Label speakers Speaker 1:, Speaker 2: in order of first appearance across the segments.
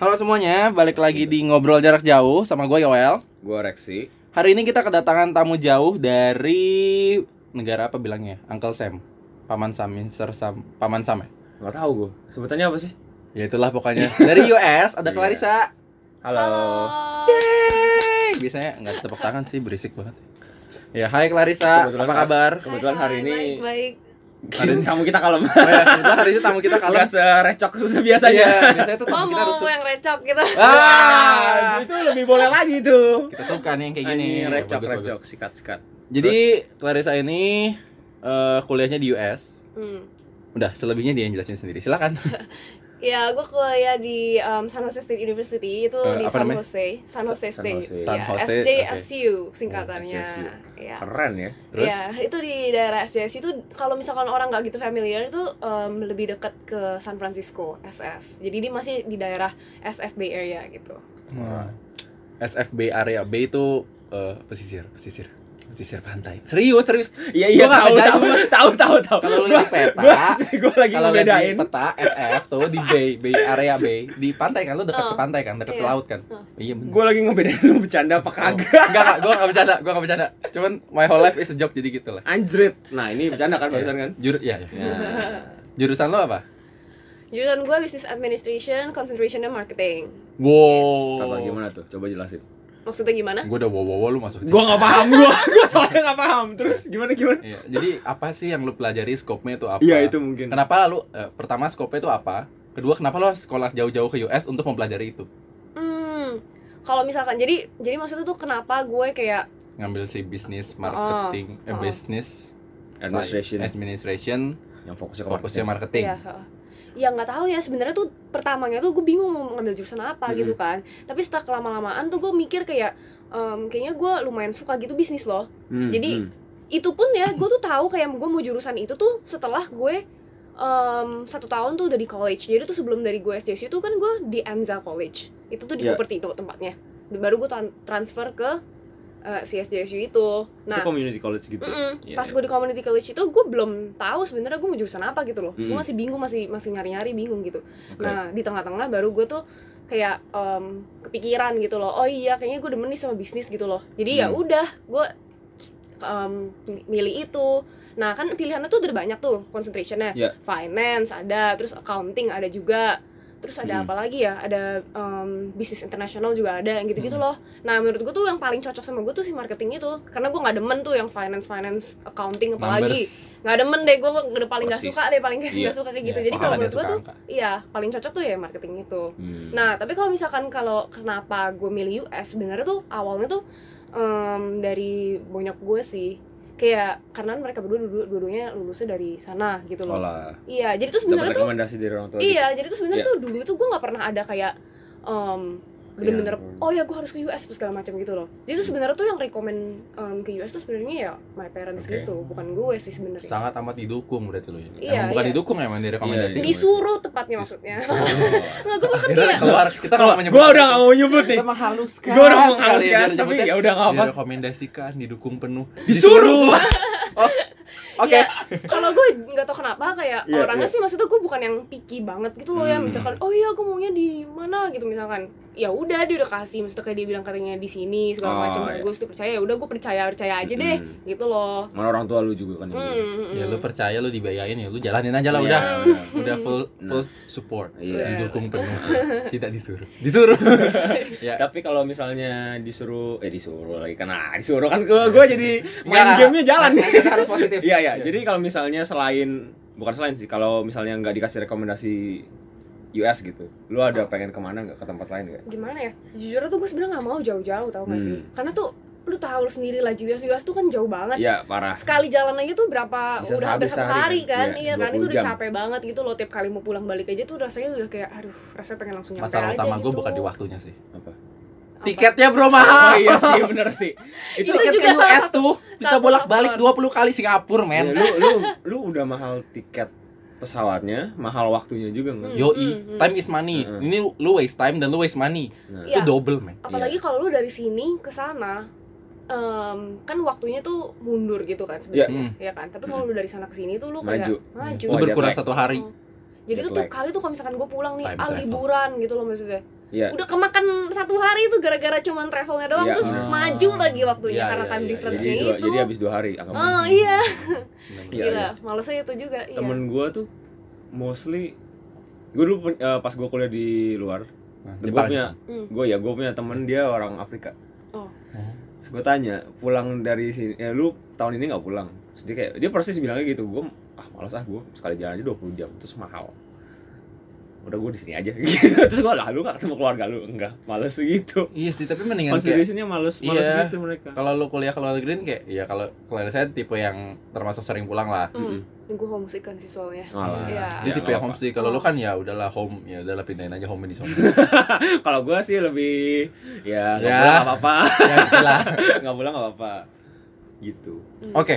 Speaker 1: Halo semuanya, balik lagi di ngobrol jarak jauh sama gue Yoel.
Speaker 2: Gue Reksi.
Speaker 1: Hari ini kita kedatangan tamu jauh dari negara apa bilangnya? Uncle Sam, Paman Sam, Mister Sam, Paman Sam ya.
Speaker 2: Gak tau gue. Sebutannya apa sih?
Speaker 1: Ya itulah pokoknya. Dari US ada
Speaker 2: Iya.
Speaker 1: Clarissa.
Speaker 2: Halo.
Speaker 1: Yeay! Biasanya nggak ada tepuk tangan sih, berisik banget. Ya, hai Clarissa,
Speaker 2: Kebetulan
Speaker 1: apa
Speaker 2: kan-
Speaker 1: kabar?
Speaker 2: Kebetulan hari ini
Speaker 3: baik,
Speaker 1: Hari-
Speaker 2: kamu kita kalem.
Speaker 1: Oh ya, kebetulan hari ini tamu kita kalem.
Speaker 2: Gak serecok biasanya.
Speaker 1: Iya, biasanya tuh
Speaker 3: Oh
Speaker 1: tamu kita
Speaker 3: mau
Speaker 1: rusuh.
Speaker 3: yang recok gitu.
Speaker 1: Wah,
Speaker 2: itu lebih boleh lagi tuh.
Speaker 1: kita suka nih yang kayak gini.
Speaker 2: Ini
Speaker 1: Ya,
Speaker 2: gitu. recok
Speaker 1: bagus,
Speaker 2: recok
Speaker 1: bagus.
Speaker 2: sikat sikat.
Speaker 1: Jadi Clarissa ini eh, kuliahnya di US.
Speaker 3: Hmm.
Speaker 1: Udah, selebihnya dia yang jelasin sendiri. Silakan.
Speaker 3: Ya, gue kuliah di um, San Jose State University itu
Speaker 1: Eh,
Speaker 3: di
Speaker 1: apa
Speaker 3: San
Speaker 1: namanya?
Speaker 3: Jose, San Jose
Speaker 2: San
Speaker 3: State.
Speaker 2: Jose.
Speaker 1: San
Speaker 3: Ya,
Speaker 1: Jose,
Speaker 3: SJSU
Speaker 2: Oh,
Speaker 3: singkatannya.
Speaker 2: SJSU.
Speaker 3: Ya.
Speaker 2: Keren ya.
Speaker 1: Terus?
Speaker 3: Ya, itu di daerah SJSU itu kalau misalkan orang nggak gitu familiar itu um, lebih dekat ke San Francisco, SF. Jadi dia masih di daerah SF Bay Area gitu.
Speaker 1: Wah. SFB area B itu eh, pesisir, pesisir, pesisir pantai. Serius, serius. Gua
Speaker 2: Iya iya
Speaker 1: nggak
Speaker 2: tahu
Speaker 1: ngejaim,
Speaker 2: tahu tahu tahu tahu.
Speaker 1: Kalau lu di peta,
Speaker 2: Gua gua lagi
Speaker 1: kalau lihat di
Speaker 2: ngebedain.
Speaker 1: peta SF tuh di bay, bay area bay, di pantai kan lu dekat ke
Speaker 3: Oh.
Speaker 1: pantai kan, dekat ke
Speaker 3: Iya.
Speaker 1: laut kan.
Speaker 3: Oh.
Speaker 1: Iya bener.
Speaker 2: Gua lagi ngebedain lu bercanda apa kagak.
Speaker 1: Enggak, enggak, gua enggak bercanda, gua enggak bercanda. Cuman my whole life is a joke jadi gitu lah.
Speaker 2: Anjrit. Nah, ini bercanda kan barusan kan?
Speaker 1: Jur ya, ya.
Speaker 2: Ya.
Speaker 1: Jurusan lo apa?
Speaker 3: Jurusan gue Business Administration, concentrationnya marketing.
Speaker 1: Wow.
Speaker 2: Tata gimana tuh? Coba jelasin.
Speaker 3: Maksudnya gimana?
Speaker 1: Gua udah wow wow wow, lu masuk.
Speaker 2: Gua nggak paham gua. Gua soalnya nggak paham. Terus gimana gimana?
Speaker 1: Iya, jadi apa sih yang lu pelajari skopnya itu apa?
Speaker 2: Iya, itu mungkin.
Speaker 1: Kenapa lu eh, pertama skopnya itu apa? Kedua kenapa lo harus sekolah jauh-jauh ke US untuk mempelajari itu?
Speaker 3: Hmm. Kalau misalkan jadi jadi maksudnya tuh kenapa gue kayak
Speaker 1: Ngambil si bisnis marketing, eh
Speaker 3: oh.
Speaker 1: bisnis
Speaker 2: Administration
Speaker 1: administration,
Speaker 2: yang fokusnya ke
Speaker 1: fokusnya marketing.
Speaker 2: marketing.
Speaker 3: ya heeh. ya nggak tahu ya sebenarnya tuh pertamanya tuh gue bingung mau ngambil jurusan apa gitu kan tapi setelah kelama lamaan tuh gue mikir kayak em, kayaknya gue lumayan suka gitu bisnis loh
Speaker 2: Hmm,
Speaker 3: Jadi,
Speaker 2: hmm.
Speaker 3: itu pun ya gue tuh tahu kayak gue mau jurusan itu tuh setelah gue em, satu tahun tuh udah di college jadi tuh sebelum dari gue SJSU tuh kan gue di Anza College itu tuh di
Speaker 2: Ya.
Speaker 3: Cupertino tempatnya baru gue tan- transfer ke eh, si SJSU itu nah
Speaker 2: itu community college gitu.
Speaker 3: Mm-mm.
Speaker 2: Iya,
Speaker 3: pas
Speaker 2: iya.
Speaker 3: gue di community college itu gue belum tahu sebenarnya gue mau jurusan apa gitu loh gue
Speaker 2: Mm-mm.
Speaker 3: masih bingung masih masih nyari nyari bingung gitu
Speaker 2: Oke.
Speaker 3: nah di tengah-tengah baru gue tuh kayak em, kepikiran gitu loh oh iya kayaknya gue demen nih sama bisnis gitu loh jadi ya
Speaker 2: Hmm.
Speaker 3: udah gue em, milih itu nah kan pilihannya tuh udah banyak tuh concentrationnya
Speaker 2: Iya.
Speaker 3: finance ada terus accounting ada juga terus ada
Speaker 2: Mm.
Speaker 3: apa lagi ya ada em, bisnis internasional juga ada yang gitu-gitu
Speaker 1: Mm.
Speaker 3: loh Nah menurut gue tuh yang paling cocok sama gue tuh si marketing itu Karena gue gak demen tuh yang finance-finance accounting apalagi
Speaker 1: Numbers.
Speaker 3: Gak demen deh, gue udah paling gak
Speaker 2: Persis.
Speaker 3: suka deh, paling gak,
Speaker 2: Iya.
Speaker 3: gak suka kayak
Speaker 1: Iya,
Speaker 3: gitu
Speaker 1: paham
Speaker 3: Jadi
Speaker 1: ada
Speaker 3: kalau
Speaker 1: yang
Speaker 3: menurut gue
Speaker 1: suka
Speaker 3: tuh,
Speaker 1: angka.
Speaker 3: iya paling cocok tuh ya marketing itu
Speaker 2: Hmm.
Speaker 3: Nah tapi kalau misalkan kalau kenapa gue milih US sebenarnya tuh awalnya tuh em, dari bonyok gue sih Kayak karena mereka berdua dua- dua-duanya lulusnya dari sana gitu loh
Speaker 2: Olah,
Speaker 3: Iya jadi
Speaker 2: dapat
Speaker 3: tuh sebenarnya tuh
Speaker 2: rekomendasi dari orang tua.
Speaker 3: Iya, jadi tuh sebenarnya
Speaker 2: Iya.
Speaker 3: tuh dulu tuh gue nggak pernah ada kayak em, bener-bener
Speaker 2: Iya. Hmm.
Speaker 3: oh ya gue harus ke US terus segala macam gitu loh. Jadi tuh sebenarnya tuh yang rekomend em, ke US tuh sebenarnya ya my parents
Speaker 2: Oke.
Speaker 3: gitu, bukan gue sih sebenarnya.
Speaker 1: Sangat amat didukung berarti lo ya.
Speaker 3: Iya,
Speaker 1: emang bukan
Speaker 3: iya.
Speaker 1: didukung emang direkomendasikan.
Speaker 2: Iya, iya.
Speaker 3: Disuruh tepatnya maksudnya. Nggak gue bahkan
Speaker 1: Akhirnya
Speaker 3: kayak
Speaker 1: keluar kita
Speaker 2: gitu. Kalau
Speaker 1: kalau menyebut
Speaker 2: gua udah nggak mau nyebut nih.
Speaker 1: kita menghaluskan.
Speaker 2: Gua udah mau
Speaker 1: sekali ya,
Speaker 2: ngalihkan
Speaker 1: biar
Speaker 2: tapi
Speaker 1: nyebutnya
Speaker 2: ya udah nggak apa.
Speaker 1: direkomendasikan, didukung penuh. Oh,
Speaker 2: Disuruh.
Speaker 1: Oke.
Speaker 3: ya, kalau gue nggak tau kenapa kayak
Speaker 2: Iya,
Speaker 3: orangnya
Speaker 2: iya.
Speaker 3: sih maksudnya gue bukan yang picky banget gitu loh ya
Speaker 2: Hmm.
Speaker 3: misalkan oh iya gue maunya di mana gitu misalkan ya udah dia udah kasih maksudnya kayak dia bilang katanya di
Speaker 2: Oh,
Speaker 3: sini segala macam
Speaker 2: iya. Hmm.
Speaker 3: bagus tuh percaya ya udah gue percaya percaya aja deh
Speaker 2: Mm-mm.
Speaker 3: gitu loh.
Speaker 2: Mana orang tua lu juga kan. yang gitu.
Speaker 3: Hmm,
Speaker 1: Ya
Speaker 3: hmm.
Speaker 1: lu percaya lu dibayarin ya, lu jalanin aja lah
Speaker 2: Iya,
Speaker 1: udah.
Speaker 2: udah.
Speaker 1: Udah full full support.
Speaker 2: Iya.
Speaker 1: Didukung penuh. Tidak disuruh. Disuruh. ya.
Speaker 2: Tapi kalau misalnya disuruh eh disuruh lagi kena disuruh kan gua gua
Speaker 3: Iya.
Speaker 2: jadi main gamenya jalan nih.
Speaker 1: Mindset harus positif.
Speaker 2: Iya ya. Jadi kalau misalnya selain bukan selain sih kalau misalnya nggak dikasih rekomendasi US gitu, lu ada pengen kemana nggak ke tempat lain nggak?
Speaker 3: gimana ya sejujurnya tuh gue sebenarnya nggak mau jauh-jauh tau gak sih
Speaker 2: Hmm.
Speaker 3: karena tuh lu tahu lu sendiri lah US US tuh kan jauh banget
Speaker 2: Iya parah.
Speaker 3: sekali jalan aja tuh berapa
Speaker 2: Bisa
Speaker 3: udah
Speaker 2: habis
Speaker 3: hampir satu
Speaker 2: sehari
Speaker 3: hari
Speaker 2: kan?
Speaker 3: kan,
Speaker 2: Iya,
Speaker 3: iya kan
Speaker 2: 20
Speaker 3: itu udah
Speaker 2: jam.
Speaker 3: capek banget gitu loh tiap kali mau pulang balik aja tuh rasanya udah kayak aduh rasanya pengen langsung nyampe
Speaker 1: Masalah
Speaker 3: aja
Speaker 1: utama
Speaker 3: gitu
Speaker 1: gue bukan di waktunya sih.
Speaker 2: Apa?
Speaker 3: Apa?
Speaker 1: Tiketnya bro
Speaker 2: Oh
Speaker 1: mahal.
Speaker 2: iya sih bener sih. Itu
Speaker 3: Itu juga
Speaker 1: Tiketnya
Speaker 3: salah
Speaker 1: US tuh bisa
Speaker 3: satu
Speaker 1: bolak-balik 20
Speaker 3: faktor.
Speaker 1: kali Singapura,
Speaker 2: Ya,
Speaker 1: men.
Speaker 2: lu lu lu udah mahal tiket pesawatnya, mahal waktunya juga nggak?
Speaker 3: Hmm.
Speaker 1: Yoi, time is money.
Speaker 2: Hmm.
Speaker 1: Ini lu waste time dan lu waste money.
Speaker 2: Nah,
Speaker 3: Iya.
Speaker 1: Itu double, men.
Speaker 3: apalagi kalau lu dari sini ke sana em, kan waktunya tuh mundur gitu kan sebenarnya
Speaker 1: Hmm.
Speaker 3: ya kan tapi kalau lu dari sana ke sini tuh lu
Speaker 2: Iya. Maju.
Speaker 3: kayak maju
Speaker 1: Lu
Speaker 2: Oh, jet
Speaker 1: berkurang
Speaker 2: lag.
Speaker 1: satu hari.
Speaker 3: jadi tuh
Speaker 2: Jet
Speaker 3: tiap
Speaker 2: lag.
Speaker 3: kali tuh kalau misalkan gue pulang nih
Speaker 1: Time
Speaker 3: ah
Speaker 1: travel.
Speaker 3: liburan gitu loh maksudnya
Speaker 2: Iya.
Speaker 3: udah kemakan satu hari itu gara-gara cuman travelnya doang
Speaker 2: Iya.
Speaker 3: terus
Speaker 1: Ah.
Speaker 3: maju lagi waktunya
Speaker 1: Iya,
Speaker 3: karena
Speaker 1: iya,
Speaker 3: time
Speaker 1: iya,
Speaker 3: difference-nya
Speaker 2: Jadi dua,
Speaker 3: itu
Speaker 2: jadi habis dua hari anggap aja.
Speaker 3: oh iya
Speaker 2: Iya,
Speaker 3: gila malesnya itu juga iya.
Speaker 2: Temen gua tuh mostly gue dulu pen- eh, pas gue kuliah di luar,
Speaker 1: Nah,
Speaker 2: gue
Speaker 1: Jepang.
Speaker 2: punya
Speaker 3: Hmm.
Speaker 2: gue ya gue punya temen dia orang Afrika.
Speaker 3: Oh.
Speaker 1: Oh.
Speaker 2: Terus gue tanya pulang dari sini, ya lu tahun ini nggak pulang? Terus dia kayak dia persis bilangnya gitu, gue ah malas ah gue sekali jalan aja 20 jam terus mahal. Udah gue di sini aja. Gitu. Terus gue lah lu gak ketemu keluarga lu enggak, males gitu.
Speaker 1: Iya sih, tapi mendingan
Speaker 2: Pas
Speaker 1: kayak
Speaker 2: di sini males, males
Speaker 1: Iya.
Speaker 2: gitu mereka.
Speaker 1: kalau lu kuliah ke luar negeri kayak ya kalau kalau saya tipe yang termasuk sering pulang lah.
Speaker 3: Hmm. gue homesick kan sih soalnya
Speaker 2: Malah.
Speaker 3: Iya.
Speaker 1: Dia
Speaker 2: Ya,
Speaker 1: tipe
Speaker 2: nggak
Speaker 1: yang
Speaker 2: apa-apa.
Speaker 1: homesick. Kalau lu kan ya udahlah home, ya udahlah pindahin aja home di sono.
Speaker 2: Kalau gue sih lebih ya nggak
Speaker 1: Ya.
Speaker 2: pulang nggak apa-apa,
Speaker 1: ya lah.
Speaker 2: nggak pulang nggak apa-apa. Gitu.
Speaker 3: Hmm.
Speaker 1: Oke.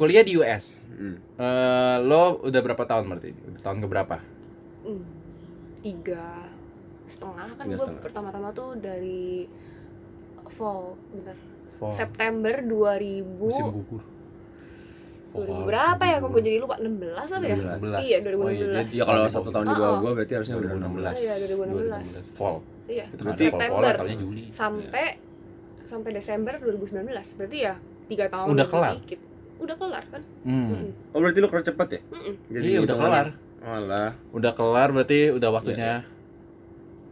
Speaker 1: Kuliah di US.
Speaker 2: Hmm.
Speaker 1: Eh, lo udah berapa tahun berarti? Udah tahun keberapa?
Speaker 3: Hmm. tiga setengah kan
Speaker 2: Tiga
Speaker 3: gue
Speaker 2: setengah.
Speaker 3: pertama-tama tuh dari fall bentar
Speaker 1: Fall.
Speaker 3: September 2000
Speaker 1: Musim gugur.
Speaker 3: 2000 berapa ya kok gue jadi lupa 16 apa ya
Speaker 1: 2016.
Speaker 3: Iya,
Speaker 1: Oh, iya, dia-
Speaker 3: 2016.
Speaker 2: Ya kalau satu tahun di
Speaker 3: Oh,
Speaker 2: bawah
Speaker 3: oh.
Speaker 2: gue berarti harusnya udah
Speaker 1: 2016.
Speaker 3: Iya, 2016.
Speaker 1: Fall. kan
Speaker 3: iya
Speaker 1: Kita
Speaker 2: Berarti-
Speaker 1: fall fall
Speaker 3: September.
Speaker 1: tahunnya Juli.
Speaker 3: sampai sampai Desember 2019 berarti ya tiga tahun
Speaker 1: Udah
Speaker 3: lebih
Speaker 1: kelar.
Speaker 3: dikit. udah kelar kan Hmm,
Speaker 1: Hmm.
Speaker 2: Oh berarti lu kerja cepet ya?
Speaker 3: Mm-mm.
Speaker 2: Jadi
Speaker 1: iya, udah
Speaker 2: hitungannya-
Speaker 1: kelar.
Speaker 2: Malah.
Speaker 1: Udah kelar berarti udah waktunya.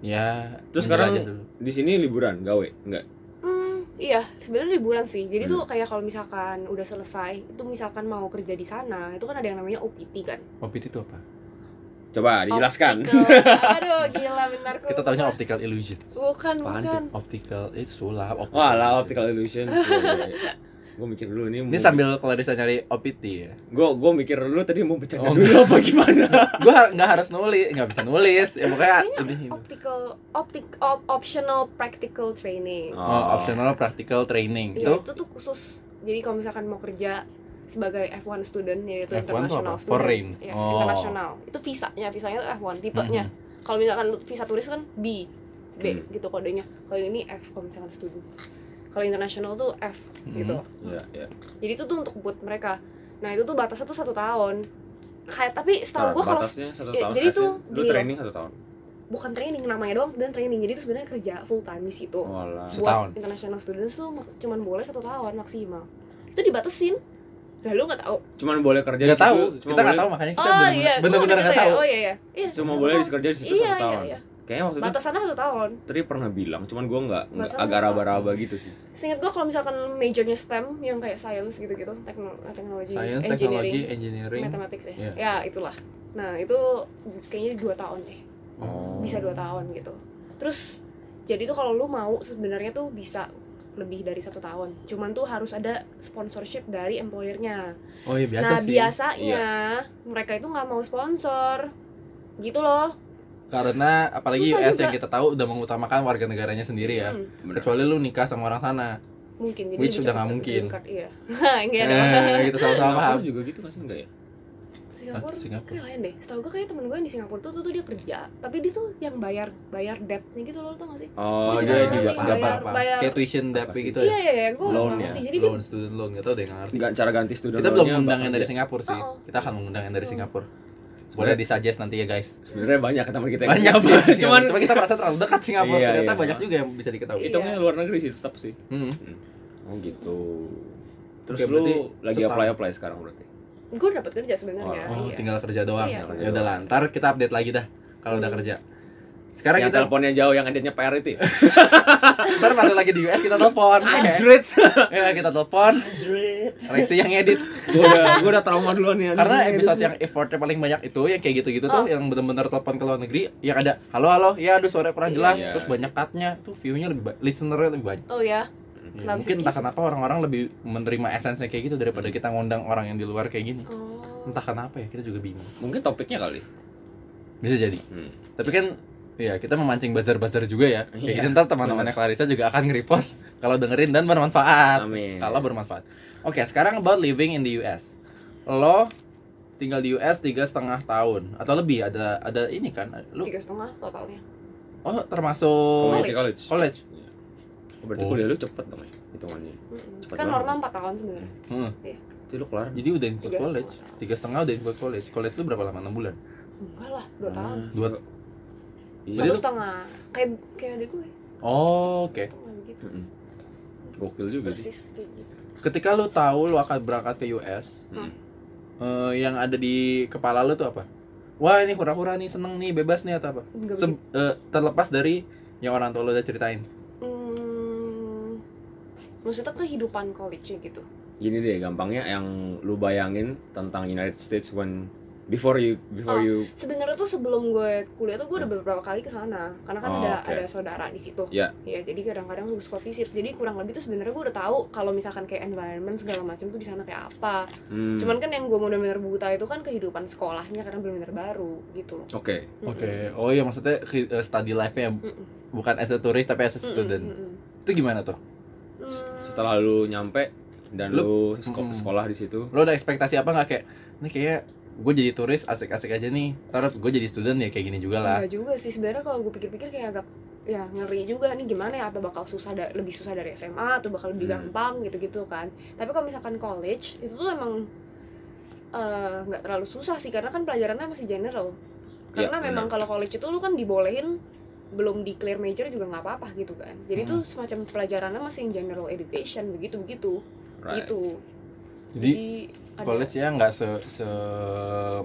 Speaker 1: Ya.
Speaker 2: Terus
Speaker 1: menjelajah
Speaker 2: sekarang-
Speaker 1: dulu.
Speaker 2: Di sini liburan, gawe, enggak.
Speaker 3: Hmm, iya sebenarnya di bulan sih jadi
Speaker 2: Hmm.
Speaker 3: tuh kayak kalau misalkan udah selesai itu misalkan mau kerja di sana itu kan ada yang namanya OPT kan
Speaker 1: OPT itu apa?
Speaker 2: Coba dijelaskan.
Speaker 3: Optical. aduh gila benar kok
Speaker 1: Kita taunya optical illusions.
Speaker 3: bukan
Speaker 2: Apaan
Speaker 3: bukan
Speaker 1: Optical eh, itu sulap. Optical
Speaker 2: Walah
Speaker 1: illusion.
Speaker 2: optical illusion. gue mikir dulu ini.
Speaker 1: Ini sambil Clarissa cari OPT ya.
Speaker 2: Gue gue mikir dulu tadi mau bercanda
Speaker 1: Oh,
Speaker 2: dulu apa gimana?
Speaker 1: Gue nggak harus nulis, nggak bisa nulis. Ya pokoknya ini.
Speaker 2: Iya.
Speaker 1: ini.
Speaker 3: optical optic op- optional practical training
Speaker 1: Oh, optional practical training. gitu.
Speaker 3: Iya,
Speaker 1: Itu
Speaker 3: itu tuh khusus jadi kalau misalkan mau kerja sebagai F1 student yaitu
Speaker 1: F1 tuh
Speaker 3: international
Speaker 1: apa?
Speaker 3: student
Speaker 1: Foreign.
Speaker 3: ya
Speaker 1: Oh. Mm-hmm.
Speaker 3: international itu visanya visanya tuh F1 tipenya
Speaker 1: Hmm.
Speaker 3: kalau misalkan lu visa turis kan B B
Speaker 2: Hmm.
Speaker 3: gitu kodenya kalau ini F kalau misalkan student kalau international tuh F
Speaker 1: Mm-hmm.
Speaker 3: gitu
Speaker 2: Iya, iya.
Speaker 3: jadi itu tuh untuk buat mereka nah itu tuh batasnya tuh satu tahun kayak
Speaker 2: Nah,
Speaker 3: tapi setahu gua kalau
Speaker 2: batasnya satu
Speaker 3: iya,
Speaker 2: tahun.
Speaker 3: jadi
Speaker 2: asli.
Speaker 3: tuh
Speaker 2: lu
Speaker 3: gini loh.
Speaker 2: training satu tahun.
Speaker 3: bukan training namanya doang dan training jadi itu sebenarnya kerja full time di situ
Speaker 2: Walah.
Speaker 1: Set- Setahun.
Speaker 3: buat international students tuh mak- cuman boleh satu tahun maksimal itu dibatasin lah lu nggak tahu
Speaker 2: Cuman boleh kerja
Speaker 1: nggak
Speaker 2: di situ,
Speaker 1: tahu,
Speaker 2: cuma
Speaker 1: kita nggak
Speaker 2: boleh-
Speaker 1: tahu makanya kita
Speaker 3: oh iya
Speaker 1: bener-bener-
Speaker 3: gua
Speaker 1: bener-bener
Speaker 3: waktu
Speaker 1: nggak
Speaker 3: itu ya,
Speaker 1: tahu.
Speaker 3: oh iya iya iya
Speaker 2: Cuma
Speaker 3: satu
Speaker 2: boleh
Speaker 3: tahun.
Speaker 2: kerja di situ
Speaker 3: iya,
Speaker 2: satu tahun.
Speaker 3: iya, iya.
Speaker 2: Kayaknya waktu itu
Speaker 3: batasannya satu tahun
Speaker 2: Tri pernah bilang, cuman gue nggak nggak
Speaker 3: Batasnya
Speaker 2: agak
Speaker 3: satu
Speaker 2: raba-raba gitu sih.
Speaker 3: seingat gua kalau misalkan majornya STEM yang kayak science gitu-gitu tekno teknologi
Speaker 1: Science,
Speaker 3: engineering
Speaker 1: teknologi, engineering.
Speaker 3: mathematics ya
Speaker 1: Iya.
Speaker 3: ya itulah nah itu kayaknya dua tahun deh
Speaker 1: Oh.
Speaker 3: bisa dua tahun gitu terus jadi tuh kalau lu mau sebenarnya tuh bisa lebih dari satu tahun cuman tuh harus ada sponsorship dari employernya
Speaker 1: Oh iya biasa
Speaker 3: nah
Speaker 1: sih. Iya.
Speaker 3: biasanya mereka itu nggak mau sponsor gitu loh
Speaker 1: Karena apalagi
Speaker 3: Susah
Speaker 1: US
Speaker 3: juga.
Speaker 1: yang kita tahu udah mengutamakan warga negaranya sendiri ya.
Speaker 3: Hmm,
Speaker 2: Bener.
Speaker 1: Kecuali lu nikah sama orang sana.
Speaker 3: mungkin jadi
Speaker 1: Which udah
Speaker 3: lebih cepet
Speaker 1: nggak
Speaker 3: dapet
Speaker 1: mungkin.
Speaker 3: green card, iya enggak ada
Speaker 1: Eh, kita sama-sama
Speaker 2: Singapura
Speaker 1: paham.
Speaker 2: juga gitu kan sih enggak ya?
Speaker 3: Singapura,
Speaker 1: Ah, Singapura.
Speaker 3: kayak lain deh setahu gue kayak temen gue yang di Singapura tuh, tuh tuh dia kerja tapi dia tuh yang bayar bayar debtnya gitu loh lo tau gak sih
Speaker 2: Oh,
Speaker 1: iya,
Speaker 3: Gua juga
Speaker 2: dia
Speaker 3: ngerti,
Speaker 2: di
Speaker 3: nggak
Speaker 2: apa
Speaker 3: bayar-
Speaker 2: apa.
Speaker 3: bayar-
Speaker 1: Kayak tuition
Speaker 2: Apa
Speaker 1: tapi
Speaker 2: sih?
Speaker 1: gitu
Speaker 3: iya
Speaker 1: ya.
Speaker 3: iya iya gue nggak
Speaker 2: Loan ya,
Speaker 3: ngerti jadi dia
Speaker 1: loan student loan nggak tahu deh nggak ngerti.
Speaker 2: Nggak cara ganti ya, student
Speaker 1: Kita belum
Speaker 2: loan-nya
Speaker 1: mengundang
Speaker 2: bakal
Speaker 1: yang dari
Speaker 2: dia-
Speaker 1: Singapura sih.
Speaker 3: Oh, oh.
Speaker 1: Kita akan mengundang yang dari
Speaker 3: Oh.
Speaker 1: Singapura. Boleh di suggest nanti ya guys.
Speaker 2: Sebenarnya banyak teman kita yang gitu
Speaker 1: Banyak
Speaker 2: di
Speaker 1: sih.
Speaker 2: Singapura.
Speaker 1: Cuman
Speaker 2: Cuman
Speaker 1: cuma kita merasa terlalu dekat Singapura.
Speaker 2: Iya,
Speaker 1: Ternyata
Speaker 2: iya.
Speaker 1: banyak juga yang bisa diketahui.
Speaker 3: Iya.
Speaker 2: hitungnya luar negeri sih tetap sih.
Speaker 1: Hmm.
Speaker 2: Oh gitu. Terus
Speaker 1: Oke,
Speaker 2: lu
Speaker 1: berarti
Speaker 2: lagi
Speaker 1: setahun.
Speaker 2: apply apply sekarang berarti.
Speaker 3: gue dapat kerja sebenarnya
Speaker 1: Oh,
Speaker 3: iya.
Speaker 1: tinggal kerja doang.
Speaker 3: Iya.
Speaker 1: Ya udah lah, ntar kita update lagi dah kalau udah kerja. Sekarang
Speaker 2: yang
Speaker 1: kita
Speaker 2: teleponnya jauh yang editnya PR itu. ya?
Speaker 1: ntar masuk lagi di US kita telepon.
Speaker 2: Anjrit.
Speaker 1: Ya, kita telepon. Rexy yang edit.
Speaker 2: Gua udah gua udah trauma duluan nih. anjing.
Speaker 1: Karena episode yang effortnya paling banyak itu yang kayak gitu-gitu tuh
Speaker 3: Oh.
Speaker 1: yang bener-bener telepon ke luar negeri yang ada halo halo ya aduh suara kurang jelas
Speaker 2: Iya.
Speaker 1: terus banyak cutnya tuh view-nya lebih ba- listener-nya lebih banyak.
Speaker 3: oh ya
Speaker 1: Ya,
Speaker 3: Kenapa
Speaker 1: mungkin
Speaker 3: sih
Speaker 1: entah
Speaker 3: gitu?
Speaker 1: kenapa orang-orang lebih menerima esensinya kayak gitu daripada kita ngundang orang yang di luar kayak gini.
Speaker 3: oh
Speaker 1: Entah kenapa ya, kita juga bingung.
Speaker 2: mungkin topiknya kali.
Speaker 1: Bisa jadi.
Speaker 2: Hmm.
Speaker 1: Tapi kan ya kita memancing bazar-bazar juga ya.
Speaker 2: Iya.
Speaker 1: Kayak gitu ntar teman-temannya Clarissa juga akan nge-repost kalau dengerin dan bermanfaat.
Speaker 2: Amin.
Speaker 1: Kalau bermanfaat. Oke, sekarang about living in the US. Lo tinggal di US tiga setengah tahun atau lebih ada ada ini kan lu
Speaker 3: tiga setengah totalnya
Speaker 1: oh termasuk
Speaker 2: community college.
Speaker 1: college
Speaker 2: Oh, berarti
Speaker 1: Oh.
Speaker 2: kuliah lu cepet dong ya hitungannya.
Speaker 3: Mm-mm.
Speaker 2: Cepet
Speaker 3: kan
Speaker 2: banget.
Speaker 3: normal empat tahun sebenarnya
Speaker 2: Jadi lu kelar
Speaker 1: Hmm, jadi udah ikut
Speaker 3: Tiga
Speaker 1: college
Speaker 3: setengah.
Speaker 1: tiga setengah udah ikut college college lu berapa lama enam bulan
Speaker 2: Hmm.
Speaker 3: enggak lah dua tahun
Speaker 1: Dua-
Speaker 2: Iya
Speaker 1: Hmm. Jadi
Speaker 3: satu
Speaker 1: lu-
Speaker 3: setengah kayak kayak adik gue
Speaker 1: Oh, oke.
Speaker 3: setengah gitu
Speaker 2: Mm-mm. Gokil juga sih.
Speaker 3: persis kayak gitu
Speaker 1: Ketika lu tahu lu akan berangkat ke US,
Speaker 2: Mm.
Speaker 1: eh, yang ada di kepala lu tuh apa? Wah, ini hura-hura nih, seneng nih, bebas nih atau apa?
Speaker 3: Enggak
Speaker 1: Sem- eh, terlepas dari yang orang tua lu udah ceritain.
Speaker 3: Hmm, maksudnya kehidupan college-nya gitu.
Speaker 2: Gini deh gampangnya yang lu bayangin tentang United States when before you before
Speaker 3: Oh.
Speaker 2: you
Speaker 3: Sebenarnya tuh sebelum gue kuliah tuh gue udah beberapa kali ke sana karena kan
Speaker 2: Oh,
Speaker 3: ada
Speaker 2: oke.
Speaker 3: ada saudara di situ.
Speaker 2: Iya.
Speaker 3: Hmm. Ya, jadi kadang-kadang gue suka visit. Jadi kurang lebih tuh sebenarnya gue udah tahu kalau misalkan kayak environment segala macam tuh di sana kayak apa.
Speaker 2: hmm,
Speaker 3: Cuman kan yang gue mau bener-bener buta itu kan kehidupan sekolahnya karena bener-bener baru gitu loh.
Speaker 2: oke.
Speaker 3: Mm-mm.
Speaker 1: Oh iya, maksudnya ke- eh, study life-nya
Speaker 3: Mm-mm.
Speaker 1: bukan as a tourist tapi as a
Speaker 3: Mm-mm,
Speaker 1: student.
Speaker 3: mm-mm.
Speaker 1: Itu gimana tuh?
Speaker 3: Hmm,
Speaker 2: Setelah lu nyampe dan lu,
Speaker 1: Mm.
Speaker 2: sko- sekolah di situ.
Speaker 1: Lu ada ekspektasi apa nggak kayak ini kayak gue jadi turis asik-asik aja nih. Ntar gue jadi student ya kayak gini juga lah.
Speaker 3: Enggak juga sih sebenarnya kalau gue pikir-pikir kayak agak ya ngeri juga nih gimana ya apa bakal susah da- lebih susah dari SMA atau bakal lebih
Speaker 2: Hmm.
Speaker 3: gampang gitu-gitu kan. Tapi kalau misalkan college itu tuh emang eh, nggak terlalu susah sih karena kan pelajarannya masih general.
Speaker 2: Ya,
Speaker 3: Karena memang kalau college itu lu kan dibolehin belum declare major juga nggak apa-apa gitu kan. Jadi tuh semacam pelajarannya masih yang general education begitu-begitu
Speaker 2: Right.
Speaker 3: gitu.
Speaker 1: Jadi
Speaker 3: ada-
Speaker 1: college ya nggak se, se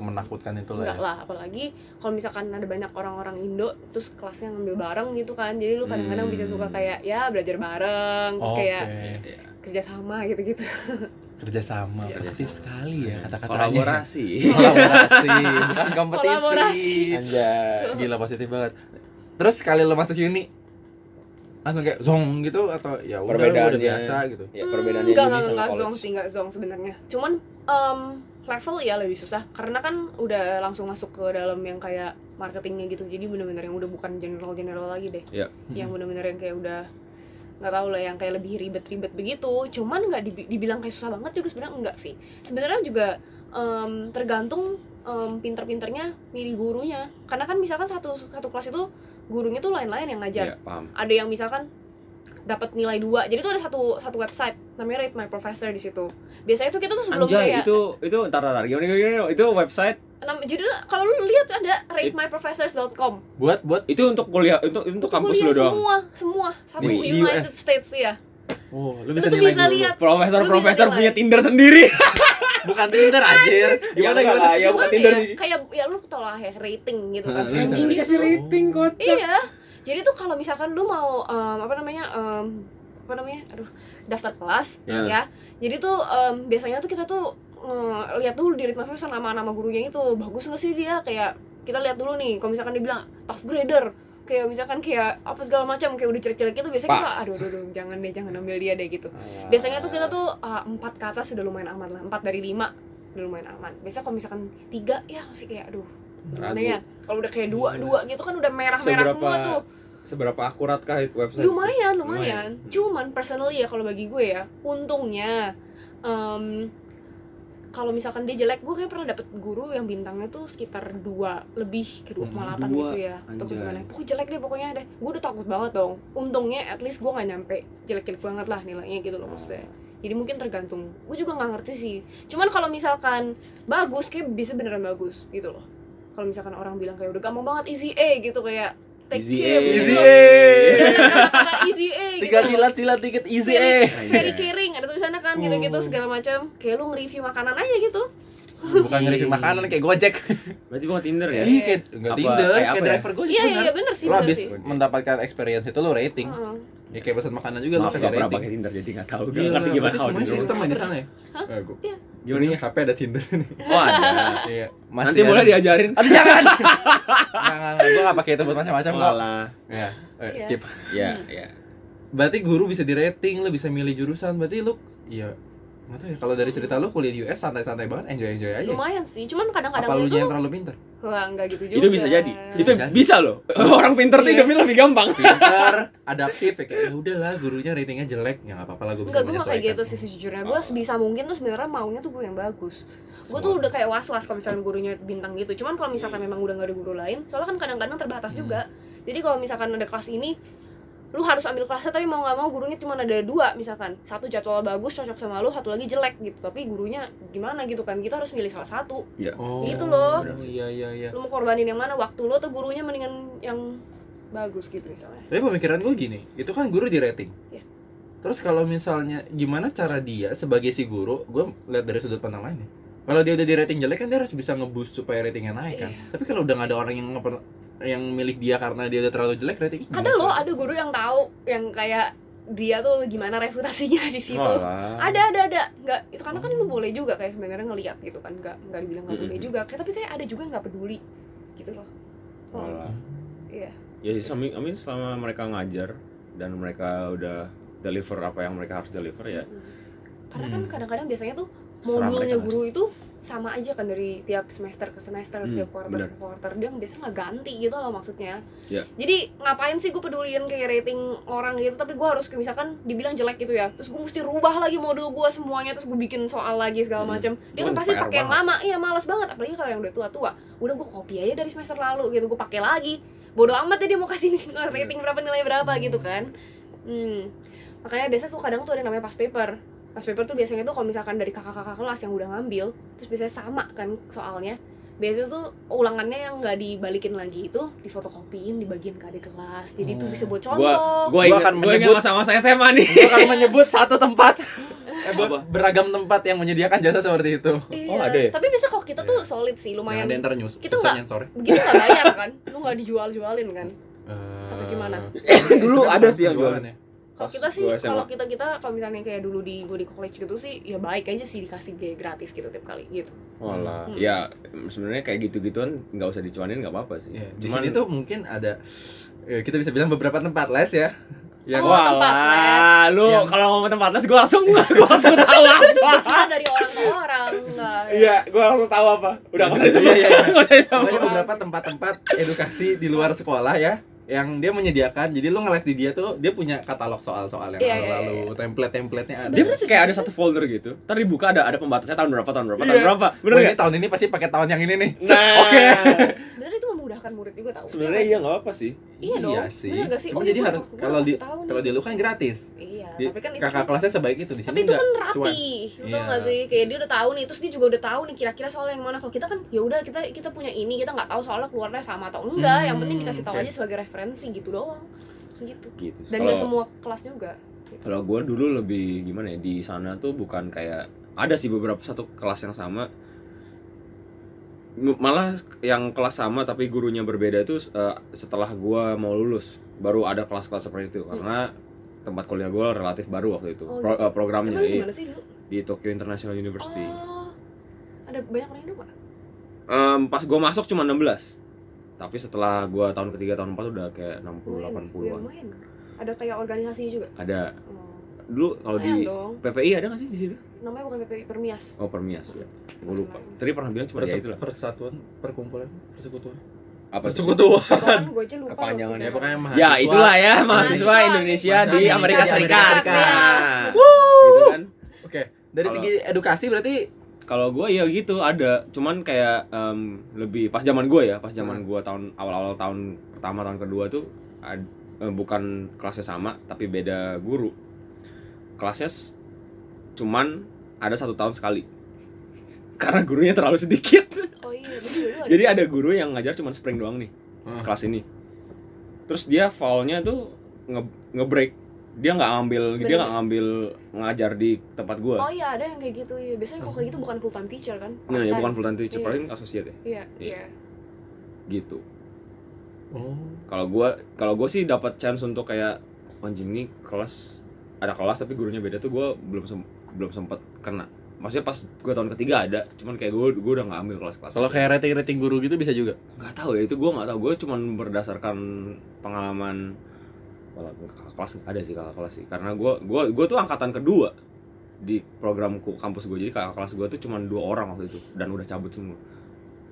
Speaker 1: menakutkan itu lah
Speaker 3: Enggak
Speaker 1: ya.
Speaker 3: lah, apalagi kalau misalkan ada banyak orang-orang Indo terus kelasnya ngambil bareng gitu kan. Jadi lu kadang-kadang bisa suka
Speaker 2: Hmm.
Speaker 3: kayak ya belajar bareng, terus
Speaker 1: Oke,
Speaker 3: kayak
Speaker 2: Iya, iya.
Speaker 3: kerja sama gitu-gitu.
Speaker 1: kerjasama,
Speaker 2: Iya, kan
Speaker 1: positif
Speaker 2: kerjasama.
Speaker 1: sekali ya kata-katanya.
Speaker 2: Kolaborasi.
Speaker 1: Kolaborasi, bukan Kan kompetisi.
Speaker 3: Kolaborasi.
Speaker 2: Anjay.
Speaker 1: Gila positif banget. Terus sekali lo masuk uni langsung kayak zong gitu atau ya udah lu udah
Speaker 2: Perbedaannya.
Speaker 1: biasa gitu.
Speaker 2: Ya perbedaannya ini
Speaker 3: enggak, enggak,
Speaker 2: sama
Speaker 3: enggak zong
Speaker 2: college.
Speaker 3: sih, enggak zong sebenarnya. Cuman em, level ya lebih susah karena kan udah langsung masuk ke dalam yang kayak marketingnya gitu. Jadi bener-bener yang udah bukan general-general lagi deh. yang bener-bener yang kayak udah nggak tahu lah yang kayak lebih ribet-ribet begitu cuman nggak dibi- dibilang kayak susah banget juga sebenarnya enggak sih sebenarnya juga em, tergantung em, pinter-pinternya milih gurunya karena kan misalkan satu satu kelas itu gurunya tuh lain-lain yang
Speaker 2: Iya,
Speaker 3: ngajar
Speaker 2: paham.
Speaker 3: ada yang misalkan dapat nilai dua jadi tuh ada satu satu website namanya rate my professor di situ biasanya tuh kita tuh sebelum
Speaker 2: Anjay,
Speaker 3: kayak
Speaker 2: itu itu entar entar gimana, gimana, gimana? itu website
Speaker 3: enam jadi tuh kalau lu lihat tuh ada ratemyprofessors.com
Speaker 1: Buat buat
Speaker 2: itu untuk kuliah untuk untuk
Speaker 3: Itu
Speaker 2: kampus
Speaker 3: kuliah
Speaker 2: lu doang.
Speaker 3: semua semua satu
Speaker 1: Di- di
Speaker 3: United
Speaker 1: US.
Speaker 3: States ya
Speaker 1: oh, lu
Speaker 3: lu
Speaker 1: bisa
Speaker 3: tuh
Speaker 1: nilai
Speaker 3: bisa
Speaker 1: dulu.
Speaker 3: lihat
Speaker 2: Profesor-profesor
Speaker 3: Lu bisa ya?
Speaker 2: punya
Speaker 3: nilai.
Speaker 2: Tinder sendiri.
Speaker 1: Bukan Tinder anjir. Gimana
Speaker 2: Ya, enggak
Speaker 1: gimana?
Speaker 2: lah, ya bukan
Speaker 3: Cuman
Speaker 2: Tinder
Speaker 3: ya,
Speaker 2: sih.
Speaker 3: kayak ya lu tau lah ya rating gitu kan
Speaker 2: Nah,
Speaker 1: bisa.
Speaker 2: Anjing dikasih rating kocak.
Speaker 3: iya jadi tuh kalau misalkan lu mau em, apa namanya em, apa namanya aduh daftar kelas
Speaker 2: Ya.
Speaker 3: ya jadi tuh em, biasanya tuh kita tuh em, lihat dulu di ritme profesor nama-nama gurunya itu bagus nggak sih dia kayak kita lihat dulu nih kalau misalkan dibilang tough grader kayak misalkan kayak apa segala macam kayak udah jelek-jelek itu biasanya kita
Speaker 2: Pas.
Speaker 3: aduh aduh aduh jangan deh jangan ambil dia deh gitu biasanya tuh kita tuh ah, empat ke atas sudah lumayan aman lah empat dari lima udah lumayan aman biasanya kalau misalkan tiga ya masih kayak aduh
Speaker 2: Ragu. Iya.
Speaker 3: gimana ya kalau udah kayak dua dua gitu kan udah merah merah
Speaker 2: Seberapa-
Speaker 3: semua tuh
Speaker 2: Seberapa akuratkah itu website?
Speaker 3: lumayan lumayan,
Speaker 2: Lumayan. Hmm.
Speaker 3: cuman personally ya kalau bagi gue ya untungnya em, kalau misalkan dia jelek gue kayak pernah dapet guru yang bintangnya tuh sekitar dua lebih ke dua
Speaker 2: Hmm, dua,
Speaker 3: gitu ya atau
Speaker 2: anjay.
Speaker 3: gimana pokoknya jelek deh pokoknya deh gue udah takut banget dong untungnya at least gue nggak nyampe jelek jelek banget lah nilainya gitu loh maksudnya jadi mungkin tergantung gue juga nggak ngerti sih cuman kalau misalkan bagus kayak bisa beneran bagus gitu loh kalau misalkan orang bilang kayak udah gampang banget easy A gitu kayak take
Speaker 2: Easy A.
Speaker 3: care, gitu.
Speaker 1: Easy
Speaker 2: A. Iya.
Speaker 3: Dari kata-kata easy A
Speaker 1: Tinggal
Speaker 3: gitu
Speaker 1: silat-silat dikit easy
Speaker 3: Very-
Speaker 1: eh.
Speaker 3: very
Speaker 2: Iya.
Speaker 3: caring ada tulisannya kan gitu-gitu
Speaker 1: Oh.
Speaker 3: segala macam kayak lu nge-review makanan aja gitu
Speaker 1: Bukan nge-review makanan kayak Gojek.
Speaker 2: Berarti bukan Tinder ya?
Speaker 1: Ih, kayak enggak
Speaker 2: Apa-
Speaker 1: Tinder,
Speaker 2: kayak
Speaker 1: kayak,
Speaker 2: apa ya?
Speaker 1: driver Gojek
Speaker 3: iya iya
Speaker 1: bener.
Speaker 3: iya bener sih
Speaker 1: Lo
Speaker 3: bener
Speaker 1: abis
Speaker 3: sih
Speaker 1: mendapatkan experience itu lo rating.
Speaker 3: Heeh.
Speaker 1: Ya kayak pesan makanan juga lo
Speaker 2: Maaf,
Speaker 1: kasih
Speaker 2: gak pernah
Speaker 1: rating.
Speaker 2: pakai Tinder jadi gak tahu. Gak
Speaker 1: Gila,
Speaker 2: ngerti gimana
Speaker 1: Iya, berarti
Speaker 2: how
Speaker 1: semuanya
Speaker 2: to do.
Speaker 1: sistem ya di sana ya?
Speaker 3: Hah?
Speaker 1: Eh, gua-
Speaker 3: Iya.
Speaker 1: Gimana nih HP ada Tinder nih?
Speaker 2: Oh, ada.
Speaker 1: Iya.
Speaker 2: Nanti boleh diajarin.
Speaker 1: Aduh jangan. Enggak enggak enggak. Gua enggak pakai itu buat macam-macam kok.
Speaker 2: Malah.
Speaker 1: Iya. Eh,
Speaker 3: Iya.
Speaker 1: skip.
Speaker 2: Iya, iya.
Speaker 1: Berarti guru bisa di rating, lu bisa milih jurusan. Berarti lu iya Nggak tahu ya, kalau dari cerita lu kuliah di US santai-santai banget, enjoy-enjoy aja.
Speaker 3: lumayan sih
Speaker 1: Apa
Speaker 3: cuman kadang-kadang
Speaker 1: lu
Speaker 3: itu
Speaker 1: yang terlalu pinter?
Speaker 3: wah nggak gitu juga
Speaker 2: Itu bisa jadi. Itu
Speaker 1: jadi.
Speaker 2: bisa loh. Orang pinter tuh
Speaker 1: Iya.
Speaker 2: hidupnya lebih gampang.
Speaker 1: Pinter, adaptif ya kayak ya udahlah gurunya ratingnya jelek, ya nggak apa-apa lah gue bisa
Speaker 3: Enggak, gue gak kayak gitu
Speaker 1: menyesuaikan."
Speaker 3: sih sejujurnya Gue
Speaker 2: Oh.
Speaker 3: sebisa mungkin tuh sebenarnya maunya tuh guru yang bagus Gue tuh
Speaker 2: Semua.
Speaker 3: udah kayak was-was kalau misalkan gurunya bintang gitu Cuman kalau misalkan memang udah gak ada guru lain Soalnya kan kadang-kadang terbatas
Speaker 1: Hmm.
Speaker 3: juga Jadi kalau misalkan ada kelas ini lu harus ambil kelasnya tapi mau nggak mau gurunya cuma ada dua misalkan satu jadwal bagus cocok sama lu satu lagi jelek gitu tapi gurunya gimana gitu kan kita harus milih salah satu
Speaker 1: Oh,
Speaker 3: Gitu loh.
Speaker 1: Iya iya iya.
Speaker 3: lu mau korbanin yang mana waktu lu atau gurunya mendingan yang bagus gitu misalnya
Speaker 1: Tapi pemikiran gue gini, itu kan guru di rating.
Speaker 3: Iya.
Speaker 1: Terus kalau misalnya gimana cara dia sebagai si guru, gue lihat dari sudut pandang lainnya. Kalau dia udah di rating jelek kan dia harus bisa ngeboost supaya ratingnya naik kan.
Speaker 3: Iya.
Speaker 1: Tapi kalau udah nggak ada orang yang ngeper- yang milih dia karena dia udah terlalu jelek ratingnya.
Speaker 3: ada
Speaker 1: gimana?
Speaker 3: loh ada guru yang tahu yang kayak dia tuh gimana reputasinya di
Speaker 2: Oh.
Speaker 3: situ ada ada ada nggak itu karena kan lu boleh juga kayak sebenarnya ngelihat gitu kan nggak nggak dibilang nggak boleh
Speaker 2: Mm-mm.
Speaker 3: juga kayak tapi kayak ada juga yang nggak peduli gitu loh oh,
Speaker 2: Malah.
Speaker 3: iya
Speaker 2: Ya, I mean- I mean, selama mereka ngajar dan mereka udah deliver apa yang mereka harus deliver ya.
Speaker 3: Mm-mm. karena kan
Speaker 1: Hmm.
Speaker 3: kadang-kadang biasanya tuh
Speaker 2: Serah mereka
Speaker 3: modulnya
Speaker 2: langsung.
Speaker 3: guru itu sama aja kan dari tiap semester ke semester
Speaker 2: Hmm,
Speaker 3: tiap quarter
Speaker 2: bener.
Speaker 3: ke quarter dia biasanya nggak ganti gitu loh maksudnya
Speaker 2: Iya.
Speaker 3: jadi ngapain sih gue peduliin kayak rating orang gitu tapi gue harus kayak misalkan dibilang jelek gitu ya terus gue mesti rubah lagi modul gue semuanya terus gue bikin soal lagi segala
Speaker 2: Hmm.
Speaker 3: macem dia kan
Speaker 2: Itu
Speaker 3: pasti
Speaker 2: PR
Speaker 3: pakai yang
Speaker 2: banget.
Speaker 3: lama iya malas banget apalagi kalau yang udah tua tua udah gue copy aja dari semester lalu gitu gue pakai lagi bodoh amat ya dia mau kasih
Speaker 2: Iya.
Speaker 3: nilai- rating berapa nilai berapa gitu kan hmm. makanya biasanya tuh kadang tuh ada yang namanya past paper past paper tuh biasanya tuh kalau misalkan dari kakak-kakak kelas yang udah ngambil terus biasanya sama kan soalnya biasanya tuh ulangannya yang nggak dibalikin lagi itu difotokopiin dibagiin ke adik kelas jadi itu
Speaker 1: Hmm.
Speaker 3: bisa buat
Speaker 2: Gua-
Speaker 3: contoh
Speaker 2: Gue
Speaker 1: Gua
Speaker 2: ingat,
Speaker 1: akan
Speaker 2: gue ingat
Speaker 1: menyebut-
Speaker 2: masa-masa SMA nih.
Speaker 1: Gua akan menyebut satu tempat eh, ber-
Speaker 2: Apa?
Speaker 1: beragam tempat yang menyediakan jasa seperti itu.
Speaker 3: Iya.
Speaker 2: Oh, ada ya?
Speaker 3: tapi biasanya kalau kita tuh solid sih
Speaker 1: Yang
Speaker 3: lumayan
Speaker 1: ada yang ternyus.
Speaker 3: Kita
Speaker 1: susah
Speaker 3: nggak-
Speaker 1: nyensornya.
Speaker 3: begitu nggak bayar kan lu nggak dijual-jualin kan Atau gimana?
Speaker 1: Eh,
Speaker 2: Dulu ada sih yang
Speaker 1: jualan ya.
Speaker 3: kalau
Speaker 2: Pas
Speaker 3: kita sih
Speaker 2: Ah. gua SMA.
Speaker 3: kalau kita kita kalau misalnya kayak dulu di gue di college gitu sih ya baik aja sih dikasih kayak gratis gitu tiap kali gitu
Speaker 2: Walah,
Speaker 3: Hmm.
Speaker 2: ya sebenarnya kayak gitu-gituan nggak usah dicuanin nggak apa-apa sih.
Speaker 1: Ya, di sini tuh mungkin ada ya, kita bisa bilang beberapa tempat les ya. Yang
Speaker 3: Oh, tempat
Speaker 2: Walah, lu
Speaker 1: Yang-
Speaker 2: kalau ngomong tempat les gue langsung gue langsung tahu apa.
Speaker 3: Karena dari orang ke orang enggak
Speaker 2: Ah. Iya, gue langsung tahu apa. Udah nggak usah
Speaker 1: Iya,
Speaker 2: disebut.
Speaker 1: iya, iya.
Speaker 2: Nggak usah disebut.
Speaker 1: Pokoknya beberapa tempat-tempat edukasi di luar sekolah ya yang dia menyediakan jadi lu ngeles di dia tuh dia punya katalog soal-soal yang
Speaker 3: Iya,
Speaker 1: lalu
Speaker 3: iya,
Speaker 1: lalu template-templatenya ada
Speaker 2: Dia pasti kayak ada satu folder gitu. Ntar dibuka ada ada pembatasnya tahun berapa tahun berapa tahun
Speaker 1: Iya.
Speaker 2: berapa. Bener
Speaker 1: Wah,
Speaker 2: nggak?
Speaker 1: ini tahun ini pasti pakai tahun yang ini nih
Speaker 2: Nah,
Speaker 1: oke
Speaker 3: sebenarnya itu memudahkan murid juga tahu
Speaker 2: sebenarnya
Speaker 3: Iya
Speaker 2: iya nggak apa sih.
Speaker 3: iya dong
Speaker 1: sih
Speaker 3: bener nggak sih
Speaker 1: cuma
Speaker 3: Oh,
Speaker 1: jadi
Speaker 3: iya,
Speaker 1: harus
Speaker 3: gua- gua
Speaker 1: kalau di
Speaker 3: kasih tahu nih.
Speaker 1: kalau di lu kan gratis
Speaker 3: iya
Speaker 1: di-
Speaker 3: tapi kan itu
Speaker 1: kakak kelasnya sebaik itu di
Speaker 3: tapi
Speaker 1: sini
Speaker 3: itu
Speaker 1: enggak
Speaker 3: kan
Speaker 1: cuan.
Speaker 3: rapi lu tau
Speaker 1: Iya.
Speaker 3: gak sih kayak dia udah tahu nih terus dia juga udah tahu nih kira-kira soal yang mana kalau kita kan ya udah kita kita punya ini kita nggak tahu soalnya keluarnya sama atau enggak yang penting
Speaker 1: Hmm,
Speaker 3: dikasih tahu
Speaker 1: oke.
Speaker 3: aja sebagai referensi gitu doang gitu
Speaker 2: Gitu. sih.
Speaker 3: dan
Speaker 2: Kalau-
Speaker 3: nggak semua kelas juga
Speaker 2: Kalau gue dulu lebih gimana ya di sana tuh bukan kayak ada sih beberapa satu kelas yang sama M- malah yang kelas sama tapi gurunya berbeda itu eh, setelah gue mau lulus baru ada kelas-kelas seperti itu karena tempat kuliah gue relatif baru waktu itu
Speaker 3: Hmm. Oh,
Speaker 2: Pro-
Speaker 3: gitu.
Speaker 2: eh, programnya
Speaker 3: emang lu
Speaker 2: iya,
Speaker 3: gimana sih dulu
Speaker 2: di Tokyo International University
Speaker 3: oh ada banyak orang Indo pak
Speaker 2: Em, pas gue masuk cuma 16 tapi setelah gue tahun ketiga tahun empat udah kayak 60
Speaker 3: Lumayan, ya
Speaker 2: 80-an
Speaker 3: lumayan. ada kayak organisasi juga
Speaker 2: ada
Speaker 3: oh.
Speaker 2: dulu kalau
Speaker 3: Lumayan
Speaker 2: di
Speaker 3: dong
Speaker 2: PPI ada nggak sih di situ
Speaker 3: namanya bukan PPI Permias
Speaker 2: oh Permias ya gue lupa tadi pernah bilang cuma ya
Speaker 1: Perse-
Speaker 2: itu
Speaker 1: persatuan perkumpulan persekutuan
Speaker 2: apa tuh?
Speaker 1: persekutuan
Speaker 3: bahkan gue aja lupa loh
Speaker 2: Kepanjangan
Speaker 1: ya
Speaker 3: sebenarnya.
Speaker 1: pokoknya mahasiswa
Speaker 2: ya itulah ya mahasiswa
Speaker 3: Mahasiswa.
Speaker 2: Indonesia di
Speaker 1: Mahasiswa
Speaker 2: Amerika
Speaker 1: di
Speaker 2: Serikat
Speaker 1: Amerika
Speaker 2: Nah,
Speaker 3: Serikat.
Speaker 2: gitu kan
Speaker 1: oke dari
Speaker 2: Kalau-
Speaker 1: segi edukasi berarti
Speaker 2: kalau gue ya gitu ada cuman kayak em, lebih pas zaman gue ya pas zaman
Speaker 1: Hmm.
Speaker 2: gue tahun awal-awal tahun pertama tahun kedua tuh ad- eh, bukan kelasnya sama tapi beda guru kelasnya s- cuman ada satu tahun sekali karena gurunya terlalu sedikit
Speaker 3: oh iya bener, lu ada.
Speaker 2: Jadi ada guru yang ngajar cuma spring doang nih
Speaker 1: Hmm.
Speaker 2: kelas ini. Terus dia foulnya tuh nge ngebreak. Dia nggak ngambil, dia
Speaker 3: Bener.
Speaker 2: nggak ngambil ngajar di tempat gua.
Speaker 3: Oh iya ada yang kayak gitu ya. Biasanya kalau kayak gitu bukan full time teacher kan?
Speaker 2: Nah, ya
Speaker 3: Part-time.
Speaker 2: bukan full time teacher,
Speaker 3: Iya.
Speaker 2: paling associate ya,
Speaker 3: Iya,
Speaker 2: Iya.
Speaker 3: iya.
Speaker 2: gitu.
Speaker 1: oh
Speaker 2: Kalau gua kalau gua sih dapat chance untuk kayak anjing nih kelas ada kelas tapi gurunya beda tuh gua belum sem- belum sempat kena. Maksudnya pas gua tahun ketiga ada, cuman kayak gua gua udah nggak ambil kelas-kelas.
Speaker 1: kalau kayak rating rating guru gitu bisa juga
Speaker 2: nggak tahu ya itu gue nggak tahu gue cuman berdasarkan pengalaman walaupun kakak kelas ada sih kakak kelas sih karena gue gua gua tuh angkatan kedua di program ku- kampus gue jadi kakak kelas gue tuh cuman dua orang waktu itu dan udah cabut semua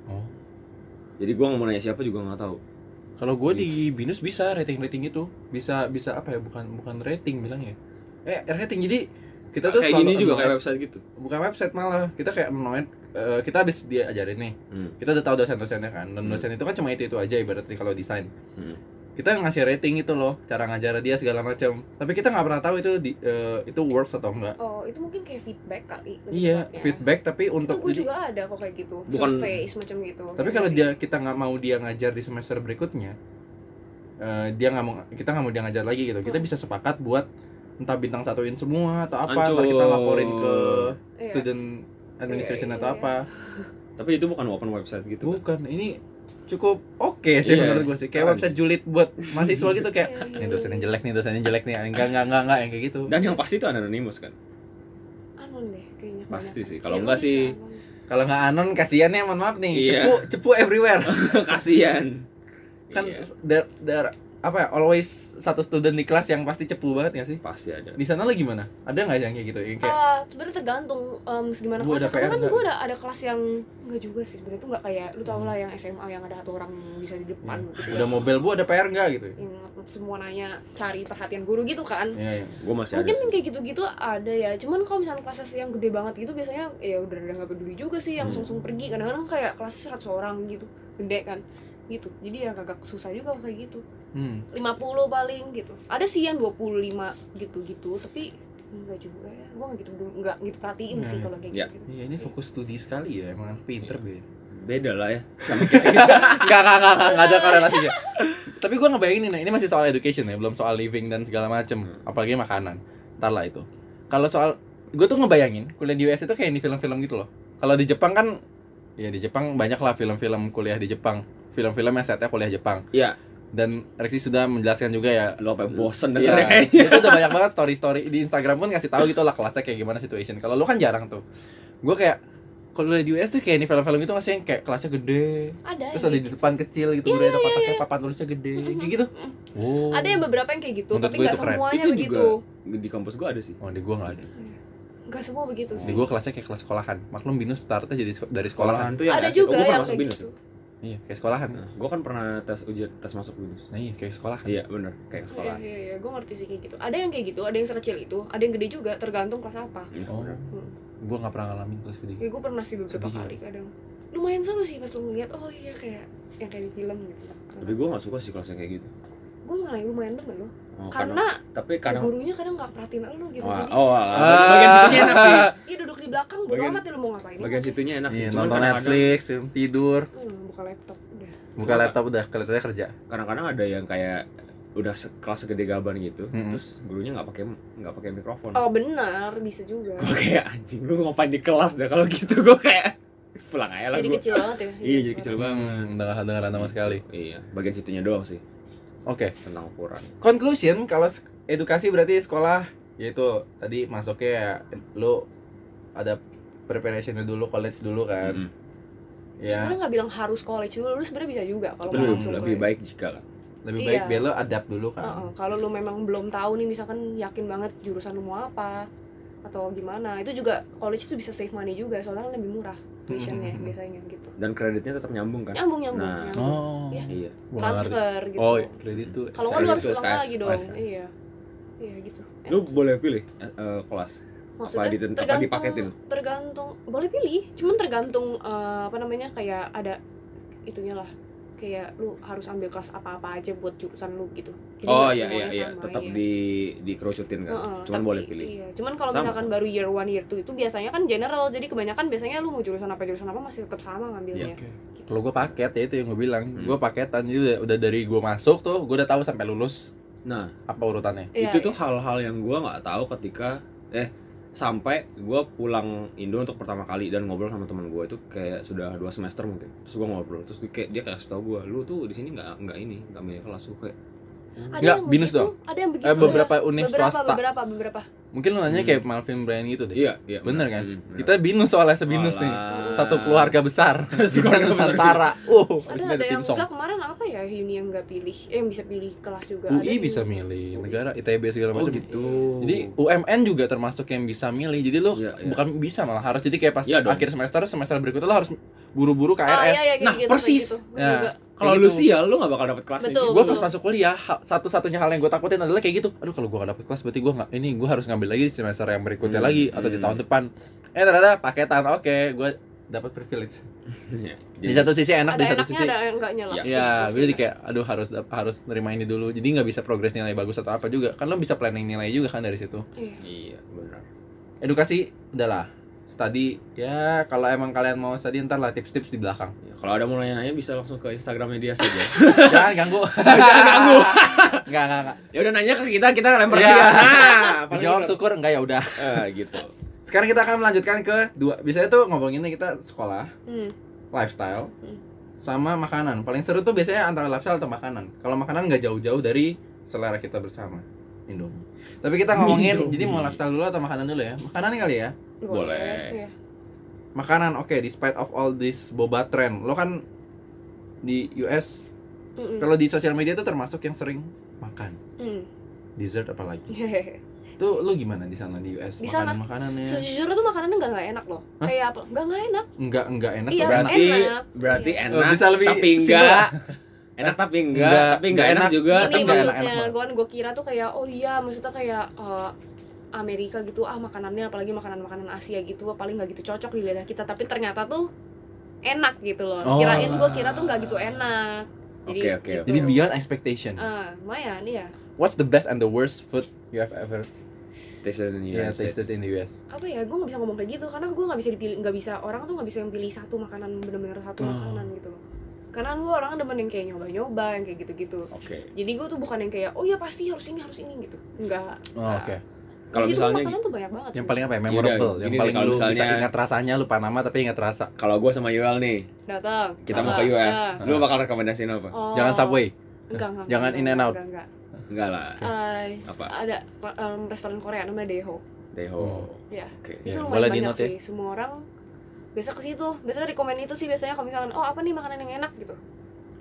Speaker 1: Oh.
Speaker 2: jadi gue mau nanya siapa juga nggak tahu
Speaker 1: Kalau gue di Binus bisa rating-rating itu, bisa bisa apa ya? Bukan bukan rating bilang ya. Eh rating jadi kita tuh
Speaker 2: kayak
Speaker 1: selalu
Speaker 2: gini juga kayak
Speaker 1: annoyed-
Speaker 2: website gitu
Speaker 1: bukan website malah kita kayak annoyed eh, kita habis dia ajarin nih
Speaker 2: Hmm.
Speaker 1: kita udah tahu dosen-dosennya kan dan
Speaker 2: Hmm.
Speaker 1: dosen itu kan cuma itu itu aja ibaratnya kalau desain
Speaker 2: Hmm.
Speaker 1: kita ngasih rating itu loh cara ngajar dia segala macam tapi kita nggak pernah tahu itu di- eh, itu works atau enggak
Speaker 3: Oh, itu mungkin kayak feedback kali. lebih
Speaker 1: iya
Speaker 3: tepatnya.
Speaker 1: feedback tapi
Speaker 3: Itu
Speaker 1: untuk
Speaker 3: gue
Speaker 1: jadi-
Speaker 3: juga ada kok kayak gitu.
Speaker 2: Bukan-
Speaker 3: Survei semacam gitu.
Speaker 1: tapi kalau dia kita nggak mau dia ngajar di semester berikutnya eh, dia nggak mau kita nggak mau dia ngajar lagi gitu kita
Speaker 3: Hmm.
Speaker 1: bisa sepakat buat entah bintang satuin semua atau apa ntar
Speaker 2: Hancur.
Speaker 1: kita laporin ke
Speaker 3: Iya.
Speaker 1: student administration
Speaker 3: Iya,
Speaker 1: atau
Speaker 3: iya,
Speaker 1: apa
Speaker 2: Tapi itu bukan open website gitu kan?
Speaker 1: bukan ini cukup oke sih
Speaker 2: Iya.
Speaker 1: menurut gue sih
Speaker 2: Keren
Speaker 1: kayak website julid buat mahasiswa gitu kayak
Speaker 3: Iya, iya,
Speaker 1: ini dosennya
Speaker 3: iya.
Speaker 1: jelek nih dosennya jelek nih enggak enggak enggak enggak yang kayak gitu
Speaker 2: kan. Dan yang pasti itu anonymous kan?
Speaker 3: Anon deh kayaknya.
Speaker 2: Pasti
Speaker 3: kebanyakan.
Speaker 2: sih. Kalau
Speaker 3: Iya,
Speaker 2: enggak
Speaker 3: bisa,
Speaker 2: sih,
Speaker 3: anon.
Speaker 1: kalau nggak anon kasihan ya mohon maaf nih
Speaker 2: Iya.
Speaker 1: cepu cepu everywhere
Speaker 2: Kasian.
Speaker 1: kan
Speaker 2: Iya,
Speaker 1: dar, dar apa ya always satu student di kelas yang pasti cepu banget nggak sih
Speaker 2: pasti ada.
Speaker 1: di sana lo gimana ada nggak yang kayak gitu yang kayak
Speaker 3: Ah, sebenarnya tergantung em segimana
Speaker 1: Gua ada
Speaker 3: kelasnya. Karena
Speaker 1: PR
Speaker 3: kan
Speaker 1: nggak?
Speaker 3: gue ada ada kelas yang enggak juga sih sebenarnya tuh enggak kayak lu tau lah yang SMA yang ada satu orang bisa di depan gitu.
Speaker 1: Hmm. udah mobil bu ada PR nggak gitu
Speaker 3: Yang semua nanya cari perhatian guru gitu kan.
Speaker 1: Iya, iya.
Speaker 2: Gue masih ada.
Speaker 3: mungkin yang
Speaker 2: sih.
Speaker 3: kayak gitu-gitu ada ya cuman kalau misalnya kelas yang gede banget gitu biasanya ya udah udah nggak peduli juga sih yang
Speaker 1: Hmm.
Speaker 3: langsung pergi kadang-kadang kayak kelasnya 100 orang gitu gede kan gitu jadi ya agak susah juga kayak gitu
Speaker 1: Hmm.
Speaker 3: 50 paling gitu ada sih yang 25 gitu-gitu tapi enggak juga ya gua nggak gitu nggak gitu perhatiin
Speaker 1: Iya,
Speaker 3: sih
Speaker 1: iya.
Speaker 3: kalau kayak
Speaker 2: Iya.
Speaker 3: gitu
Speaker 1: Iya, ini fokus studi sekali ya, emang pinter be.
Speaker 2: Beda lah ya.
Speaker 1: Enggak, enggak, enggak, enggak, enggak ada korelasinya. Tapi gua ngebayangin nih, ini masih soal education ya, belum soal living dan segala macem
Speaker 2: Hmm.
Speaker 1: apalagi makanan. Ntar lah itu. Kalau soal gue tuh ngebayangin kuliah di US itu kayak di film-film gitu loh. Kalau di Jepang kan ya di Jepang banyak lah film-film kuliah di Jepang. Film-film yang setnya kuliah Jepang.
Speaker 2: Iya.
Speaker 1: Dan Rexy sudah menjelaskan juga ya
Speaker 2: Lo apa bosen dengernya
Speaker 1: Iya,
Speaker 2: kayaknya.
Speaker 1: itu udah banyak banget story-story di Instagram pun ngasih tahu gitu lah kelasnya kayak gimana situation. Kalau lu kan jarang tuh. Gue kayak kalau di US tuh kayak di film-film itu ngasih yang kayak kelasnya gede, Hmm. terus ada
Speaker 3: ada yang
Speaker 1: di
Speaker 3: kayak gitu.
Speaker 1: depan kecil gitu, udah ada kotaknya papan tulisnya gede,
Speaker 3: iya, Mm-mm.
Speaker 1: kayak gitu.
Speaker 3: Mm-mm.
Speaker 1: Wow.
Speaker 3: ada yang beberapa yang kayak gitu
Speaker 1: Menurut
Speaker 3: tapi
Speaker 1: gua
Speaker 3: nggak
Speaker 1: itu keren.
Speaker 3: semuanya
Speaker 2: Itu juga-
Speaker 3: begitu
Speaker 2: Di kampus gue ada sih.
Speaker 1: Oh, di gua nggak ada.
Speaker 3: nggak semua begitu
Speaker 1: Di
Speaker 3: sih
Speaker 1: gua kelasnya kayak kelas sekolahan. Maklum binus startnya jadi seko- dari sekolahan.
Speaker 2: Sekolahan tuh yang
Speaker 3: ada
Speaker 2: asik.
Speaker 3: juga
Speaker 2: oh, gua pernah
Speaker 3: yang
Speaker 2: masuk
Speaker 3: kayak
Speaker 2: binus.
Speaker 3: gitu
Speaker 1: Iya, kayak sekolahan.
Speaker 2: gue kan pernah tes ujian tes masuk binus.
Speaker 1: Nah, iya kayak sekolahan.
Speaker 2: Iya bener kayak
Speaker 3: Iya,
Speaker 2: sekolah.
Speaker 3: iya, iya, gue ngerti sih kayak gitu. Ada yang kayak gitu, ada yang sekecil itu, ada yang gede juga, tergantung kelas apa. Hmm.
Speaker 2: Iya,
Speaker 1: Oh.
Speaker 2: bener.
Speaker 1: Gua nggak pernah ngalamin kelas gitu. gede.
Speaker 3: Ya gue pernah sih beberapa
Speaker 1: Sedih ya.
Speaker 3: kali kadang. Lumayan seru sih pas lu ngeliat, oh iya kayak yang kayak di film gitu.
Speaker 2: Tapi gue gak suka sih kelasnya kayak gitu.
Speaker 3: gue malah lumayan demen loh,
Speaker 2: Oh,
Speaker 3: karena
Speaker 2: tapi
Speaker 3: ya,
Speaker 2: kadang
Speaker 3: gurunya kadang nggak perhatiin lu gitu.
Speaker 2: Wah,
Speaker 3: Jadi,
Speaker 2: oh, ah, bagian situnya enak sih.
Speaker 3: iya duduk di belakang, bodo
Speaker 2: Bagian-
Speaker 3: amat ya lu mau ngapain?
Speaker 2: Bagian situnya enak sih.
Speaker 1: Iya,
Speaker 2: Cuman
Speaker 1: nonton
Speaker 2: kadang-kadang
Speaker 1: Netflix, film tidur,
Speaker 3: Hmm, buka laptop udah.
Speaker 1: buka laptop udah kelihatannya kerja.
Speaker 2: kadang-kadang ada yang kayak udah se- kelas segede gaban gitu,
Speaker 1: Mm-mm.
Speaker 2: terus gurunya nggak pakai nggak pakai mikrofon.
Speaker 3: Oh benar, bisa juga.
Speaker 2: Gue kayak anjing lu ngapain di kelas dah kalau gitu gue kayak pulang aja lah
Speaker 3: Jadi
Speaker 2: gue.
Speaker 3: kecil banget ya.
Speaker 2: Iya jadi kecil banget.
Speaker 1: Hmm, enggak dengeran sama sekali.
Speaker 2: Iya, bagian situnya doang sih
Speaker 1: Oke.
Speaker 2: tentang ukuran.
Speaker 1: conclusion kalau sek- edukasi berarti sekolah yaitu tadi masuknya ya lu ada preparationnya dulu college dulu kan
Speaker 2: Mm-mm.
Speaker 1: ya
Speaker 3: Sebenarnya nggak bilang harus college dulu, lu sebenarnya bisa juga kalau mau
Speaker 2: Lebih, Iya.
Speaker 3: langsung
Speaker 2: Hmm, lebih
Speaker 3: ke-
Speaker 2: baik jika kan.
Speaker 1: lebih
Speaker 3: Iya.
Speaker 1: baik biar lu adapt dulu kan
Speaker 3: Heeh, kalau lu memang belum tahu nih misalkan yakin banget jurusan lu mau apa atau gimana itu juga college itu bisa save money juga soalnya kan lebih murah tuitionnya
Speaker 1: Hmm.
Speaker 3: biasanya gitu
Speaker 2: Dan kreditnya tetap nyambung kan?
Speaker 3: nyambung nyambung,
Speaker 2: Mm-hmm. Nah.
Speaker 3: nyambung.
Speaker 1: oh
Speaker 3: Iya.
Speaker 2: Iya.
Speaker 1: gua nggak ngerti
Speaker 3: transfer gitu
Speaker 1: oh kredit tuh
Speaker 3: kalau nggak lu
Speaker 2: SKS
Speaker 3: harus
Speaker 2: itu
Speaker 3: pulang
Speaker 2: SKS.
Speaker 3: lagi
Speaker 2: Oh,
Speaker 3: dong
Speaker 2: SKS.
Speaker 3: iya iya gitu
Speaker 2: Lu boleh pilih eh, eh, kelas.
Speaker 3: maksudnya
Speaker 2: apa ditent- apa
Speaker 3: tergantung
Speaker 2: dipaketin?
Speaker 3: tergantung boleh pilih cuman tergantung eh, apa namanya kayak ada itunya lah kayak lu harus ambil kelas apa-apa aja buat jurusan lu gitu Jadi
Speaker 2: Oh iya
Speaker 3: nggak
Speaker 2: iya
Speaker 3: semuanya
Speaker 2: iya,
Speaker 3: sama,
Speaker 2: tetap
Speaker 3: iya.
Speaker 2: di dikerucutin kan.
Speaker 3: Heeh,
Speaker 2: Cuman
Speaker 3: tapi-
Speaker 2: boleh pilih.
Speaker 3: Iya, cuman kalau
Speaker 2: Sama.
Speaker 3: misalkan baru year one year two itu biasanya kan general, jadi kebanyakan biasanya lu mau jurusan apa jurusan apa masih tetap sama ngambilnya.
Speaker 1: Iya,
Speaker 3: gitu.
Speaker 1: Oke. kalau gue paket ya itu yang gue bilang
Speaker 2: Hmm.
Speaker 1: gue paketan jadi udah, udah dari gue masuk tuh gue udah tahu sampai lulus
Speaker 2: Nah,
Speaker 1: apa urutannya
Speaker 3: Iya,
Speaker 2: itu tuh
Speaker 3: iya.
Speaker 2: hal-hal yang gua nggak tahu ketika eh sampai gua pulang Indo untuk pertama kali dan ngobrol sama teman gua itu kayak sudah dua semester mungkin terus gua ngobrol terus dia kayak dia kayak kasih tau gua lu tuh di sini nggak nggak ini nggak milih kelas lu kayak
Speaker 3: Ada
Speaker 1: Nggak,
Speaker 3: yang
Speaker 1: binus
Speaker 3: begitu,
Speaker 1: dong.
Speaker 3: Ada yang begitu.
Speaker 1: eh, beberapa
Speaker 3: ya.
Speaker 1: univ
Speaker 3: beberapa,
Speaker 1: swasta
Speaker 3: beberapa, beberapa.
Speaker 1: mungkin lu nanya
Speaker 2: Hmm.
Speaker 1: kayak Malvin Brian gitu deh
Speaker 2: iya iya
Speaker 1: Bener kan?
Speaker 2: Mm, bener.
Speaker 1: kita binus soalnya sebinus nih
Speaker 2: Alah.
Speaker 1: satu keluarga besar di mana
Speaker 2: keluarga besar. Uh,
Speaker 1: Nusantara. Oh,
Speaker 3: Ada ada yang enggak kemarin apa ya ini yang enggak pilih, eh, yang bisa pilih kelas juga. ada
Speaker 1: UI
Speaker 3: yang-
Speaker 1: bisa milih negara ITB segala
Speaker 2: oh
Speaker 1: macam.
Speaker 2: gitu
Speaker 1: Jadi UMN juga termasuk yang bisa milih. Jadi lu
Speaker 2: Iya, iya.
Speaker 1: bukan bisa malah harus jadi kayak pas
Speaker 2: Iya dong.
Speaker 1: akhir semester semester berikutnya lo harus buru-buru KRS.
Speaker 3: Ah, iya, iya, kayak
Speaker 2: Nah,
Speaker 3: gitu, kayak
Speaker 2: persis.
Speaker 3: gitu. Gua
Speaker 1: Ya.
Speaker 3: juga.
Speaker 2: kalau
Speaker 1: kayak
Speaker 2: lu
Speaker 1: gitu.
Speaker 2: sial lu nggak bakal dapet kelas
Speaker 3: Betul.
Speaker 1: Gue pas masuk kuliah ha- satu-satunya hal yang gue takutin adalah kayak gitu. Aduh kalau gue gak dapet kelas berarti gue nggak ini gue harus ngambil lagi di semester yang berikutnya
Speaker 2: Hmm,
Speaker 1: lagi atau di
Speaker 2: hmm.
Speaker 1: tahun depan. Eh ternyata paketan oke gue dapat privilege.
Speaker 2: Iya.
Speaker 1: di satu sisi enak, nah,
Speaker 3: ada
Speaker 1: di satu
Speaker 3: enaknya
Speaker 1: sisi
Speaker 3: ada enggaknya lah
Speaker 2: Iya.
Speaker 1: Ya,
Speaker 3: Terus
Speaker 1: gue jadi
Speaker 3: minus.
Speaker 1: kayak aduh harus dap- harus nerima ini dulu. Jadi nggak bisa progres nilai bagus atau apa juga. Kan lo bisa planning nilai juga kan dari situ.
Speaker 3: Iya.
Speaker 2: Iya, benar.
Speaker 1: Edukasi udahlah. Study ya kalau emang kalian mau study ntar lah tips-tips di belakang.
Speaker 2: Ya, kalau ada mau nanya-nanya bisa langsung ke Instagramnya dia saja.
Speaker 1: Jangan ganggu. Jangan ganggu. Enggak, enggak, enggak.
Speaker 2: ya udah nanya ke kita, kita lempar
Speaker 1: Iya.
Speaker 2: dia. Nah, paling
Speaker 1: Dijawab
Speaker 2: benar.
Speaker 1: syukur enggak ya udah.
Speaker 2: Eh, gitu.
Speaker 1: Sekarang kita akan melanjutkan ke dua. Biasanya tuh ngomonginnya kita sekolah,
Speaker 3: Hmm.
Speaker 1: lifestyle,
Speaker 3: Hmm.
Speaker 1: sama makanan. Paling seru tuh biasanya antara lifestyle atau makanan. Kalau makanan nggak jauh-jauh dari selera kita bersama. Indomie. Tapi kita ngomongin,
Speaker 2: Indomie.
Speaker 1: jadi mau lifestyle dulu atau makanan dulu ya? Makanan nih kali ya.
Speaker 2: Boleh.
Speaker 3: Iya.
Speaker 1: Makanan, oke. despite of all this boba trend, lo kan di US,
Speaker 3: Mm-mm.
Speaker 1: kalau di sosial media tuh termasuk yang sering makan
Speaker 3: Mm.
Speaker 1: dessert apalagi. Tuh lo gimana di sana di US?
Speaker 3: Di sana.
Speaker 1: Makanan makanannya
Speaker 3: Sejujurnya tuh makanannya nggak nggak enak loh.
Speaker 1: Hah?
Speaker 3: Kayak apa? Nggak nggak enak.
Speaker 1: enggak enggak enak
Speaker 3: Iya,
Speaker 1: atau enak?
Speaker 2: Berarti
Speaker 3: enak.
Speaker 2: berarti
Speaker 3: Iya.
Speaker 2: enak,
Speaker 1: Oh, Bisa lebih
Speaker 2: tapi
Speaker 1: simple.
Speaker 2: enggak. Enak tapi enggak,
Speaker 1: Enggak,
Speaker 2: tapi enggak
Speaker 1: enggak
Speaker 2: enak,
Speaker 1: enak.
Speaker 2: juga.
Speaker 1: tapi
Speaker 3: Gini
Speaker 1: nggak
Speaker 2: tapi-
Speaker 1: enak-enak
Speaker 3: maksudnya,
Speaker 1: banget.
Speaker 3: gue gue kira tuh kayak oh iya maksudnya kayak eh, Amerika gitu ah makanannya apalagi makanan-makanan Asia gitu wah, paling nggak gitu cocok di lidah kita tapi ternyata tuh enak gitu loh.
Speaker 1: Oh,
Speaker 3: Kirain gue
Speaker 1: lah.
Speaker 3: kira tuh nggak gitu enak. Jadi,
Speaker 2: Oke, oke, oke.
Speaker 1: Jadi beyond expectation.
Speaker 3: Ah, lumayan iya.
Speaker 1: What's the best and the worst food you have ever
Speaker 2: Taste in the
Speaker 1: yeah,
Speaker 2: United States.
Speaker 1: tasted in the US?
Speaker 3: apa ya gue nggak bisa ngomong kayak gitu karena gue nggak bisa dipilih nggak bisa orang tuh nggak bisa yang pilih satu makanan bener-bener satu
Speaker 1: Oh.
Speaker 3: makanan gitu loh karena gue orang demen yang kayak nyoba-nyoba yang kayak gitu-gitu
Speaker 2: Oke.
Speaker 3: jadi gue tuh bukan yang kayak oh ya pasti harus ini harus ini gitu nggak
Speaker 1: Oh, oke.
Speaker 2: Kalau
Speaker 3: Di situ
Speaker 2: misalnya
Speaker 3: makanan tuh banyak banget
Speaker 1: Yang
Speaker 3: sih.
Speaker 1: paling apa ya?
Speaker 2: Yaudah,
Speaker 1: Memorable.
Speaker 2: gini
Speaker 1: yang
Speaker 2: deh,
Speaker 1: paling
Speaker 2: Iya,
Speaker 1: lu
Speaker 2: kalau
Speaker 1: bisa
Speaker 2: misalnya-
Speaker 1: ingat rasanya, lupa nama tapi ingat rasa.
Speaker 2: kalau gue sama Yuel nih,
Speaker 3: datang
Speaker 2: kita mau
Speaker 3: Ah,
Speaker 2: ke US.
Speaker 3: ah.
Speaker 2: Lu bakal rekomendasiin apa?
Speaker 3: Oh.
Speaker 1: Jangan Subway.
Speaker 3: Enggak, enggak,
Speaker 1: Jangan In
Speaker 3: enggak,
Speaker 1: and
Speaker 3: enggak,
Speaker 1: Out.
Speaker 3: enggak, enggak.
Speaker 2: Enggak lah.
Speaker 3: Eh,
Speaker 2: Apa?
Speaker 3: ada em, restoran Korea namanya Daeho
Speaker 2: Deho.
Speaker 3: Iya.
Speaker 2: Oke.
Speaker 1: Ya, boleh
Speaker 3: itu lumayan
Speaker 1: di
Speaker 3: banyak
Speaker 1: note ya.
Speaker 3: sih semua orang biasa ke situ biasa rekomen itu sih biasanya kalau misalkan oh apa nih makanan yang enak gitu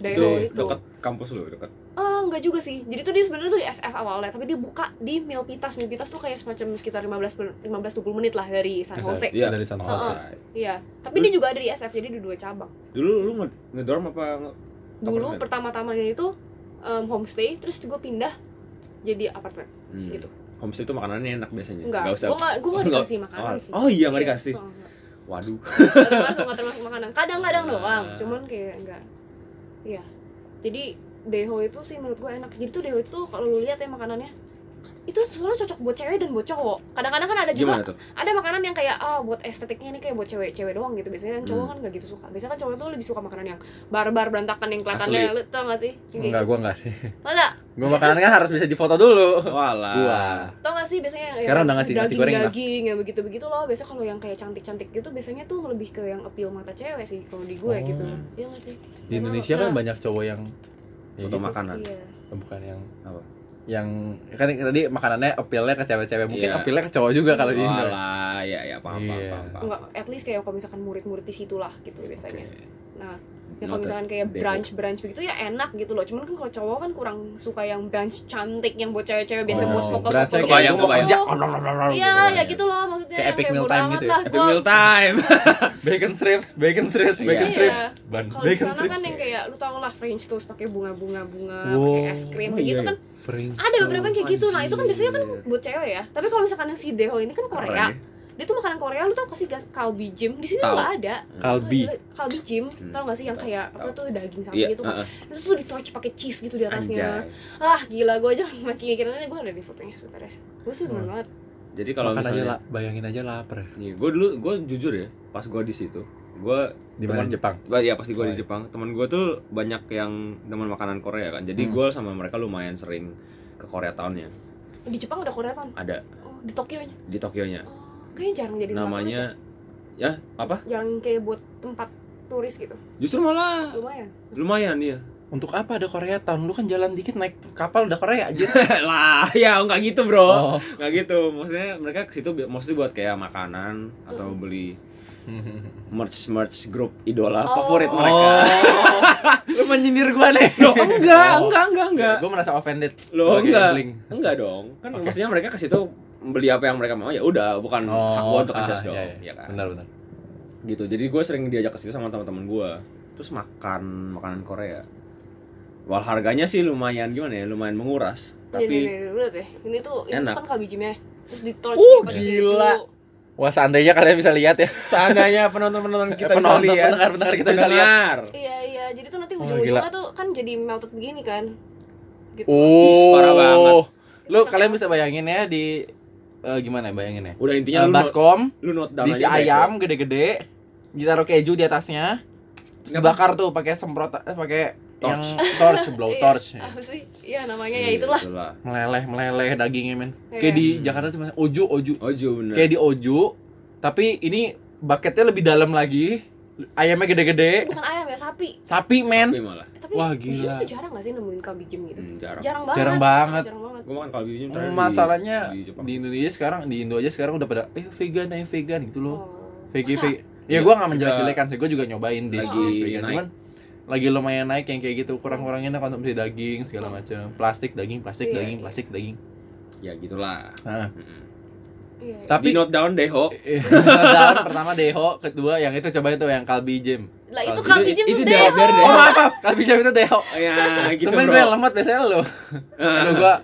Speaker 3: Daeho
Speaker 2: Itu
Speaker 3: itu
Speaker 2: deket kampus lu, deket.
Speaker 3: Eh, enggak juga sih. Jadi tuh dia sebenarnya tuh di SF awalnya, tapi dia buka di Milpitas. Milpitas tuh kayak semacam sekitar 15 men- 15 20 menit lah dari San Jose.
Speaker 2: Iya.
Speaker 1: Dari San
Speaker 2: Oh,
Speaker 1: Jose.
Speaker 2: say.
Speaker 3: Iya. Tapi dia juga ada di SF, jadi ada dua cabang.
Speaker 2: Dulu lu nge- ngedorm apa? nge-
Speaker 3: Dulu
Speaker 2: Apartemen.
Speaker 3: pertama-tamanya itu em, homestay, terus gue pindah jadi apartemen.
Speaker 2: Hmm.
Speaker 3: Gitu.
Speaker 2: Homestay itu makanannya enak biasanya.
Speaker 3: Enggak.
Speaker 2: Nggak usah.
Speaker 3: Gue enggak gua
Speaker 2: Oh,
Speaker 3: enggak
Speaker 2: nggak-
Speaker 3: dikasih makanan
Speaker 2: Oh,
Speaker 3: sih.
Speaker 2: oh iya, nggak
Speaker 3: Iya,
Speaker 2: dikasih.
Speaker 3: oh, enggak.
Speaker 2: Waduh.
Speaker 3: Nggak termasuk, nggak termasuk makanan. Kadang-kadang
Speaker 2: Ah.
Speaker 3: doang, cuman kayak enggak. Iya. Jadi Deho itu sih menurut gue enak. Jadi tuh Deho itu tuh kalau lu lihat ya makanannya itu soalnya cocok buat cewek dan buat cowok. Kadang-kadang kan ada juga
Speaker 2: Gimana tuh?
Speaker 3: ada makanan yang kayak ah buat estetiknya ini kayak buat cewek-cewek doang gitu biasanya kan cowok
Speaker 2: Hmm.
Speaker 3: kan nggak gitu suka biasanya kan cowok tuh lebih suka makanan yang barbar berantakan yang kelihatannya
Speaker 2: Asli.
Speaker 3: lu tau gak sih Yang kayak
Speaker 1: Enggak, gua enggak sih.
Speaker 3: gitu. masa
Speaker 1: Gua makanannya harus bisa difoto dulu.
Speaker 2: Walah.
Speaker 1: Wah.
Speaker 3: tau gak sih biasanya yang
Speaker 1: Sekarang udah ngasih nasi
Speaker 3: daging
Speaker 1: goreng enak.
Speaker 3: daging yang begitu begitu loh biasanya kalau yang kayak cantik cantik gitu biasanya tuh lebih ke yang appeal mata cewek sih kalau di
Speaker 1: Oh.
Speaker 3: gue gitu iya gak sih
Speaker 1: Di Indonesia kan banyak cowok yang ya
Speaker 2: Foto
Speaker 1: gitu.
Speaker 2: makanan.
Speaker 3: iya
Speaker 1: bukan yang
Speaker 2: Apa?
Speaker 1: Yang kan tadi makanannya appeal-nya ke cewek-cewek, mungkin
Speaker 2: Iya.
Speaker 1: appeal-nya ke cowok juga kalau di Indo.
Speaker 2: Walah, ya ya paham paham
Speaker 1: Iya.
Speaker 2: paham. paham.
Speaker 3: Enggak, at least kayak kalau misalkan murid-murid di situ lah gitu
Speaker 2: Oke.
Speaker 3: biasanya. Nah, Ya kalau
Speaker 2: Noted.
Speaker 3: misalkan kayak
Speaker 2: Deho.
Speaker 3: brunch-brunch begitu ya enak gitu loh. Cuman kan kalau cowok kan kurang suka yang brunch cantik yang buat cewek-cewek biasa
Speaker 1: Oh,
Speaker 3: buat foto-foto.
Speaker 1: berasa
Speaker 2: kayak
Speaker 1: kayak
Speaker 2: Kebayang,
Speaker 1: gua mau
Speaker 2: kebayang.
Speaker 1: kerja, oh, no, no, no, no,
Speaker 3: Iya,
Speaker 1: gitu.
Speaker 3: ya gitu loh maksudnya.
Speaker 1: Kayak
Speaker 3: yang
Speaker 1: epic meal
Speaker 3: bodo
Speaker 1: time
Speaker 3: amat
Speaker 1: gitu ya.
Speaker 3: lah.
Speaker 2: Epic
Speaker 3: Gua- kan
Speaker 2: meal time.
Speaker 1: Bacon strips, bacon strips, bacon
Speaker 2: Iya.
Speaker 1: strips.
Speaker 3: Iya.
Speaker 1: Ban,
Speaker 3: Kalau di
Speaker 1: bacon
Speaker 3: sana
Speaker 1: strips.
Speaker 3: kan yang kayak lu tau lah French toast pakai bunga-bunga-bunga,
Speaker 1: Wow.
Speaker 3: pakai es krim
Speaker 2: Oh,
Speaker 3: begitu
Speaker 2: iya,
Speaker 3: kan
Speaker 1: French
Speaker 3: ada beberapa yang kayak gitu. Nah, itu kan biasanya kan
Speaker 2: Anjir.
Speaker 3: buat cewek ya. Tapi kalau misalkan yang si Deho ini kan
Speaker 2: Keren
Speaker 3: Korea.
Speaker 2: ya.
Speaker 3: Dia tuh makanan Korea lu tau kasih kalbi jim. Di sini tuh
Speaker 2: Tahu.
Speaker 3: nggak ada.
Speaker 1: kalbi.
Speaker 3: Tuh, Kalbi jim,
Speaker 2: Hmm.
Speaker 3: tau gak sih yang
Speaker 2: Tahu,
Speaker 3: kayak
Speaker 2: tahu.
Speaker 3: apa tuh daging sapi
Speaker 2: Iya,
Speaker 3: gitu kan.
Speaker 2: heeh.
Speaker 3: Terus tuh ditorch pakai cheese gitu di atasnya.
Speaker 2: Anjay.
Speaker 3: Ah, gila gue aja makin mikirin aja gue ada di fotonya sebentar ya. Gue sih demen
Speaker 1: Hmm.
Speaker 3: banget.
Speaker 2: Jadi kalau
Speaker 1: Makan aja
Speaker 2: misalnya
Speaker 1: lah, bayangin aja lapar.
Speaker 2: nih, gue dulu gue jujur ya, pas gue di situ, gue
Speaker 1: Di mana
Speaker 2: Teman-
Speaker 1: Jepang?
Speaker 2: Wah, ya pasti gue
Speaker 1: Oh,
Speaker 2: di
Speaker 1: iya.
Speaker 2: Jepang. Teman gue tuh banyak yang teman makanan Korea kan. Jadi
Speaker 1: Hmm.
Speaker 2: gue sama mereka lumayan sering ke Korea tahunnya.
Speaker 3: Di Jepang ada Korea Town.
Speaker 2: Ada
Speaker 3: Oh, di Tokyo nya.
Speaker 2: di Tokyonya.
Speaker 3: Oh, kayaknya jarang jadi tempat turis
Speaker 2: Iya. Namanya ya apa?
Speaker 3: ya. jarang kayak buat tempat turis gitu.
Speaker 2: Justru malah
Speaker 3: Lumayan.
Speaker 2: lumayan ya.
Speaker 1: Untuk apa ada Korea Town? Lu kan jalan dikit naik kapal udah Korea aja.
Speaker 2: lah, ya nggak gitu, Bro.
Speaker 1: Oh.
Speaker 2: Nggak gitu. Maksudnya mereka ke situ bi- mostly buat kayak makanan atau beli merch-merch grup idola
Speaker 3: Oh.
Speaker 2: favorit mereka.
Speaker 1: Oh. Lu menyindir gua nih.
Speaker 2: Loh, enggak,
Speaker 1: Oh.
Speaker 2: enggak, enggak, enggak.
Speaker 1: Gua merasa offended.
Speaker 2: Loh,
Speaker 1: sebagai
Speaker 2: enggak.
Speaker 1: Inkling.
Speaker 2: Enggak dong. Kan
Speaker 1: Oke.
Speaker 2: maksudnya mereka ke situ beli apa yang mereka mau ya udah, bukan hak gua untuk
Speaker 1: ah,
Speaker 2: adjust dong.
Speaker 1: iya,
Speaker 2: Iya,
Speaker 1: iya.
Speaker 2: kan?
Speaker 1: Benar, benar.
Speaker 2: gitu jadi gue sering diajak ke situ sama teman-teman gue terus makan makanan Korea wal harganya sih lumayan gimana ya lumayan menguras tapi
Speaker 3: Tapi nih, nih, nih, lihat deh. Ini tuh ini tuh
Speaker 2: Enak.
Speaker 3: kan kabijimnya. ya. Terus ditorch
Speaker 2: Uh,
Speaker 3: pakai
Speaker 2: gila.
Speaker 3: keju.
Speaker 1: Wah, seandainya kalian bisa lihat ya.
Speaker 2: Seandainya penonton-penonton kita bisa
Speaker 1: Penonton,
Speaker 2: lihat.
Speaker 1: pendengar-pendengar kita bisa lihat.
Speaker 2: Pendengar.
Speaker 3: Iya iya, jadi tuh nanti
Speaker 1: Wah,
Speaker 3: ujung-ujungnya tuh kan jadi melted begini kan. Gitu. kan? Iya,
Speaker 2: Ih, parah banget.
Speaker 1: Oh.
Speaker 3: Itu
Speaker 1: Lu
Speaker 3: pakai
Speaker 1: Oh, kalian
Speaker 3: apa?
Speaker 1: bisa bayangin ya di eh, gimana ya bayanginnya?
Speaker 2: Udah intinya
Speaker 1: Ya,
Speaker 2: lu note-
Speaker 1: baskom,
Speaker 2: lu note down
Speaker 1: diisi
Speaker 2: aja deh.
Speaker 1: ayam gede-gede, ditaruh keju di atasnya, terus
Speaker 2: Nggak
Speaker 1: dibakar tuh pakai semprot eh, pakai yang
Speaker 2: Torch.
Speaker 1: torch, blow
Speaker 3: Iya.
Speaker 1: torch. ya.
Speaker 3: Apa sih? Iya namanya ya itulah.
Speaker 2: Itulah.
Speaker 1: Meleleh, meleleh dagingnya, men. Kayak
Speaker 3: Iya.
Speaker 1: di
Speaker 2: Hmm.
Speaker 1: Jakarta cuma oju, oju.
Speaker 2: Ojo bener.
Speaker 1: Kayak di oju, tapi ini bucketnya lebih dalam lagi. Ayamnya
Speaker 3: Itu
Speaker 1: gede-gede,
Speaker 3: bukan ayam ya, sapi.
Speaker 1: sapi, men.
Speaker 2: Tapi malah.
Speaker 3: Tapi
Speaker 1: Wah,
Speaker 3: di sini
Speaker 1: gila.
Speaker 3: tuh jarang gak sih nemuin kalbi jim gitu?
Speaker 2: Hmm, jarang.
Speaker 3: Jarang banget.
Speaker 1: Jarang banget.
Speaker 3: Jarang banget.
Speaker 2: Gua makan kalbi ini terakhir di-
Speaker 1: Masalahnya
Speaker 2: di Jepang.
Speaker 1: di Indonesia sekarang di Indo aja sekarang udah pada eh vegan eh vegan gitu loh
Speaker 3: Oh.
Speaker 1: veggie
Speaker 3: Masa?
Speaker 1: veggie ya gue nggak
Speaker 2: Juga-
Speaker 1: menjelek-jelekan sih gue juga nyobain di
Speaker 2: Iya. Lagi
Speaker 1: vegan
Speaker 2: naik.
Speaker 1: cuman lagi lumayan naik yang kayak gitu kurang-kurangin lah konsumsi daging segala macam plastik daging plastik
Speaker 3: Iya,
Speaker 1: daging
Speaker 3: iya.
Speaker 1: plastik daging
Speaker 2: Ya gitulah.
Speaker 1: Heeh.
Speaker 2: Mm-mm.
Speaker 3: Iya, iya.
Speaker 2: Tapi
Speaker 1: Ah. tapi
Speaker 2: note down deh, Ho.
Speaker 1: Eh, daun pertama deho kedua yang itu cobain tuh yang kalbi jam
Speaker 3: Lah itu
Speaker 1: Itu-
Speaker 3: kalbi jim
Speaker 2: itu
Speaker 3: tuh
Speaker 2: dia,
Speaker 3: deh.
Speaker 2: biar deh.
Speaker 1: oh maaf maaf kalbi jam itu deho
Speaker 2: Ya, gitu,
Speaker 1: temen gue
Speaker 2: Bro.
Speaker 1: yang lemat biasanya lo
Speaker 2: Ah,
Speaker 1: Aduh gue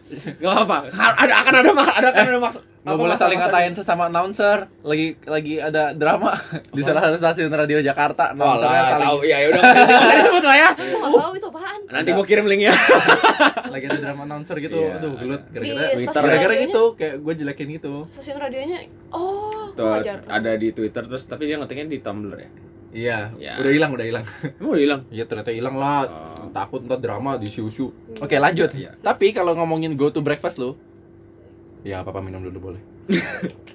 Speaker 2: Gak apa-apa. Har- Ada akan ada mak, ada akan ada maks-
Speaker 1: nggak
Speaker 2: apa,
Speaker 1: boleh
Speaker 2: masa-
Speaker 1: saling
Speaker 2: masa-
Speaker 1: ngatain sesama announcer lagi lagi ada drama di
Speaker 2: Apa?
Speaker 1: salah satu stasiun radio Jakarta announcernya
Speaker 2: Walah,
Speaker 1: saling
Speaker 2: tahu. Ya udah. Nggak disebut lah ya.
Speaker 3: Aku
Speaker 1: Oh.
Speaker 3: nggak tahu itu apaan.
Speaker 2: Nanti gua kirim linknya.
Speaker 1: lagi ada drama announcer gitu
Speaker 2: Iya,
Speaker 1: aduh
Speaker 2: ada.
Speaker 1: gelut gara-gara
Speaker 3: Di
Speaker 2: Twitter.
Speaker 3: stasiun
Speaker 1: gara-gara
Speaker 3: radionya-
Speaker 1: gitu kayak gue jelekin gitu
Speaker 3: Stasiun radionya. Oh,
Speaker 2: Tuh,
Speaker 3: wajar.
Speaker 2: ada di Twitter terus tapi dia ngetiknya di Tumblr ya.
Speaker 1: iya
Speaker 2: Ya.
Speaker 1: udah hilang udah hilang
Speaker 2: Emang udah hilang.
Speaker 1: iya ternyata hilang lah
Speaker 2: Oh.
Speaker 1: takut ntar drama di siu-siu
Speaker 3: Iya.
Speaker 1: oke lanjut
Speaker 2: Iya.
Speaker 1: tapi kalau ngomongin go to breakfast lo ya papa minum dulu boleh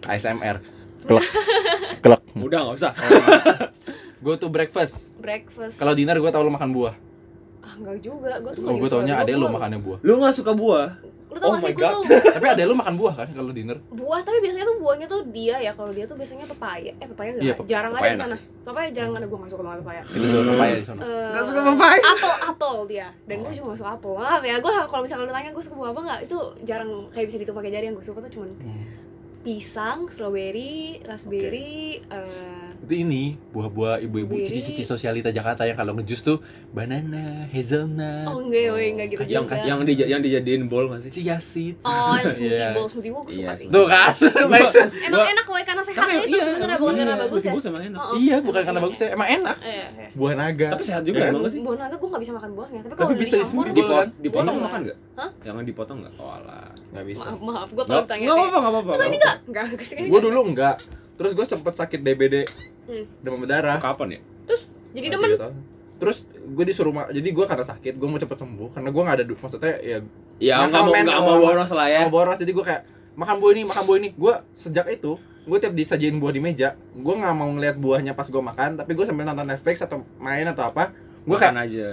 Speaker 1: ASMR kelek kelek
Speaker 2: Udah nggak usah.
Speaker 1: go to breakfast
Speaker 3: breakfast.
Speaker 1: kalau dinner gue tau lo makan buah
Speaker 3: ah, enggak juga. Gua tuh
Speaker 1: oh, gue taunya ada lo makannya buah
Speaker 2: Lu nggak suka buah?
Speaker 3: Lu
Speaker 2: Oh
Speaker 3: tau gak sih
Speaker 2: my
Speaker 3: gua
Speaker 2: God.
Speaker 3: tuh
Speaker 1: tapi ada lo makan buah kan kalau dinner
Speaker 3: buah tapi biasanya tuh buahnya tuh dia ya kalau dia tuh biasanya pepaya. Eh pepaya enggak.
Speaker 1: Iya, pe-
Speaker 3: jarang
Speaker 2: pepaya
Speaker 3: ada di
Speaker 2: enak
Speaker 3: sana. Pepaya jarang ada gua enggak suka banget pepaya.
Speaker 1: itu tuh pepaya di sana
Speaker 3: Eh,
Speaker 2: Nggak suka pepaya.
Speaker 3: Apel, apel dia. Dan
Speaker 1: Oh.
Speaker 3: gue juga gak suka apel. Maaf ya, gue kalau misalnya lu tanya gue suka buah apa nggak, itu jarang kayak bisa dihitung pakai jari yang gue suka tuh cuman
Speaker 1: Hmm.
Speaker 3: pisang, strawberry, raspberry, eh,
Speaker 1: itu ini buah-buah ibu-ibu
Speaker 3: Beri.
Speaker 1: cici-cici sosialita Jakarta yang kalau ngejus tuh banana hazelnut
Speaker 3: oh enggak, enggak, enggak gitu
Speaker 2: yang,
Speaker 3: juga.
Speaker 2: yang, dija- yang dijadiin bowl masih.
Speaker 1: Chia seed.
Speaker 3: Oh, yang smoothie
Speaker 1: Iya.
Speaker 3: bowl, smoothie bowl gue
Speaker 2: Iya,
Speaker 3: suka sih.
Speaker 1: Tuh kan. Make sense.
Speaker 3: Emang enak kue karena sehat ya
Speaker 2: Tapi
Speaker 3: kan itu
Speaker 2: iya,
Speaker 3: sebenarnya
Speaker 2: emang
Speaker 3: bukan
Speaker 2: iya,
Speaker 3: karena bagus ya.
Speaker 2: Bagus emang enak.
Speaker 3: Oh, oh.
Speaker 1: Iya, bukan karena bagus ya. Emang enak.
Speaker 3: Iya, iya.
Speaker 1: Buah naga.
Speaker 2: Tapi sehat juga
Speaker 1: Iya,
Speaker 2: emang nggak sih?
Speaker 3: Buah naga gue gak bisa makan buahnya, tapi
Speaker 1: Tapi
Speaker 3: kalau
Speaker 1: bisa
Speaker 3: dicampur
Speaker 1: disembunyi.
Speaker 2: Dipo-
Speaker 1: Boleh.
Speaker 2: dipotong
Speaker 3: Boleh.
Speaker 2: makan nggak?
Speaker 3: Hah?
Speaker 2: Yang dipotong nggak? Oh lah.
Speaker 1: Nggak bisa.
Speaker 3: Maaf, maaf, gue
Speaker 2: Nggak
Speaker 3: kalau ditanya
Speaker 2: nggak
Speaker 3: kayak,
Speaker 2: apa-apa, nggak apa-apa.
Speaker 3: Suka ini
Speaker 2: nggak
Speaker 3: enggak? Enggak, gue sih
Speaker 1: Gue dulu enggak. Terus gue sempet sakit DBD.
Speaker 3: Hmm.
Speaker 1: Demam berdarah.
Speaker 2: apa-apa. Kapan ya?
Speaker 3: Jadi
Speaker 1: Nah,
Speaker 3: demen
Speaker 1: tiga tahun. Terus gue disuruh ma- jadi gue karena sakit gue mau cepet sembuh karena gue nggak ada duit maksudnya ya
Speaker 2: Ya
Speaker 1: Nakal,
Speaker 2: nggak mau
Speaker 1: men,
Speaker 2: nggak
Speaker 1: nggak
Speaker 2: mau
Speaker 1: mau.
Speaker 2: boros lah ya.
Speaker 1: mau boros jadi gue kayak makan buah ini makan buah ini gue sejak itu gue tiap disajiin buah di meja gue nggak mau ngeliat buahnya pas gue makan tapi gue sambil nonton Netflix atau main atau apa gue kayak
Speaker 2: Makan aja.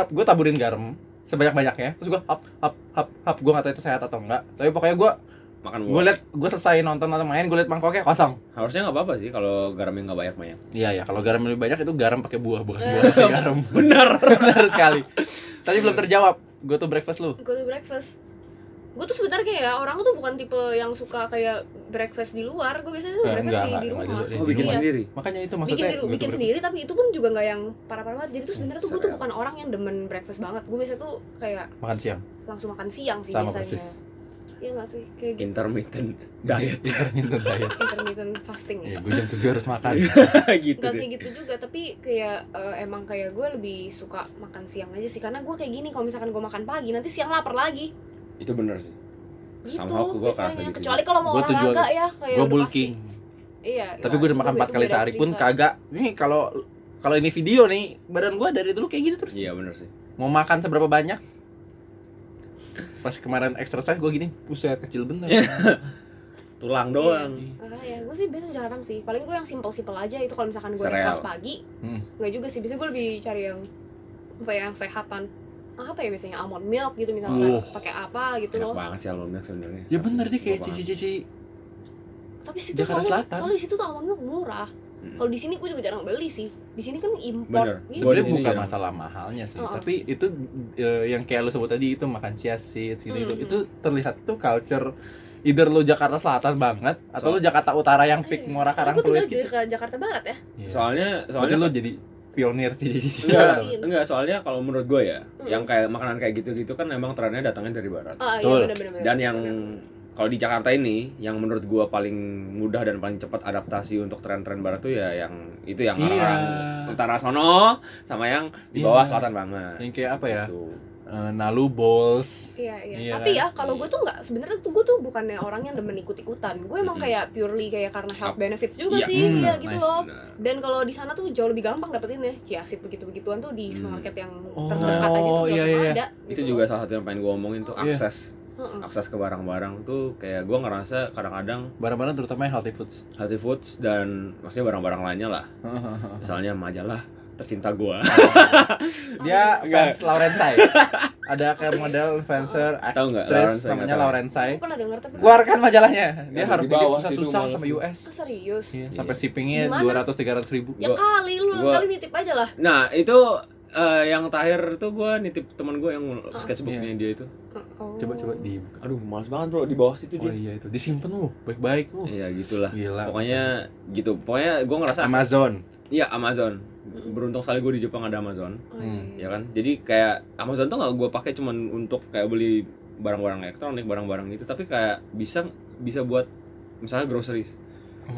Speaker 1: hap gue taburin garam sebanyak banyaknya terus gue hap hap hap hap gue nggak tahu itu sehat atau enggak tapi pokoknya gue
Speaker 2: Makan
Speaker 1: gue
Speaker 2: buah.
Speaker 1: liat gue selesai nonton atau main gue liat mangkoknya kosong
Speaker 2: Harusnya nggak apa-apa sih kalau garamnya nggak banyak-banyak.
Speaker 1: iya ya kalau garam lebih banyak itu garam pakai buah bukan
Speaker 3: Eh.
Speaker 1: buah pakai garam
Speaker 2: Bener.
Speaker 1: benar sekali tadi belum terjawab gue tuh breakfast lu
Speaker 3: go to breakfast gue tuh sebenarnya ya orang tuh bukan tipe yang suka kayak breakfast di luar gue biasanya tuh
Speaker 1: Eh,
Speaker 3: breakfast
Speaker 1: enggak,
Speaker 3: di,
Speaker 1: enggak,
Speaker 3: di
Speaker 1: enggak
Speaker 3: rumah
Speaker 1: juga.
Speaker 2: Oh bikin
Speaker 3: Iya.
Speaker 2: sendiri.
Speaker 1: makanya itu
Speaker 3: bikin
Speaker 1: maksudnya
Speaker 3: di,
Speaker 1: gua
Speaker 3: bikin
Speaker 1: tuh
Speaker 3: sendiri tapi itu pun juga nggak yang parah-parah banget jadi tuh
Speaker 1: Hmm,
Speaker 3: sebenarnya tuh gue tuh bukan orang yang demen breakfast banget gue biasanya tuh kayak
Speaker 1: breakfast. makan siang
Speaker 3: langsung makan siang sih
Speaker 1: sama
Speaker 3: biasanya
Speaker 1: persis
Speaker 3: iya nggak sih kayak gitu
Speaker 2: Intermittent diet
Speaker 1: intermittent diet
Speaker 3: intermittent fasting
Speaker 1: ya
Speaker 3: ya
Speaker 1: gue jam tujuh harus makan
Speaker 2: gitu
Speaker 3: Gak
Speaker 2: deh.
Speaker 3: kayak gitu juga, tapi kayak eh, emang kayak gue lebih suka makan siang aja sih Karena gue kayak gini, kalau misalkan gue makan pagi, nanti siang lapar lagi
Speaker 2: Itu bener sih.
Speaker 3: Gitu
Speaker 2: Somehow ke gua kerasa
Speaker 3: biasanya,
Speaker 2: gitu.
Speaker 3: kecuali kalau mau
Speaker 1: Gua tujuan-
Speaker 3: olahraga ya kayak
Speaker 1: gue
Speaker 3: udah pasti.
Speaker 1: bulking
Speaker 3: Iya
Speaker 1: tapi gue udah makan empat kali sehari pun kagak nih kalau kalau ini video nih badan gue dari dulu kayak gitu terus
Speaker 2: Iya bener sih.
Speaker 1: mau makan seberapa banyak pas kemarin exercise gue gini pusat kecil bener
Speaker 2: Iya. Tulang doang.
Speaker 3: Makanya gue Ah, iya, sih biasa jarang sih. Paling gue yang simple-simple aja itu kalau misalkan gue
Speaker 2: Sereal.
Speaker 3: kelas pagi.
Speaker 1: Hmm.
Speaker 3: Enggak juga sih, biasanya gue lebih cari yang apa ya, yang sehatan. Ah, apa ya biasanya almond milk gitu misalkan
Speaker 1: Uh.
Speaker 3: pakai apa gitu
Speaker 2: Enak
Speaker 3: loh.
Speaker 2: banget sih alumni sebenarnya.
Speaker 1: ya bener deh kayak
Speaker 2: Enak banget.
Speaker 1: cici-cici
Speaker 3: Tapi situ
Speaker 1: Jakarta
Speaker 3: soalnya,
Speaker 1: Selatan. Hmm.
Speaker 3: soalnya di situ tuh almond milk murah.
Speaker 2: Mm.
Speaker 3: Kalau di sini gue juga jarang beli sih. Di sini kan
Speaker 2: Bener.
Speaker 3: impor gitu.
Speaker 2: Gua
Speaker 1: sebenarnya
Speaker 2: di sini ya.
Speaker 1: bukan
Speaker 2: jarang.
Speaker 1: masalah mahalnya sih
Speaker 3: Oh, oh.
Speaker 1: tapi itu eh, yang kayak lo sebut tadi itu makan chia seeds gitu itu
Speaker 3: Hmm.
Speaker 1: itu terlihat tuh culture either lo Jakarta Selatan banget atau lo Jakarta Utara yang pik
Speaker 3: Iya.
Speaker 1: murah
Speaker 3: Karena gue
Speaker 1: karangtruit
Speaker 3: tinggal
Speaker 1: gitu
Speaker 3: ke Jakarta Barat ya.
Speaker 1: Iya.
Speaker 2: Soalnya
Speaker 1: berarti
Speaker 2: soalnya kan-
Speaker 1: lo jadi pionir cici-cici
Speaker 2: Enggak,
Speaker 3: Iya.
Speaker 2: enggak soalnya kalau menurut gue ya,
Speaker 3: Hmm.
Speaker 2: yang kayak makanan kayak gitu-gitu kan emang trennya datangnya dari barat.
Speaker 3: Ah iya
Speaker 1: Betul.
Speaker 3: benar-benar.
Speaker 2: Dan yang kalau di Jakarta ini yang menurut gua paling mudah dan paling cepat adaptasi untuk tren-tren barat tuh ya yang itu yang
Speaker 1: Iya.
Speaker 2: orang utara sono sama yang di bawah
Speaker 1: Iya.
Speaker 2: selatan banget.
Speaker 1: Yang kayak apa ya?
Speaker 2: Gitu.
Speaker 1: Eh, Nalu balls.
Speaker 3: Iya, iya.
Speaker 1: Iya
Speaker 3: Tapi
Speaker 1: kan?
Speaker 3: ya kalau gue tuh nggak sebenarnya tuh gue tuh bukannya orang yang demen ikut-ikutan. Gue emang
Speaker 2: Mm-mm.
Speaker 3: kayak purely kayak karena health
Speaker 2: Up.
Speaker 3: benefits juga
Speaker 2: Iya,
Speaker 3: sih,
Speaker 1: mm,
Speaker 3: ya gitu
Speaker 1: nice.
Speaker 3: loh.
Speaker 2: Nah,
Speaker 3: Dan kalau di sana tuh jauh lebih gampang dapetin ya ciasit begitu-begituan tuh di
Speaker 2: Hmm.
Speaker 3: supermarket yang
Speaker 1: Oh,
Speaker 3: terdekat aja tuh
Speaker 1: iya,
Speaker 3: langsung
Speaker 1: iya.
Speaker 3: ada.
Speaker 2: itu
Speaker 3: gitu
Speaker 2: juga
Speaker 3: loh.
Speaker 2: salah satu yang pengen gua omongin tuh
Speaker 1: Iya.
Speaker 2: akses
Speaker 3: Heeh.
Speaker 2: akses ke barang-barang tuh kayak gua ngerasa kadang-kadang
Speaker 1: Barang-barang terutama yang healthy foods.
Speaker 2: healthy foods dan maksudnya barang-barang lainnya lah misalnya majalah tercinta gua
Speaker 1: Dia fans
Speaker 2: Enggak.
Speaker 1: Laurensai. Ada kayak model influencer
Speaker 2: tahu nggak
Speaker 1: aktris
Speaker 2: saya nggak
Speaker 1: namanya
Speaker 2: tahu.
Speaker 3: Aku
Speaker 1: Laurensai.
Speaker 3: pernah denger tapi
Speaker 1: Keluarkan majalahnya. Dia
Speaker 2: Yang
Speaker 1: harus
Speaker 2: di bawah
Speaker 1: bikin
Speaker 2: sih, itu
Speaker 1: susah-susah
Speaker 2: males
Speaker 1: sama
Speaker 2: tuh.
Speaker 1: US.
Speaker 3: Ah, serius.
Speaker 1: Iya,
Speaker 2: Iya.
Speaker 1: sampai shippingnya
Speaker 3: Gimana?
Speaker 1: dua ratus tiga ratus ribu.
Speaker 3: Ya
Speaker 2: Gua-
Speaker 3: kali lu lain
Speaker 2: gua-
Speaker 3: kali nitip aja lah.
Speaker 2: nah itu eh, yang terakhir tuh gua nitip teman gua yang sketchbooknya dia itu
Speaker 3: Oh.
Speaker 1: Coba coba di.
Speaker 2: Iya. aduh males banget bro di bawah situ
Speaker 1: Oh iya itu disimpan lu baik-baik lu.
Speaker 2: iya gitulah
Speaker 1: Gila.
Speaker 2: pokoknya gitu pokoknya gua ngerasa
Speaker 1: Amazon.
Speaker 2: iya Amazon
Speaker 3: Mm-mm.
Speaker 2: beruntung sekali gua di Jepang ada Amazon
Speaker 3: Oh,
Speaker 1: Hmm,
Speaker 2: ya kan jadi kayak Amazon tuh nggak gue pakai cuman untuk kayak beli barang-barang elektronik barang-barang gitu tapi kayak bisa bisa buat misalnya groceries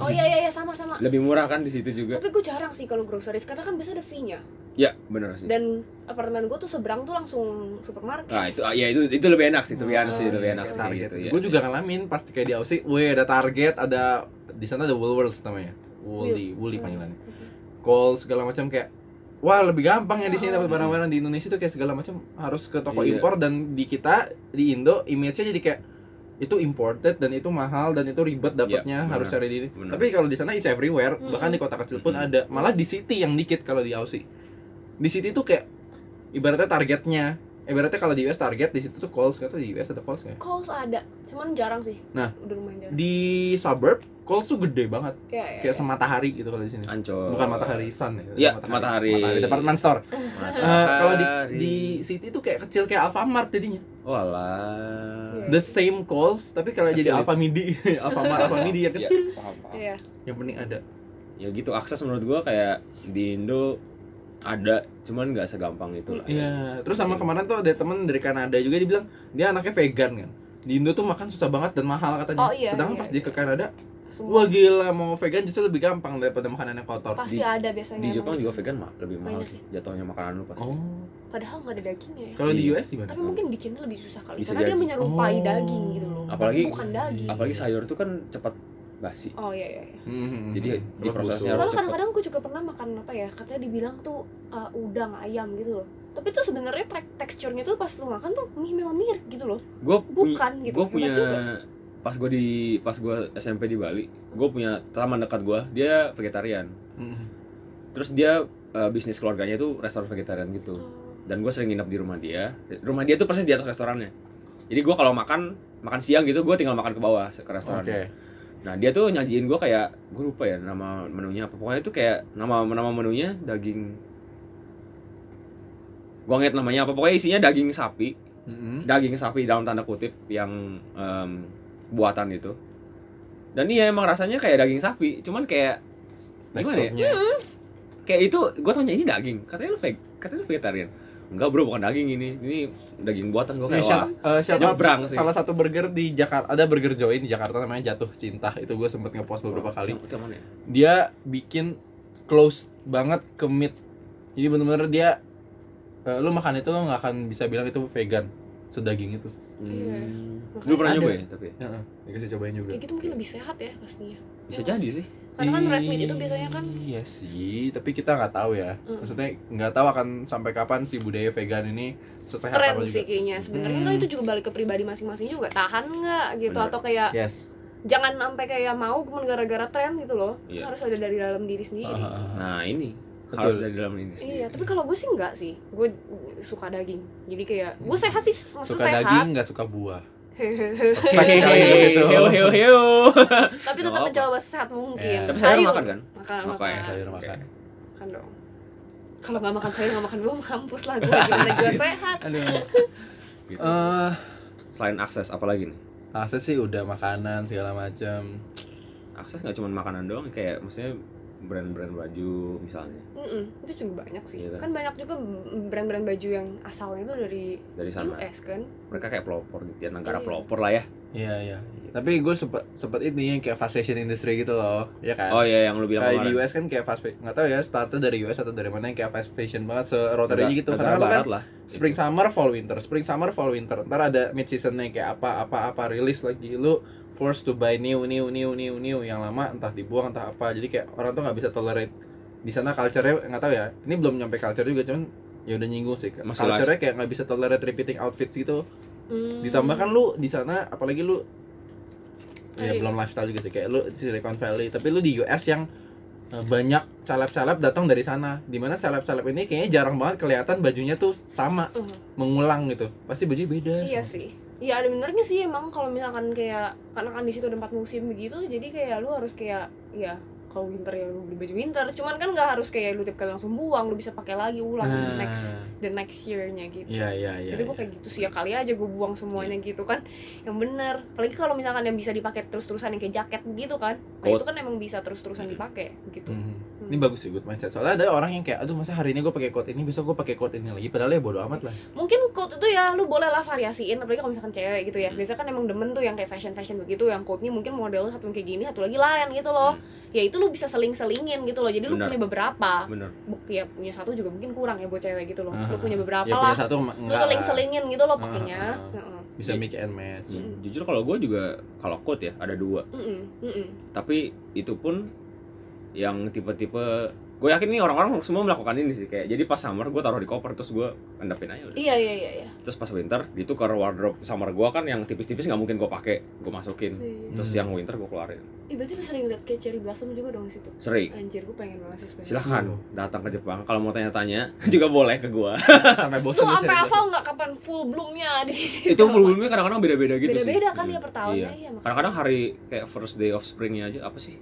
Speaker 3: Oh iya iya iya sama sama.
Speaker 2: lebih murah kan di situ juga
Speaker 3: Tapi gue jarang sih kalau groceries karena kan biasa ada fee-nya.
Speaker 2: ya bener sih
Speaker 3: Dan apartemen gue tuh seberang tuh langsung supermarket.
Speaker 2: nah itu ah,
Speaker 1: iya.
Speaker 2: ya itu itu lebih enak sih lebih enak sih
Speaker 3: Oh,
Speaker 2: lebih
Speaker 3: iya,
Speaker 2: enak
Speaker 3: iya,
Speaker 2: sih
Speaker 1: target
Speaker 2: gitu ya
Speaker 1: Gue juga ngalamin pasti kayak di Aussie, weh ada target, ada di sana ada Woolworths namanya. Woolly, Woolly
Speaker 3: Hmm.
Speaker 1: panggilannya. Call segala macam kayak Wah lebih gampang ya di sini dapat
Speaker 2: Hmm.
Speaker 1: barang-barang di Indonesia tuh kayak segala macam harus ke toko
Speaker 2: Iya.
Speaker 1: impor dan di kita di Indo image-nya jadi kayak itu imported dan itu mahal dan itu ribet dapatnya
Speaker 2: Iya,
Speaker 1: harus
Speaker 2: benar.
Speaker 1: cari di
Speaker 2: Benar.
Speaker 1: Tapi kalau di sana is everywhere,
Speaker 3: Mm-mm.
Speaker 1: bahkan di kota kecil pun
Speaker 2: Mm-mm.
Speaker 1: ada. Malah di city yang dikit kalau di Aussie. Di city tuh kayak ibaratnya targetnya ibaratnya kalau di US target di situ tuh Kohl's nggak tahu di US ada Kohl's nggak ya?
Speaker 3: Calls ada, cuman jarang sih.
Speaker 1: Nah.
Speaker 3: udah lumayan jarang.
Speaker 1: di suburb Kohl's tuh gede banget
Speaker 3: Ya, ya,
Speaker 1: kayak
Speaker 3: ya.
Speaker 1: sematahari gitu kalau di sini
Speaker 2: ancol
Speaker 1: bukan matahari sun ya
Speaker 2: Oh. Iya, Matahari.
Speaker 1: matahari department store Eh, kalau di di
Speaker 2: di
Speaker 1: city tuh kayak kecil kayak Alfamart jadinya
Speaker 2: Oh, walah
Speaker 3: Iya.
Speaker 1: the same Kohl's tapi kalau jadi
Speaker 2: Kecil.
Speaker 1: Alfamidi Alfamart Alfamidi yang kecil
Speaker 2: ya, paham, paham.
Speaker 3: Iya.
Speaker 1: yang penting ada
Speaker 2: ya gitu akses menurut gua kayak di Indo ada cuman nggak segampang itu lah
Speaker 1: Iya, terus sama kemarin tuh ada temen dari Kanada juga dia bilang dia anaknya vegan kan. Di Indo tuh makan susah banget dan mahal katanya.
Speaker 3: Oh, iya,
Speaker 1: Sedangkan
Speaker 3: iya,
Speaker 1: pas dia ke Kanada,
Speaker 3: Semua
Speaker 1: wah gila mau vegan justru lebih gampang daripada makanan yang kotor.
Speaker 3: pasti
Speaker 2: di-
Speaker 3: ada
Speaker 2: di
Speaker 3: biasanya. emang
Speaker 2: Jepang
Speaker 3: di
Speaker 2: juga
Speaker 3: sana.
Speaker 2: vegan mah lebih mahal
Speaker 3: Banyak
Speaker 2: sih jatuhnya makanan lu pasti
Speaker 1: Oh,
Speaker 3: Padahal nggak ada dagingnya ya.
Speaker 1: kalau di
Speaker 2: Iya.
Speaker 1: US gimana?
Speaker 3: Tapi mungkin bikinnya lebih susah kali.
Speaker 2: Bisa
Speaker 3: karena dia
Speaker 2: jadi.
Speaker 3: menyerupai
Speaker 1: Oh.
Speaker 3: daging gitu loh. Tapi
Speaker 2: Apalagi-
Speaker 3: bukan
Speaker 1: iya.
Speaker 3: daging.
Speaker 2: apalagi sayur tuh kan cepat basi
Speaker 3: Oh iya iya. iya.
Speaker 1: Mhm.
Speaker 2: Jadi,
Speaker 1: Tempat
Speaker 2: di prosesnya
Speaker 1: busuk.
Speaker 2: Iya, harus-
Speaker 3: Soalnya
Speaker 2: cepet.
Speaker 3: kadang-kadang gue juga pernah makan apa ya, katanya dibilang tuh uh, udang ayam gitu loh. Tapi tuh sebenarnya tek- teksturnya tuh pas lu makan tuh mie memang mirip gitu loh.
Speaker 2: gue
Speaker 3: Bukan gitu.
Speaker 2: gue
Speaker 3: hebat
Speaker 2: punya
Speaker 3: juga.
Speaker 2: pas gue di pas gue SMP di Bali gue punya teman dekat gue dia vegetarian
Speaker 1: Mhm.
Speaker 2: terus dia eh, bisnis keluarganya itu restoran vegetarian gitu
Speaker 3: Oh.
Speaker 2: dan gue sering nginep di rumah dia rumah dia tuh persis di atas restorannya jadi gue kalau makan makan siang gitu gue tinggal makan ke bawah ke restoran
Speaker 1: Oke.
Speaker 2: nah dia tuh nyajiin gue kayak gue lupa ya nama menunya apa pokoknya itu kayak nama nama menunya daging gue ngerti namanya apa pokoknya isinya daging sapi
Speaker 1: Mhm.
Speaker 2: daging sapi dalam tanda kutip yang em, buatan itu dan iya emang rasanya kayak daging sapi cuman kayak gimana ya
Speaker 1: Teksturnya.
Speaker 2: kayak itu gue tanya ini daging katanya lu veg katanya lu vegetarian enggak bro bukan daging ini ini daging buatan gue
Speaker 1: Ini
Speaker 2: kayak
Speaker 1: shout,
Speaker 2: wah
Speaker 1: eh, shout out
Speaker 2: Nyebrang sih.
Speaker 1: salah satu burger di Jakarta ada burger Joy di Jakarta namanya Jatuh Cinta itu gue sempet ngepost beberapa kali
Speaker 2: itu yang mana ya?
Speaker 1: dia bikin close banget ke meat jadi bener-bener dia eh, lu makan itu lu nggak akan bisa bilang itu vegan sedaging itu
Speaker 3: Iya.
Speaker 2: Hmm.
Speaker 3: Makanya
Speaker 2: lu pernah
Speaker 1: ada.
Speaker 2: nyoba ya tapi ya?
Speaker 1: Heeh, dikasih cobain juga
Speaker 3: Kayak gitu mungkin lebih sehat ya pastinya.
Speaker 2: bisa
Speaker 3: Ya,
Speaker 2: jadi sih
Speaker 3: Karena kan red meat itu biasanya kan
Speaker 1: iya sih tapi kita nggak tahu ya
Speaker 3: Mm.
Speaker 1: maksudnya nggak tahu akan sampai kapan si budaya vegan ini sesehat
Speaker 3: tren
Speaker 1: apa
Speaker 3: sih
Speaker 1: juga
Speaker 3: kayaknya. Sebenarnya kan
Speaker 1: Hmm.
Speaker 3: itu juga balik ke pribadi masing-masing juga. Tahan nggak gitu
Speaker 2: Bener.
Speaker 3: atau kayak
Speaker 1: yes
Speaker 3: jangan sampai kayak mau cuma gara-gara tren gitu loh. Kan
Speaker 2: Iya.
Speaker 3: Harus ada dari dalam diri sendiri.
Speaker 1: Ah,
Speaker 2: nah ini harus
Speaker 1: betul
Speaker 2: dari dalam ini sih.
Speaker 3: Iya, tapi kalau gue sih enggak sih. Gue suka daging. Jadi kayak gue
Speaker 1: Hmm.
Speaker 3: sehat sih, maksud
Speaker 1: suka
Speaker 3: sehat. Iya,
Speaker 1: daging nggak suka buah gitu. Fact sekali hidup
Speaker 2: Hehehe,
Speaker 1: itu.
Speaker 2: heo heo heo Nggak
Speaker 3: tapi tetap
Speaker 2: apa-apa.
Speaker 3: mencoba sehat mungkin.
Speaker 1: Iya. ya,
Speaker 2: tapi
Speaker 3: Sayur,
Speaker 2: saya makan kan
Speaker 3: makan,
Speaker 2: Makan,
Speaker 3: makan.
Speaker 1: sayur
Speaker 2: Oke.
Speaker 1: makan
Speaker 3: Makan dong. Kalau nggak makan sayur nggak makan buah kampus lah gue. Gimana gue sehat?
Speaker 1: aduh
Speaker 2: Gitu.
Speaker 1: eh
Speaker 2: selain akses apalagi nih
Speaker 1: akses sih udah makanan segala macam
Speaker 2: akses nggak cuma makanan doang kayak maksudnya brand-brand baju misalnya
Speaker 3: Mm-mm, itu juga banyak sih.
Speaker 2: Iya kan?
Speaker 3: Kan banyak juga brand-brand baju yang asalnya itu dari
Speaker 2: dari sana
Speaker 3: US kan.
Speaker 2: mereka kayak pelopor gitu ya negara
Speaker 3: Iya.
Speaker 2: pelopor lah ya
Speaker 1: iya iya Tapi gue sempet, sempet ini yang kayak fast fashion industry gitu loh, ya kan?
Speaker 2: Oh iya yang lu bilang
Speaker 1: kayak di US kan kayak fast fashion, nggak tahu ya startnya dari US atau dari mana yang kayak fast fashion banget se rotary
Speaker 2: Negara-
Speaker 1: gitu.
Speaker 2: negara
Speaker 1: Karena kan
Speaker 2: barat lah.
Speaker 1: spring summer fall winter spring summer fall winter ntar ada mid seasonnya kayak apa apa apa rilis lagi lu forced to buy new new new new new yang lama entah dibuang entah apa jadi kayak orang tuh nggak bisa tolerate di sana culture-nya nggak tahu ya ini belum nyampe culture juga cuman ya udah nyinggung sih
Speaker 2: Masih
Speaker 1: culture-nya kayak nggak bisa tolerate repeating outfits gitu
Speaker 3: Hmm.
Speaker 1: ditambah kan lu di sana apalagi lu ya
Speaker 3: Iya.
Speaker 1: belum lifestyle juga sih kayak lu di Silicon Valley tapi lu di US yang eh, banyak seleb-seleb datang dari sana dimana seleb-seleb ini kayaknya jarang banget kelihatan bajunya tuh sama
Speaker 3: Hmm.
Speaker 1: mengulang gitu pasti bajunya beda
Speaker 3: Iya
Speaker 1: semua.
Speaker 3: sih. Iya ada benernya sih emang kalau misalkan kayak karena kan di situ ada empat musim begitu, jadi kayak lu harus kayak ya kalau winter ya lu beli baju winter. Cuman kan nggak harus kayak lu tiap kali langsung buang, lu bisa pakai lagi ulang
Speaker 1: Nah,
Speaker 3: next the next year-nya gitu.
Speaker 1: iya iya iya
Speaker 3: Jadi gue kayak gitu sih ya kali aja gue buang semuanya gitu kan yang bener apalagi kalau misalkan yang bisa dipakai terus-terusan yang kayak jaket gitu kan nah
Speaker 2: Coat.
Speaker 3: itu kan emang bisa terus-terusan dipakai gitu
Speaker 1: Mhm. ini bagus sih good mindset soalnya ada orang yang kayak aduh masa hari ini gue pakai coat ini besok gue pakai coat ini lagi padahal ya bodo amat lah
Speaker 3: mungkin coat itu ya lu boleh lah variasiin apalagi kalau misalkan cewek gitu ya biasanya kan emang demen tuh yang kayak fashion fashion begitu yang coatnya mungkin modelnya satu yang kayak gini satu lagi lain gitu loh ya itu lu bisa seling selingin gitu loh jadi lu
Speaker 2: Benar.
Speaker 3: punya beberapa
Speaker 2: Bener.
Speaker 3: Bu- ya punya satu juga mungkin kurang ya buat cewek gitu loh lu
Speaker 1: Aha.
Speaker 3: punya beberapa
Speaker 1: ya punya
Speaker 3: lah
Speaker 1: satu ma-
Speaker 3: lu
Speaker 1: enggak
Speaker 3: seling
Speaker 1: lah.
Speaker 3: selingin gitu loh
Speaker 1: Ah,
Speaker 3: pakainya
Speaker 1: ah,
Speaker 3: Heeh.
Speaker 1: bisa mix and match
Speaker 3: Iya.
Speaker 2: Hmm, Jujur kalau gue juga kalau coat ya ada dua.
Speaker 3: Mm-mm, mm-mm.
Speaker 2: Tapi itu pun yang tipe-tipe gue yakin nih orang-orang semua melakukan ini sih kayak jadi pas summer gue taruh di koper terus gue endapin aja udah.
Speaker 3: iya iya iya iya
Speaker 2: terus pas winter itu ke wardrobe summer gue kan yang tipis-tipis nggak mungkin gue pakai gue masukin
Speaker 3: Iya.
Speaker 2: terus
Speaker 1: Hmm.
Speaker 2: yang winter gue keluarin
Speaker 3: Ih, berarti lu sering liat kayak cherry blossom juga dong di situ
Speaker 2: sering
Speaker 3: anjir gue pengen banget sih sebenarnya
Speaker 2: silahkan datang ke Jepang kalau mau tanya-tanya juga boleh ke gue
Speaker 1: sampai
Speaker 3: lu
Speaker 1: bosan
Speaker 3: sampai hafal nggak kapan full bloomnya di sini
Speaker 2: itu full moonnya kadang-kadang beda-beda gitu sih
Speaker 3: beda-beda kan ya per
Speaker 2: Iya.
Speaker 3: tahunnya iya makanya.
Speaker 2: kadang-kadang hari kayak first day of springnya aja apa sih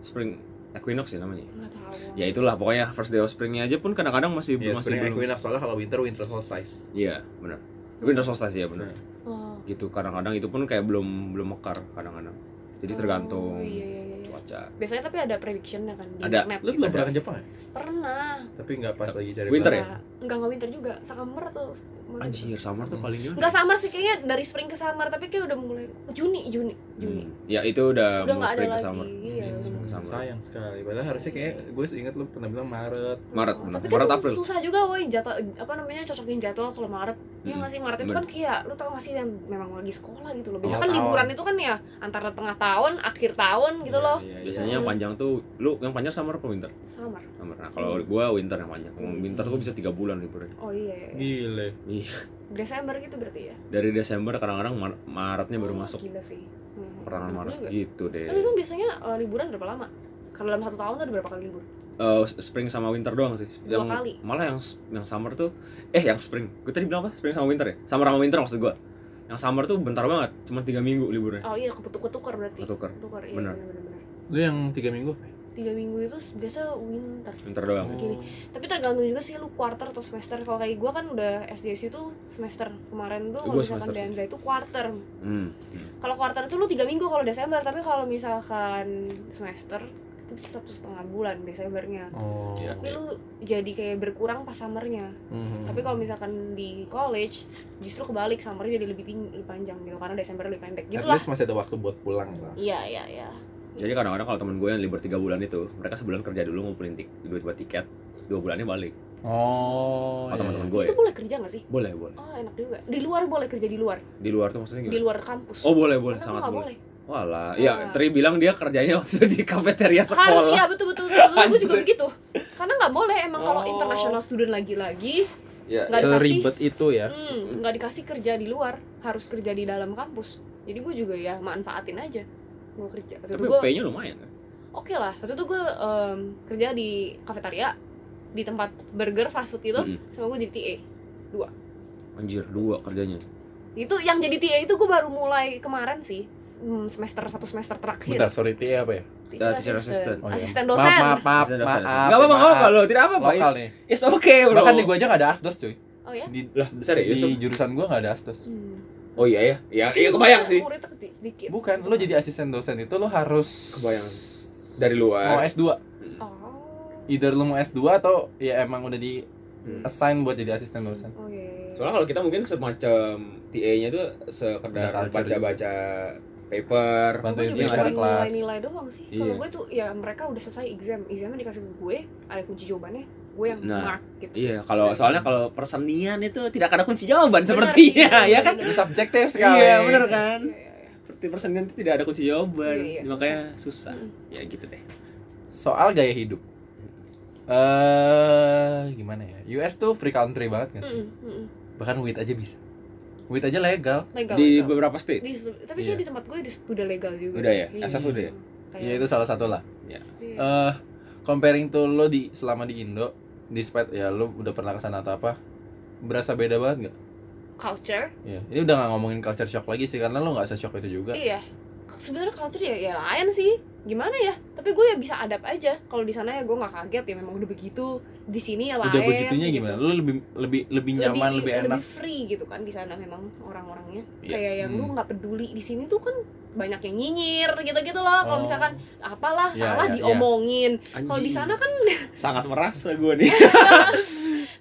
Speaker 2: spring equinox ya namanya
Speaker 3: nggak tahu
Speaker 2: ya itulah pokoknya first day of springnya aja pun kadang-kadang masih
Speaker 1: ya
Speaker 2: masih
Speaker 1: spring
Speaker 2: belum
Speaker 1: equinox soalnya kalau winter winter solstice
Speaker 2: iya benar winter solstice ya benar
Speaker 3: Oh.
Speaker 2: gitu kadang-kadang itu pun kayak belum belum mekar kadang-kadang jadi
Speaker 3: Oh,
Speaker 2: tergantung
Speaker 3: iya, iya, iya.
Speaker 2: cuaca
Speaker 3: biasanya tapi ada predictionnya kan di
Speaker 2: Ada.
Speaker 3: internet
Speaker 1: lu
Speaker 3: gitu.
Speaker 1: belum pernah ke Jepang ya
Speaker 3: pernah
Speaker 1: tapi nggak pas lagi cari
Speaker 2: Winter
Speaker 1: bahasa.
Speaker 2: ya?
Speaker 3: enggak enggak winter juga summer atau mana gitu.
Speaker 2: anjir summer tuh paling gimana
Speaker 3: enggak summer sih kayaknya dari spring ke summer tapi kayak udah mulai Juni Juni Juni
Speaker 2: Hmm. ya itu udah,
Speaker 3: udah
Speaker 2: mau
Speaker 3: nggak ada
Speaker 2: spring ke
Speaker 3: lagi
Speaker 2: summer
Speaker 3: iya
Speaker 1: Hmm,
Speaker 3: udah mau-
Speaker 2: ya? Sama.
Speaker 1: sayang sekali padahal harusnya kayak gue ingat lu pernah bilang Maret
Speaker 2: Maret,
Speaker 3: Oh,
Speaker 2: benar.
Speaker 3: tapi
Speaker 2: Maret,
Speaker 3: kan
Speaker 2: April.
Speaker 3: susah juga woi jadwal apa namanya cocokin jadwal kalau Maret Iya
Speaker 2: Mm-mm.
Speaker 3: nggak sih Maret itu
Speaker 2: Bener.
Speaker 3: kan kayak lu tau gak sih yang memang lagi sekolah
Speaker 2: Oh,
Speaker 3: gitu loh. Biasa
Speaker 1: Awal
Speaker 3: kan
Speaker 1: tahun.
Speaker 3: liburan itu kan ya antara tengah tahun, akhir tahun gitu
Speaker 1: Iya,
Speaker 3: loh.
Speaker 1: iya, iya.
Speaker 2: biasanya yang
Speaker 3: Hmm.
Speaker 2: panjang tuh lu yang panjang summer apa winter
Speaker 3: Summer.
Speaker 2: summer nah kalau
Speaker 3: Hmm.
Speaker 2: gua winter yang panjang winter gua bisa tiga bulan liburan
Speaker 3: Oh iya. iya.
Speaker 1: gile
Speaker 3: Desember gitu berarti ya.
Speaker 2: dari Desember kadang-kadang Mar- Maretnya baru
Speaker 3: Oh,
Speaker 2: masuk
Speaker 3: Gila sih. Hmm,
Speaker 2: pertengahan
Speaker 3: bener
Speaker 2: Maret
Speaker 3: juga.
Speaker 2: gitu deh
Speaker 3: Tapi emang biasanya uh, liburan berapa lama? Kalau dalam satu tahun tuh ada berapa kali libur?
Speaker 2: Eh, spring sama winter doang sih
Speaker 3: Dua
Speaker 2: yang
Speaker 3: kali.
Speaker 2: malah yang yang summer tuh eh yang spring gue tadi bilang apa spring sama winter ya summer sama winter maksud gua yang summer tuh bentar banget cuma tiga minggu liburnya
Speaker 3: Oh iya, ketukar berarti.
Speaker 2: ketuker
Speaker 3: Ketukar, iya
Speaker 2: Bener.
Speaker 3: benar-benar.
Speaker 1: lu yang tiga minggu apa ya? Oh,
Speaker 3: Tiga minggu itu s- biasa winter.
Speaker 2: winter doang
Speaker 3: Gini. Tapi tergantung juga sih lu quarter atau semester. Kalau kayak gua kan udah SDSU itu semester kemarin tuh
Speaker 2: Gua
Speaker 3: kalau misalkan
Speaker 2: semester.
Speaker 3: Danza itu quarter.
Speaker 2: hmm. Hmm.
Speaker 3: Kalau quarter itu lu tiga minggu kalau Desember, tapi kalau misalkan semester itu bisa satu setengah bulan Desembernya.
Speaker 1: oh
Speaker 2: Iya.
Speaker 3: Tapi lu jadi kayak berkurang pas summernya.
Speaker 2: Hmm.
Speaker 1: Mhm.
Speaker 3: Tapi kalau misalkan di college justru kebalik summernya jadi lebih tinggi, lebih panjang gitu karena Desember lebih pendek gitu
Speaker 1: At
Speaker 3: lah.
Speaker 1: least masih ada waktu buat pulang lah.
Speaker 3: Iya iya iya.
Speaker 2: jadi kadang-kadang kalau temen gue yang libur tiga bulan itu mereka sebulan kerja dulu ngumpulin tik- duit buat tiket dua bulannya balik
Speaker 1: Oh,
Speaker 2: Atau teman-teman gue ya?
Speaker 3: Terus itu boleh kerja nggak sih?
Speaker 2: boleh boleh
Speaker 3: Oh enak juga. Di luar boleh kerja di luar,
Speaker 2: di luar tuh maksudnya
Speaker 3: di
Speaker 2: gimana
Speaker 3: luar kampus.
Speaker 2: Iya. oh boleh boleh
Speaker 3: Karena
Speaker 2: sangat
Speaker 3: gua nggak
Speaker 2: boleh
Speaker 3: boleh.
Speaker 2: Walah,
Speaker 3: Ah.
Speaker 2: ya Tri bilang dia kerjanya waktu itu di kafeteria
Speaker 3: Harus
Speaker 2: sekolah.
Speaker 3: iya betul betul. betul. Gue juga
Speaker 2: Anjir.
Speaker 3: begitu. Karena nggak boleh emang kalau
Speaker 2: Oh.
Speaker 3: international student lagi-lagi
Speaker 2: Ya,
Speaker 3: nggak dikasih.
Speaker 1: seribet itu ya.
Speaker 3: hmm, nggak dikasih kerja di luar, harus kerja di dalam kampus. Jadi gue juga ya manfaatin aja gue kerja. Waktu itu
Speaker 2: tapi
Speaker 3: gue
Speaker 2: pay-nya lumayan. kan?
Speaker 3: oke lah. Waktu itu gue em, kerja di kafetaria di tempat burger fast food gitu
Speaker 2: Mm-mm.
Speaker 3: sama gue jadi TA.
Speaker 2: Hmm. Anjir, dua kerjanya.
Speaker 3: Itu yang jadi TA itu gue baru mulai kemarin sih. Hmm, semester satu semester
Speaker 1: Bentar,
Speaker 3: terakhir.
Speaker 1: sorry TA apa ya?
Speaker 2: Nah, teacher assistant.
Speaker 1: Oh, iya.
Speaker 3: Assistant
Speaker 1: Maaf,
Speaker 3: dosen.
Speaker 1: maaf, maaf, maaf.
Speaker 2: Dosen, dosen, dosen.
Speaker 1: maaf,
Speaker 2: Nggak apa-apa, nggak apa-apa
Speaker 1: maaf.
Speaker 2: lo, tidak apa-apa.
Speaker 1: Lokal
Speaker 2: It's,
Speaker 1: nih.
Speaker 2: it's okay, bro.
Speaker 1: Bahkan di gua aja nggak ada asdos cuy.
Speaker 3: Oh ya?
Speaker 1: Di,
Speaker 2: Lah, serius?
Speaker 1: di jurusan gua nggak ada asdos.
Speaker 3: Hmm.
Speaker 2: Oh iya ya. Ya,
Speaker 3: Mungkin
Speaker 2: iya kebayang sih.
Speaker 3: muridnya keti- sedikit.
Speaker 1: Bukan, lo jadi asisten dosen itu lo harus
Speaker 2: Kebayang. Dari luar.
Speaker 1: Mau
Speaker 2: Hmm.
Speaker 1: S2.
Speaker 3: eh. Oh.
Speaker 1: Either lo mau S2 atau ya emang udah di
Speaker 2: Hmm.
Speaker 1: assign buat jadi asisten dosen.
Speaker 3: Oh iya. iya, iya.
Speaker 2: Soalnya kalau kita mungkin semacam TA-nya tuh sekedar
Speaker 1: Udah culture
Speaker 2: baca-baca paper
Speaker 1: Bantuin
Speaker 3: Gua
Speaker 1: bikin
Speaker 3: juga
Speaker 1: ngasih
Speaker 3: cuma
Speaker 1: kelas.
Speaker 3: nilai-nilai doang sih kalau
Speaker 1: Iya.
Speaker 3: gue tuh ya mereka udah selesai exam examnya dikasih ke gue ada kunci jawabannya gue yang
Speaker 2: Nah,
Speaker 3: mark gitu
Speaker 2: Iya, kalau soalnya kalau persenian itu tidak ada kunci jawaban
Speaker 3: Benar
Speaker 2: sepertinya,
Speaker 3: sih,
Speaker 2: ya kan?
Speaker 3: benar.
Speaker 1: subjektif sekali
Speaker 2: Iya, benar kan?
Speaker 3: Iya, iya, iya.
Speaker 2: Seperti persenian itu tidak ada kunci jawaban,
Speaker 3: Iya, iya, susah.
Speaker 2: makanya susah.
Speaker 3: Mm.
Speaker 2: Ya gitu deh.
Speaker 1: soal gaya hidup eh gimana ya US tuh free country banget nggak sih
Speaker 3: Mm-mm, mm-mm.
Speaker 1: bahkan weed aja bisa weed aja legal
Speaker 3: legal
Speaker 2: Di
Speaker 3: legal.
Speaker 2: beberapa state.
Speaker 3: Di- tapi dia
Speaker 1: Iya.
Speaker 3: di tempat gue dis- udah legal juga
Speaker 2: Udah
Speaker 3: sih. Iya,
Speaker 2: ya? SF udah ya?
Speaker 3: Kayak-
Speaker 1: ya itu salah satu lah
Speaker 3: iya.
Speaker 1: eh comparing to lo di selama di Indo despite ya lo udah pernah kesana atau apa berasa beda banget nggak
Speaker 3: culture
Speaker 1: Iya, ini udah nggak ngomongin culture shock lagi sih karena lo nggak shock itu juga.
Speaker 3: iya sebenarnya culture ya ya lain sih gimana ya tapi gue ya bisa adapt aja kalau di sana ya gue nggak kaget ya memang udah begitu di sini ya lain
Speaker 1: Udah begitunya
Speaker 3: gitu.
Speaker 1: gimana? Lo lebih lebih lebih nyaman, lebih, enak.
Speaker 3: free gitu kan di sana memang orang-orangnya
Speaker 2: Iya.
Speaker 3: kayak yang lu
Speaker 1: Hmm.
Speaker 3: nggak peduli di sini tuh kan banyak yang nyinyir gitu-gitu loh kalau
Speaker 1: Oh.
Speaker 3: misalkan apalah
Speaker 1: Iya,
Speaker 3: salah
Speaker 1: iya, iya.
Speaker 3: diomongin kalau di
Speaker 2: Anjing,
Speaker 3: sana kan
Speaker 2: sangat merasa gue nih.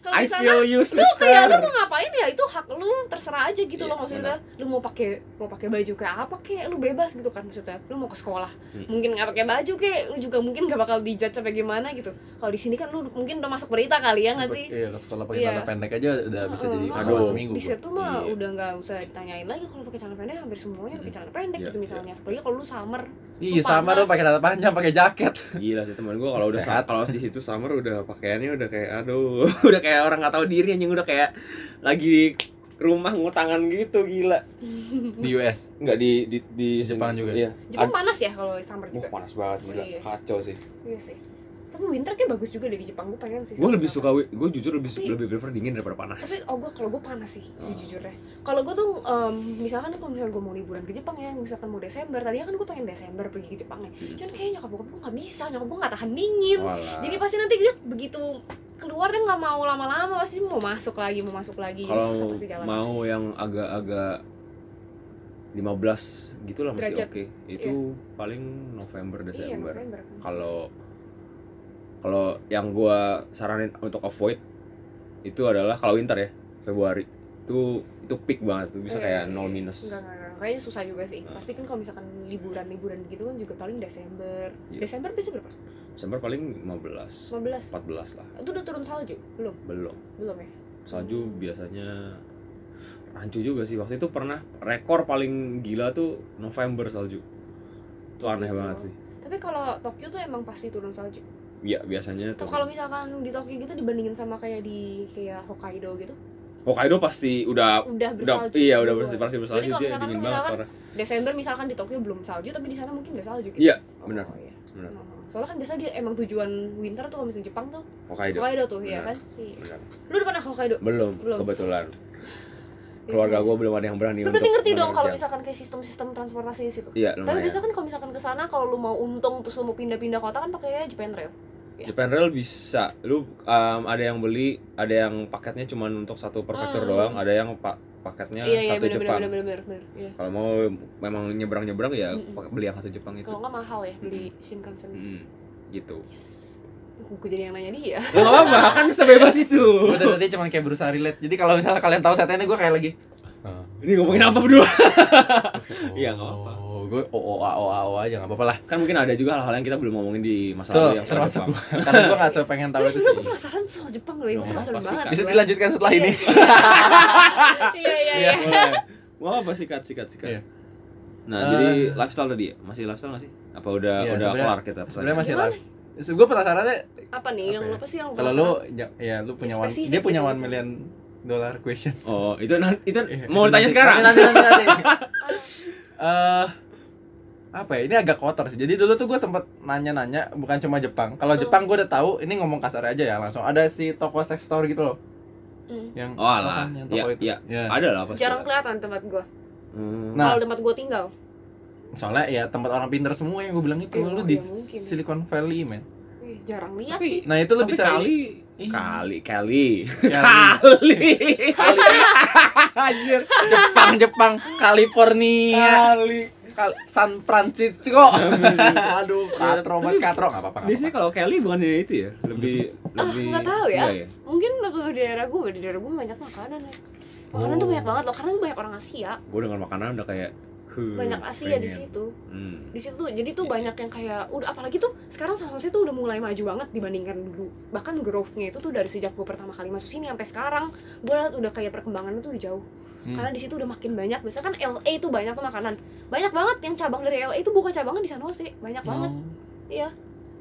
Speaker 3: kalau
Speaker 2: I
Speaker 3: di sana
Speaker 2: feel you,
Speaker 3: lu kayak lu
Speaker 2: sister.
Speaker 3: mau ngapain ya itu hak lu terserah aja gitu
Speaker 2: Iya,
Speaker 3: loh maksudnya lu mau pakai mau pakai baju kayak apa kayak lu bebas gitu kan maksudnya lu mau ke sekolah
Speaker 2: Hmm.
Speaker 3: mungkin nggak pakai baju kayak lu juga mungkin nggak bakal dijudge sampai gimana gitu kalau di sini kan lu mungkin udah masuk berita kali ya nggak sih
Speaker 1: Iya, ke sekolah pakai
Speaker 3: Iya. Oh,
Speaker 1: celana pendek aja udah bisa
Speaker 3: Heeh,
Speaker 1: jadi
Speaker 3: heeh.
Speaker 1: pahlawan
Speaker 2: Aduh.
Speaker 1: seminggu.
Speaker 3: di
Speaker 1: gua.
Speaker 3: situ mah
Speaker 2: Iya.
Speaker 3: udah nggak usah ditanyain lagi kalau pakai celana pendek hampir semuanya pakai
Speaker 2: Mm.
Speaker 3: celana pendek
Speaker 2: Iya,
Speaker 3: gitu misalnya apalagi kalau lu summer
Speaker 1: Iya,
Speaker 3: Lu
Speaker 1: sama
Speaker 3: panas.
Speaker 1: lo pakai celana panjang, pakai jaket.
Speaker 2: Gila sih teman gue kalau udah
Speaker 1: Sehat.
Speaker 2: kalau di situ summer udah pakaiannya udah kayak aduh, udah kayak orang nggak tahu diri anjing udah kayak lagi di rumah ngutangan gitu gila.
Speaker 1: Di
Speaker 2: Iya.
Speaker 1: US.
Speaker 2: Enggak di di di
Speaker 1: Jepang juga.
Speaker 2: Iya.
Speaker 3: Jepang panas ya kalau summer
Speaker 2: Wah,
Speaker 3: juga
Speaker 2: panas banget gila.
Speaker 3: Iya.
Speaker 2: Kacau sih.
Speaker 3: iya sih tapi winter kayak bagus juga deh di Jepang gue pengen sih
Speaker 2: Gue lebih suka gue jujur lebih
Speaker 3: Tapi-
Speaker 2: lebih prefer dingin daripada panas.
Speaker 3: tapi oh gue kalau gue panas sih sejujurnya kalau gue tuh em, misalkan kalau misalkan gue mau liburan ke Jepang ya misalkan mau Desember tadinya kan gue pengen Desember pergi ke Jepang ya
Speaker 2: Hmm. Oh.
Speaker 3: cuman kayaknya nyokap bokap gue nggak bisa nyokap gue nggak tahan dingin
Speaker 2: Walah.
Speaker 3: jadi pasti nanti dia begitu keluar dia nggak mau lama-lama pasti mau masuk lagi mau masuk lagi Jadi susah
Speaker 2: kalau
Speaker 3: pasti jalan Iya,
Speaker 2: mau yang agak-agak 15 gitu lah masih
Speaker 3: Derajat.
Speaker 2: oke. Itu paling November
Speaker 3: iya
Speaker 2: Desember.
Speaker 3: November kan.
Speaker 2: Kalau kalau yang gua saranin untuk avoid itu adalah kalau winter ya, Februari. Itu itu peak banget tuh bisa
Speaker 3: Iya,
Speaker 2: kayak
Speaker 3: iya,
Speaker 2: nol
Speaker 3: iya.
Speaker 2: minus.
Speaker 3: Enggak, enggak, enggak. Kayaknya susah juga sih.
Speaker 2: Nah.
Speaker 3: Pasti kan kalau misalkan liburan-liburan gitu kan juga paling Desember.
Speaker 2: Iya.
Speaker 3: Desember biasanya berapa?
Speaker 2: Desember paling 15,
Speaker 3: 15.
Speaker 2: 14 lah.
Speaker 3: Itu udah turun salju? Belum,
Speaker 2: Belum.
Speaker 3: belum ya.
Speaker 2: salju biasanya rancu juga sih waktu itu pernah rekor paling gila tuh November salju itu aneh
Speaker 3: Gitu.
Speaker 2: banget sih
Speaker 3: Tapi kalau Tokyo tuh emang pasti turun salju.
Speaker 2: iya biasanya
Speaker 3: Tuh
Speaker 2: tuh
Speaker 3: kalau misalkan di Tokyo gitu dibandingin sama kayak di kayak Hokkaido gitu,
Speaker 2: Hokkaido pasti udah
Speaker 3: udah
Speaker 2: udah
Speaker 3: bersalju.
Speaker 2: iya udah
Speaker 3: duluan.
Speaker 2: pasti pasti bersalju
Speaker 3: kalau
Speaker 2: dia
Speaker 3: misalkan
Speaker 2: dingin
Speaker 3: lu
Speaker 2: banget
Speaker 3: misalkan-
Speaker 2: parah
Speaker 3: Desember misalkan di Tokyo belum salju tapi di sana mungkin udah salju gitu.
Speaker 2: Iya, benar,
Speaker 3: Oh, iya.
Speaker 2: benar.
Speaker 3: Oh, Soalnya kan biasa dia emang tujuan winter tuh kalau misalnya Jepang tuh
Speaker 2: Hokkaido
Speaker 3: Hokkaido tuh ya
Speaker 2: Benar.
Speaker 3: kan. Iya.
Speaker 2: Benar.
Speaker 3: Lu udah pernah ke Hokkaido?
Speaker 2: belum,
Speaker 3: Belum.
Speaker 2: kebetulan keluarga gue belum ada yang berani
Speaker 3: Iya. Lu
Speaker 2: untuk
Speaker 3: berarti ngerti dong kalau
Speaker 2: menerjang.
Speaker 3: misalkan kayak sistem-sistem transportasi di situ.
Speaker 2: iya
Speaker 3: Tapi
Speaker 2: lumayan
Speaker 3: biasanya kan kalau misalkan ke sana kalau lu mau untung terus lu mau pindah-pindah kota kan pakainya Japan Rail.
Speaker 2: Japan Rail bisa lu um, ada yang beli ada yang paketnya cuma untuk satu prefektur
Speaker 3: Hmm.
Speaker 2: doang ada yang pa- paketnya
Speaker 3: Iya iya
Speaker 2: Ya, satu Jepang
Speaker 3: benar-benar benar-benar benar. Iya.
Speaker 2: kalau mau memang nyebrang nyebrang ya
Speaker 3: Mm-mm.
Speaker 2: pakai- beli yang satu Jepang itu
Speaker 3: Kalau nggak mahal ya beli Shinkansen.
Speaker 2: Mm, gitu
Speaker 3: Gue jadi yang nanya
Speaker 1: Ya,
Speaker 3: dia.
Speaker 2: nggak apa-apa kan sebebas itu
Speaker 1: Gue tadi cuma kayak berusaha relate. Jadi kalau misalnya kalian tahu setnya gue kayak lagi. "Ah,
Speaker 2: ini ngomongin apa berdua Iya, nggak apa-apa.
Speaker 1: Oh, gue o o a o a o aja nggak apa-apa lah.
Speaker 2: kan mungkin ada juga hal-hal yang kita belum ngomongin di masa
Speaker 1: Tuh,
Speaker 2: lalu yang soal
Speaker 1: termasuk
Speaker 2: Jepang
Speaker 1: gue. Karena gue nggak sepengen tahu
Speaker 3: Terus
Speaker 1: itu
Speaker 3: sebenernya
Speaker 1: sih.
Speaker 3: gue penasaran sama Jepang loh, gue
Speaker 2: Nggak
Speaker 3: penasaran
Speaker 2: apa-apa sih,
Speaker 3: banget.
Speaker 2: Kak.
Speaker 1: Bisa dilanjutkan setelah ini.
Speaker 3: Iya iya iya.
Speaker 2: boleh nggak apa sikat sikat sikat
Speaker 1: Iya.
Speaker 2: nah
Speaker 1: Eh.
Speaker 2: jadi lifestyle tadi ya? masih lifestyle nggak sih apa udah
Speaker 1: Iya,
Speaker 2: udah
Speaker 1: sebenarnya-
Speaker 2: kelar kita
Speaker 1: Sebenarnya
Speaker 2: pesannya?
Speaker 1: masih
Speaker 3: Gimana?
Speaker 1: live. Gue penasarannya
Speaker 3: Apa nih
Speaker 1: Apa
Speaker 3: yang
Speaker 1: ya?
Speaker 3: lo pasti yang
Speaker 1: kalau lu
Speaker 3: penasaran?
Speaker 1: ja- ya lu punya
Speaker 3: Ya,
Speaker 1: one,
Speaker 3: spesifik
Speaker 1: dia punya
Speaker 3: gitu
Speaker 1: 1
Speaker 3: maksudnya.
Speaker 1: million dollar question.
Speaker 2: oh itu nanti itu
Speaker 1: Iya,
Speaker 2: mau
Speaker 1: itu
Speaker 2: ditanya
Speaker 1: nanti-
Speaker 2: sekarang
Speaker 1: Nanti nanti nanti. nanti.
Speaker 3: Ah,
Speaker 1: Eh, apa ya? Ini agak kotor sih. Jadi dulu tuh gue sempet nanya-nanya bukan cuma Jepang. Kalau
Speaker 3: Betul.
Speaker 1: Jepang gue udah tahu, ini ngomong kasar aja ya langsung. Ada si toko sex store gitu loh
Speaker 3: mm.
Speaker 1: yang
Speaker 2: oh alah
Speaker 1: alasan yang
Speaker 2: ya
Speaker 1: toko itu.
Speaker 2: ya
Speaker 1: Ya.
Speaker 2: ada lah pasti
Speaker 3: Jarang
Speaker 2: lah.
Speaker 3: kelihatan tempat gue.
Speaker 2: Hmm.
Speaker 1: Nah.
Speaker 3: Kalau tempat gue tinggal.
Speaker 1: Soalnya ya tempat orang pinter semua yang gue bilang itu
Speaker 3: Eh,
Speaker 1: lu
Speaker 3: oh,
Speaker 1: di
Speaker 3: ya mungkin.
Speaker 1: Silicon Valley, men.
Speaker 3: Eh, jarang lihat sih.
Speaker 2: tapi
Speaker 1: Nah, itu lu
Speaker 2: tapi
Speaker 1: bisa
Speaker 2: kali
Speaker 1: Ih,
Speaker 2: kali kali
Speaker 1: kali.
Speaker 2: kali anjir
Speaker 1: Jepang, Jepang, California,
Speaker 2: kali
Speaker 1: Kal- San Francisco. Aduh, katro
Speaker 2: Tapi-
Speaker 1: banget katro enggak apa-apa. nggak
Speaker 2: biasanya
Speaker 1: apa-apa.
Speaker 2: kalau Kelly bukan itu ya lebih
Speaker 3: Ah,
Speaker 2: lebih
Speaker 3: nggak tahu ya.
Speaker 2: Nggak
Speaker 3: Mungkin waktu di daerah gue, di daerah gue banyak makanan ya. Makanan tuh
Speaker 1: Oh. Hmm,
Speaker 3: banyak banget loh, karena banyak orang Asia.
Speaker 2: gue dengar makanan udah kayak Huh,
Speaker 3: banyak Asia di
Speaker 1: ya.
Speaker 2: pengen.
Speaker 3: situ
Speaker 2: Hmm.
Speaker 3: di situ tuh jadi
Speaker 1: Iya.
Speaker 3: tuh banyak yang kayak udah apalagi tuh sekarang Sanhose tuh udah mulai maju banget dibandingkan dulu bahkan growth-nya itu tuh dari sejak gue pertama kali masuk sini sampai sekarang gue liat udah kayak perkembangannya tuh udah jauh
Speaker 1: Hmm.
Speaker 3: karena di situ udah makin banyak biasanya kan LA tuh banyak tuh makanan banyak banget yang cabang dari LA itu buka cabangnya di San Jose
Speaker 1: Oh.
Speaker 3: banyak banget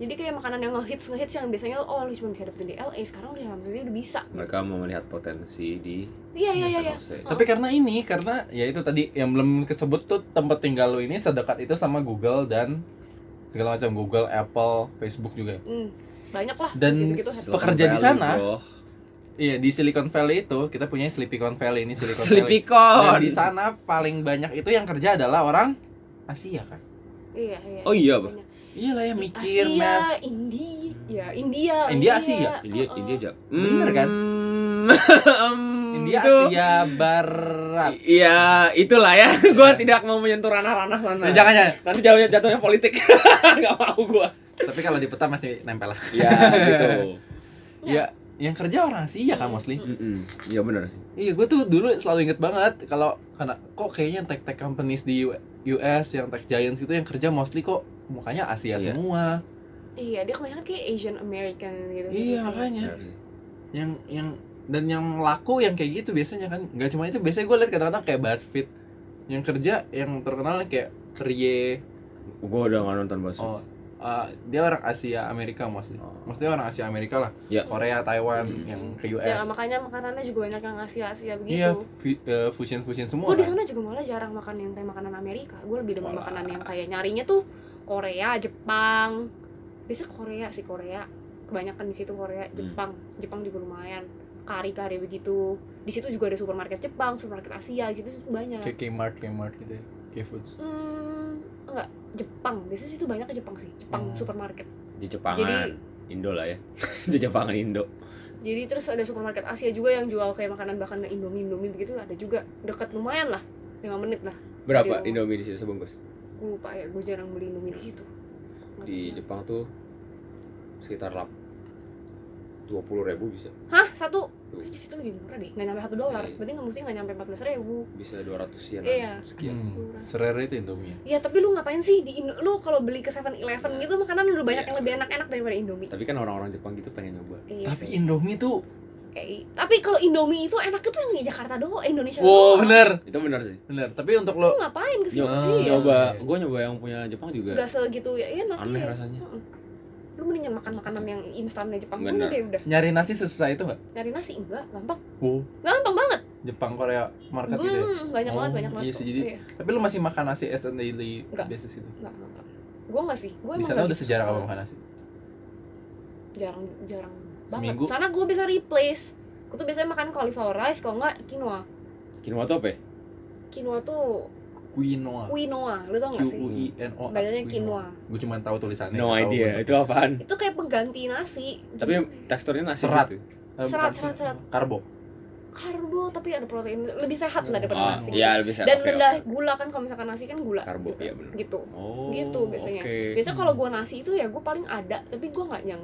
Speaker 3: jadi kayak makanan yang ngehits ngehits yang biasanya oh lu cuma bisa dapetin di LA sekarang di San Jose udah bisa
Speaker 2: Mereka mau melihat potensi di
Speaker 3: iya iya iya
Speaker 2: San
Speaker 3: iya
Speaker 2: Jose.
Speaker 1: Tapi karena ini, karena ya itu tadi yang belum kesebut tuh tempat tinggal lo ini sedekat itu sama Google dan segala macam Google, Apple, Facebook juga.
Speaker 3: Hmm, banyak lah
Speaker 1: Dan
Speaker 3: gitu-gitu.
Speaker 2: Silicon
Speaker 1: Pekerja di
Speaker 2: Valley,
Speaker 1: sana.
Speaker 2: bro.
Speaker 1: Iya di Silicon Valley itu kita punya Silicon Valley ini Silicon Valley. Dan
Speaker 2: Slipicon.
Speaker 1: di sana paling banyak itu yang kerja adalah orang Asia kan.
Speaker 3: iya iya
Speaker 2: Oh iya, Bang.
Speaker 3: banyak.
Speaker 1: Iya lah ya mikir,
Speaker 3: Asia
Speaker 1: math.
Speaker 3: India ya India
Speaker 1: India Asia?
Speaker 2: India
Speaker 3: uh-uh.
Speaker 2: India Hmm. aja.
Speaker 1: Bener kan? India Asia Barat.
Speaker 2: Hmm. Iya, itulah ya. Gua tidak mau menyentuh ranah-ranah sana.
Speaker 1: Ya, jangan jangan.
Speaker 2: Nanti jauhnya jatuhnya politik. Enggak mau gua.
Speaker 1: Tapi kalau di peta masih nempel lah.
Speaker 2: Iya, gitu.
Speaker 1: Iya. Yang kerja orang Asia kan
Speaker 3: Hmm.
Speaker 1: mostly.
Speaker 2: Heeh. Iya benar sih.
Speaker 1: Iya, gue tuh dulu selalu inget banget kalau karena kok kayaknya tech tech companies di U- US yang tech giants gitu yang kerja mostly kok mukanya Asia
Speaker 2: Iya.
Speaker 1: semua.
Speaker 3: iya dia kebanyakan kayak Asian American gitu
Speaker 1: Iya makanya.
Speaker 2: Benar sih.
Speaker 1: Yang yang dan yang laku yang kayak gitu biasanya kan nggak cuma itu biasanya gue liat kadang-kadang kayak BuzzFeed yang kerja yang terkenal kayak Rie
Speaker 2: Gua udah nggak nonton bahasa.
Speaker 1: oh, uh, dia orang Asia Amerika mostly
Speaker 2: Oh.
Speaker 1: maksudnya orang Asia Amerika lah
Speaker 2: Iya.
Speaker 1: Korea Taiwan
Speaker 2: Hmm.
Speaker 1: yang ke US
Speaker 3: ya makanya makanannya juga banyak yang Asia Asia begitu
Speaker 1: iya fusion fusion semua
Speaker 3: gue di
Speaker 1: kan.
Speaker 3: sana juga malah jarang makan yang kayak makanan Amerika gue lebih demen
Speaker 2: Olah.
Speaker 3: makanan yang kayak nyarinya tuh Korea Jepang biasa Korea sih Korea kebanyakan di situ Korea
Speaker 1: Hmm.
Speaker 3: Jepang Jepang juga lumayan kari kari begitu di situ juga ada supermarket Jepang supermarket Asia gitu itu banyak
Speaker 1: kayak Kmart Kmart gitu ya K-Foods
Speaker 3: hmm, enggak Jepang biasanya situ banyak ke Jepang sih Jepang
Speaker 1: Hmm.
Speaker 3: supermarket
Speaker 2: Di Jepangan.
Speaker 3: Jadi-
Speaker 2: Indo lah ya. Di Jepangan Indo.
Speaker 3: jadi terus ada supermarket Asia juga yang jual kayak makanan bahkan Indomie Indomie begitu ada juga deket lumayan lah lima menit lah
Speaker 2: Berapa
Speaker 3: Di-
Speaker 2: Indomie di situ sebungkus?
Speaker 3: gue lupa ya gue jarang beli Indomie di situ Nggak
Speaker 2: Di
Speaker 3: tahu.
Speaker 2: Jepang tuh sekitar lap 20 ribu bisa
Speaker 3: Hah? Satu?
Speaker 2: Tuh.
Speaker 3: Di situ lebih murah deh. Nggak nyampe satu dolar.
Speaker 2: Iya.
Speaker 3: Berarti nggak mesti nggak nyampe 14 ribu.
Speaker 2: bisa 200 yen
Speaker 3: Iya.
Speaker 2: sekian
Speaker 1: hmm. serere itu Indomie
Speaker 3: Ya tapi lu ngapain sih di Indo? Lu kalau beli ke 7-Eleven gitu makanan udah banyak
Speaker 2: Iya.
Speaker 3: yang lebih enak-enak daripada Indomie.
Speaker 2: tapi kan orang-orang Jepang gitu pengen nyoba
Speaker 3: Iya
Speaker 1: Tapi
Speaker 3: sih.
Speaker 1: Indomie tuh,
Speaker 3: Eh, tapi kalau Indomie itu enak itu yang di Jakarta doang, Indonesia
Speaker 1: wow
Speaker 3: doang.
Speaker 1: bener,
Speaker 2: itu benar sih
Speaker 1: bener. Tapi untuk lo,
Speaker 3: Lu ngapain ke situ?
Speaker 1: Nyoba.
Speaker 3: Iya.
Speaker 1: Nyoba.
Speaker 2: coba gue nyoba yang punya Jepang juga
Speaker 3: Nggak segitu ya enak.
Speaker 2: aneh
Speaker 3: iya.
Speaker 2: rasanya
Speaker 3: Mm-mm. Lu mendingan makan makanan yang instan dari Jepang dulu
Speaker 2: Bener.
Speaker 3: deh udah.
Speaker 1: nyari nasi sesusah itu nggak?
Speaker 3: Nyari nasi enggak gampang.
Speaker 1: Wow,
Speaker 3: Gampang banget.
Speaker 1: Jepang Korea market gitu. Ya.
Speaker 3: Hmm, banyak banget,
Speaker 1: Oh,
Speaker 3: banyak banget.
Speaker 1: iya sih, jadi-
Speaker 3: Iya,
Speaker 1: Tapi lo masih makan nasi as a daily
Speaker 3: Nggak.
Speaker 1: basis itu.
Speaker 3: enggak, enggak. Gua enggak sih. Gua
Speaker 1: Di
Speaker 3: emang
Speaker 1: sana
Speaker 3: nggak
Speaker 1: udah
Speaker 3: gitu
Speaker 1: sejarah
Speaker 3: suka.
Speaker 1: apa makan nasi.
Speaker 3: jarang jarang banget.
Speaker 1: Seminggu?
Speaker 3: Sana gue bisa replace. Gue tuh biasanya makan cauliflower rice kalau nggak quinoa.
Speaker 2: quinoa tuh apa ya?
Speaker 3: Quinoa tuh
Speaker 2: Oh.
Speaker 1: Quinoa.
Speaker 3: quinoa, lu
Speaker 1: Q
Speaker 3: tau nggak
Speaker 1: U
Speaker 3: sih?
Speaker 1: I N O.
Speaker 3: Bacanya quinoa.
Speaker 1: Gue cuma tahu tulisannya.
Speaker 2: no
Speaker 3: Iya,
Speaker 1: nggak tahu
Speaker 2: idea
Speaker 1: bentuknya.
Speaker 2: itu apaan
Speaker 3: Itu kayak pengganti nasi.
Speaker 2: tapi teksturnya nasi
Speaker 1: Serat.
Speaker 2: gitu
Speaker 1: Eh, bukan
Speaker 3: Serat,
Speaker 1: sih.
Speaker 3: serat, serat.
Speaker 1: Karbo.
Speaker 3: karbo tapi ada protein lebih sehat
Speaker 1: Seperti
Speaker 3: lah
Speaker 2: oh
Speaker 3: daripada nasi.
Speaker 2: iya lebih sehat
Speaker 3: Dan
Speaker 2: oke,
Speaker 3: rendah
Speaker 2: oke.
Speaker 3: gula kan kalau misalkan nasi kan gula.
Speaker 2: karbo
Speaker 3: juga.
Speaker 2: iya benar
Speaker 3: Gitu.
Speaker 2: oh
Speaker 3: Gitu biasanya.
Speaker 2: oke.
Speaker 3: Biasanya kalau gue nasi itu ya gue paling ada, tapi gue nggak yang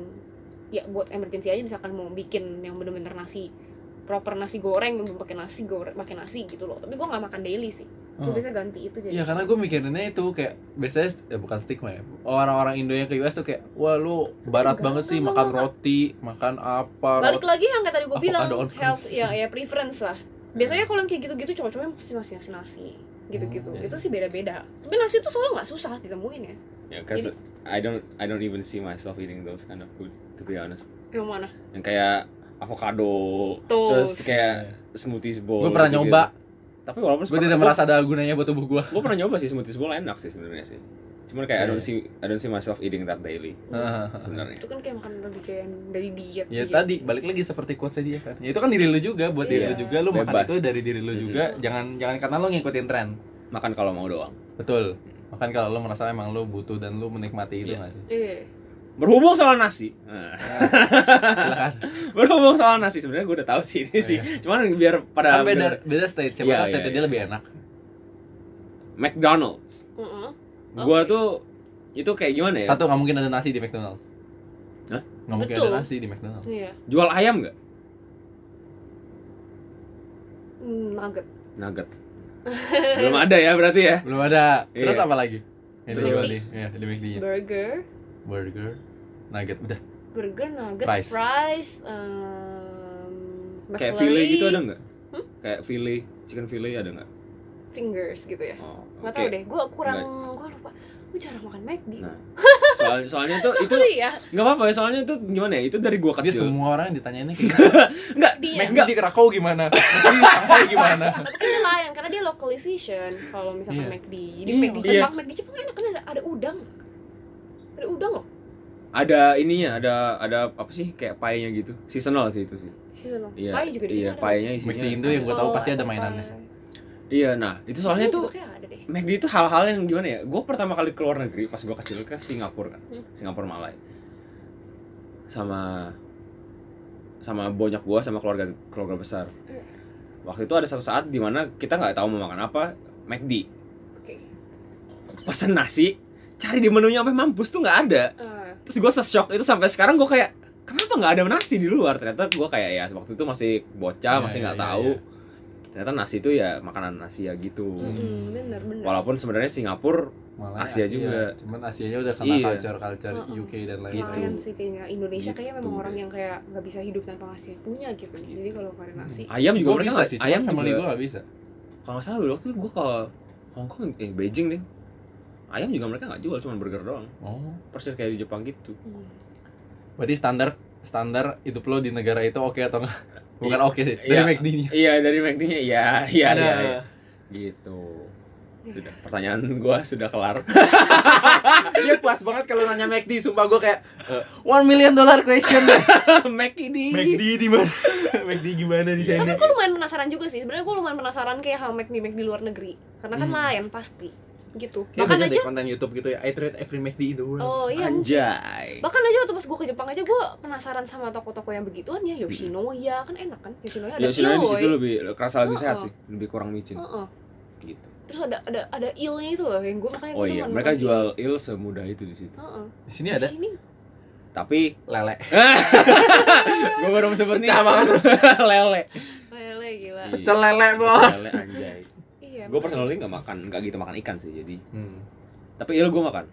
Speaker 3: ya buat emergency aja misalkan mau bikin yang bener-bener nasi proper nasi goreng yang pakai nasi goreng pakai nasi gitu loh tapi gue nggak makan daily sih gue
Speaker 1: Hmm.
Speaker 3: biasanya ganti itu jadi
Speaker 1: Iya karena gue mikirinnya itu kayak biasanya st- eh, bukan stigma ya orang-orang Indo yang ke US tuh kayak wah lu barat
Speaker 3: Enggak,
Speaker 1: banget sih
Speaker 3: enggak,
Speaker 1: makan
Speaker 3: enggak.
Speaker 1: roti makan apa
Speaker 3: balik lagi yang kayak tadi gue
Speaker 1: Avocado
Speaker 3: bilang
Speaker 1: on
Speaker 3: health
Speaker 1: toast.
Speaker 3: ya ya preference lah biasanya kalau yang kayak gitu-gitu cowok-cowoknya pasti masih nasi nasi gitu-gitu
Speaker 2: Hmm, iya
Speaker 3: itu sih beda-beda tapi nasi itu soalnya nggak susah ditemuin ya
Speaker 2: ya cause I don't I don't even see myself eating those kind of food to be honest
Speaker 3: yang mana
Speaker 2: yang kayak
Speaker 3: Oh,
Speaker 2: avocado
Speaker 3: Tuh.
Speaker 2: terus kayak smoothies
Speaker 1: gue
Speaker 2: bowl
Speaker 1: pernah
Speaker 2: gitu-gitu.
Speaker 1: nyoba
Speaker 2: tapi walaupun
Speaker 1: gue tidak merasa ada gunanya buat tubuh gue
Speaker 2: gue pernah nyoba sih smoothies bowl enak sih sebenarnya sih cuman kayak I don't
Speaker 1: Iya.
Speaker 2: see I don't see myself eating that daily sebenarnya
Speaker 3: itu kan kayak makan lebih kayak yang dari diet gitu.
Speaker 1: ya
Speaker 2: Iya,
Speaker 3: diet.
Speaker 1: tadi balik lagi seperti quotes dia kan ya itu kan diri lu juga buat diri
Speaker 3: Iya.
Speaker 1: lu juga lu makan
Speaker 2: Bebas.
Speaker 1: itu dari diri lu
Speaker 2: Mhm.
Speaker 1: juga jangan jangan karena lu ngikutin tren Hmm.
Speaker 2: makan kalau mau doang
Speaker 1: betul makan kalau lu merasa emang lu butuh dan lu menikmati itu
Speaker 2: Iya.
Speaker 1: nggak sih
Speaker 3: iya
Speaker 2: berhubung soal nasi nah,
Speaker 1: silakan
Speaker 2: berhubung soal nasi sebenarnya gue udah tahu sih
Speaker 1: Oh,
Speaker 2: ini sih
Speaker 1: iya.
Speaker 2: cuman biar
Speaker 1: kan
Speaker 2: pada
Speaker 1: beda
Speaker 2: biar-
Speaker 1: beda state siapa
Speaker 2: Iya,
Speaker 1: tahu state
Speaker 2: iya,
Speaker 1: dia
Speaker 2: iya.
Speaker 1: lebih enak
Speaker 2: McDonald's
Speaker 3: Mm-mm.
Speaker 2: gue
Speaker 3: Oke.
Speaker 2: tuh itu kayak gimana ya
Speaker 1: satu nggak mungkin ada nasi di McDonald
Speaker 2: Hah?
Speaker 1: nggak mungkin
Speaker 3: Betul.
Speaker 1: ada nasi di McDonald
Speaker 3: iya
Speaker 2: jual ayam nggak
Speaker 3: Hmm, nugget
Speaker 2: nugget belum ada ya berarti ya
Speaker 1: belum ada terus
Speaker 2: Iya.
Speaker 1: apa lagi itu
Speaker 2: Terus.
Speaker 1: coba nih ya di McD
Speaker 2: Iya.
Speaker 1: nya
Speaker 3: burger
Speaker 1: burger nugget udah
Speaker 3: burger nugget
Speaker 1: Fries.
Speaker 3: fries, um,
Speaker 2: kayak
Speaker 3: McFlurry,
Speaker 2: fillet gitu ada nggak
Speaker 3: Hmm?
Speaker 2: kayak fillet chicken fillet ada nggak
Speaker 3: fingers gitu ya
Speaker 2: oh,
Speaker 3: nggak
Speaker 2: oke.
Speaker 3: tahu deh gue kurang gue lupa gue jarang makan McD
Speaker 2: Nah, Soal- soalnya tuh itu
Speaker 3: Sorry ya
Speaker 2: nggak apa-apa ya, soalnya itu gimana ya itu dari gua
Speaker 1: dia
Speaker 2: kecil
Speaker 1: semua orang yang ditanyainnya
Speaker 2: nggak
Speaker 3: dia
Speaker 1: Mac
Speaker 2: Enggak.
Speaker 1: di Krakow gimana? Mac di Shanghai gimana?
Speaker 3: tapi kan dia lain karena dia localization kalau misalkan
Speaker 1: Iya.
Speaker 3: McD jadi
Speaker 1: Iya.
Speaker 3: McD Jepang McD Jepang enak kan ada ada udang ada udang loh
Speaker 2: ada ininya ada ada apa sih kayak pie-nya gitu seasonal sih itu sih
Speaker 3: seasonal
Speaker 2: iya
Speaker 3: pie juga di sini
Speaker 2: iya
Speaker 3: ada
Speaker 2: pie-nya
Speaker 1: McD
Speaker 2: isinya
Speaker 1: Indo yang gue tahu
Speaker 3: Oh,
Speaker 1: pasti ada
Speaker 3: pie.
Speaker 1: mainannya.
Speaker 2: iya nah itu
Speaker 3: Di
Speaker 2: soalnya
Speaker 3: sini
Speaker 2: tuh
Speaker 3: juga kayak ada deh
Speaker 2: McD itu hal-hal yang gimana ya? Gue pertama kali ke luar negeri pas gue kecil ke Singapura kan,
Speaker 3: Hmm.
Speaker 2: Singapura Malai, sama sama banyak gue sama keluarga keluarga besar.
Speaker 3: Iya.
Speaker 2: Waktu itu ada satu saat dimana kita nggak tahu mau makan apa, McD
Speaker 3: oke
Speaker 2: pesen nasi, cari di menunya sampai mampus tuh nggak ada.
Speaker 3: Eh,
Speaker 2: Terus gue shock itu sampai sekarang gue kayak kenapa nggak ada nasi di luar? Ternyata gue kayak ya waktu itu masih bocah
Speaker 1: Iya,
Speaker 2: masih
Speaker 1: iya,
Speaker 2: nggak
Speaker 1: iya,
Speaker 2: tahu.
Speaker 1: iya.
Speaker 2: Ternyata nasi itu ya makanan Asia gitu.
Speaker 3: mm-mm, bener bener
Speaker 2: Walaupun sebenarnya Singapura
Speaker 1: Malah
Speaker 2: Asia juga.
Speaker 1: Cuman Asianya udah kena
Speaker 2: Iya.
Speaker 1: culture-culture
Speaker 3: Mm-mm.
Speaker 1: UK dan
Speaker 2: Gitu.
Speaker 1: lain-lain.
Speaker 3: Lain sih kayaknya Indonesia
Speaker 2: Gitu
Speaker 3: kayaknya memang orang
Speaker 2: deh.
Speaker 3: yang kayak nggak bisa hidup tanpa nasi punya gitu jadi kalau nggak ada nasi
Speaker 2: ayam juga
Speaker 1: Gua
Speaker 2: mereka
Speaker 1: bisa
Speaker 2: nggak-
Speaker 1: sih,
Speaker 2: Oh, ayam
Speaker 1: cuman family
Speaker 2: juga-
Speaker 1: gue gak bisa.
Speaker 2: kalau nggak salah dulu waktu itu gue ke Hong Kong eh Beijing deh ayam juga mereka nggak jual cuma burger doang
Speaker 1: Oh.
Speaker 2: persis kayak di Jepang gitu
Speaker 3: Hmm.
Speaker 1: Berarti standar standar hidup lo di negara itu oke atau enggak? Bukan
Speaker 2: Iya.
Speaker 1: oke sih, dari
Speaker 2: Iya.
Speaker 1: McD-nya.
Speaker 2: iya dari McD-nya iya iya
Speaker 1: Ada.
Speaker 2: iya, iya. gitu sudah pertanyaan gue sudah kelar
Speaker 1: Dia puas banget kalau nanya McD, sumpah gue kayak eh, one million dollar question.
Speaker 2: McD
Speaker 3: Iya,
Speaker 1: McD di mana? Iya. McD gimana di
Speaker 2: Iya,
Speaker 1: sana?
Speaker 3: tapi gue lumayan penasaran juga sih sebenarnya gue lumayan penasaran kayak how make make di luar negeri karena kan
Speaker 1: Hmm.
Speaker 3: lain pasti gitu
Speaker 2: Iya,
Speaker 1: Kayak
Speaker 3: bahkan
Speaker 1: banyak
Speaker 3: aja
Speaker 1: deh konten YouTube gitu ya. I treat every McD in the world.
Speaker 3: oh iya
Speaker 2: anjay
Speaker 3: bahkan aja waktu pas gue ke Jepang aja gue penasaran sama toko-toko yang begituan ya Yoshinoya kan enak kan Yoshinoya ada
Speaker 2: ya sebenarnya di
Speaker 3: Yoi.
Speaker 2: situ lebih kerasa lebih
Speaker 3: Oh,
Speaker 2: sehat
Speaker 3: oh.
Speaker 2: sih lebih kurang micin
Speaker 3: Heeh.
Speaker 2: gitu
Speaker 3: terus ada ada ada ilnya itu loh yang gue makanya
Speaker 2: oh
Speaker 3: gua
Speaker 2: iya
Speaker 3: nonton
Speaker 2: mereka
Speaker 3: lagi.
Speaker 2: jual il semudah itu di situ
Speaker 3: Heeh.
Speaker 1: Di sini
Speaker 3: Di
Speaker 1: ada Iya.
Speaker 3: sini
Speaker 2: tapi
Speaker 1: lele.
Speaker 2: gue baru mau sebut nih
Speaker 1: Pecah banget.
Speaker 2: lele
Speaker 3: lele gila
Speaker 2: Iya.
Speaker 1: Pecel lele, Bro.
Speaker 2: lele anjay
Speaker 3: iya
Speaker 2: gue personally nggak makan nggak gitu makan ikan sih jadi
Speaker 1: Hmm.
Speaker 2: tapi il gue makan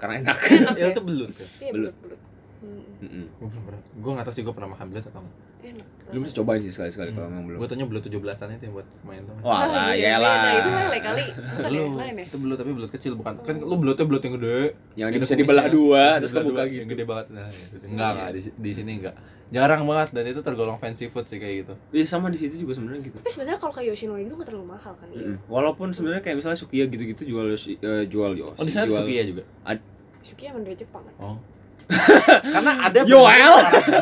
Speaker 2: karena enak
Speaker 3: enak
Speaker 1: Ya
Speaker 3: ya
Speaker 1: itu belut ya.
Speaker 3: iya
Speaker 2: belut.
Speaker 3: belut belut Hmm,
Speaker 2: Mm-mm.
Speaker 1: Gue belum pernah. Gue nggak tahu sih gue pernah makan belut atau enggak.
Speaker 3: enak
Speaker 2: belum bisa cobain sih sekali sekali kalau memang belum
Speaker 1: Gue tanya belut 17-an itu yang buat main tuh.
Speaker 2: wah lah ya
Speaker 3: Ah, Nah, itu
Speaker 2: lah
Speaker 3: lele kali bukan ya
Speaker 1: Lu,
Speaker 3: lain ya
Speaker 1: itu belut tapi belut kecil bukan. Kan lu belutnya belut yang gede.
Speaker 2: yang
Speaker 1: Ada
Speaker 2: bisa
Speaker 1: kumisnya.
Speaker 2: dibelah dua terus
Speaker 1: Belah
Speaker 2: kebuka
Speaker 1: dua, Yang
Speaker 2: gitu
Speaker 1: gede banget. Nah, itu. enggak, enggak di, di sini enggak. Jarang banget dan itu tergolong fancy food sih kayak gitu.
Speaker 2: iya sama di situ juga sebenarnya gitu
Speaker 3: tapi sebenarnya kalau kayak Yoshinoya itu nggak terlalu mahal kan iya
Speaker 2: Mm-mm. walaupun sebenarnya kayak misalnya sukiya gitu-gitu jual yoshi, eh, jual yoshi
Speaker 1: Oh, di sana ada
Speaker 2: jual
Speaker 1: Sukiya juga. Oh.
Speaker 3: Sukiya emang dari Jepang kan
Speaker 2: Oh.
Speaker 1: Karena ada
Speaker 2: Yoel!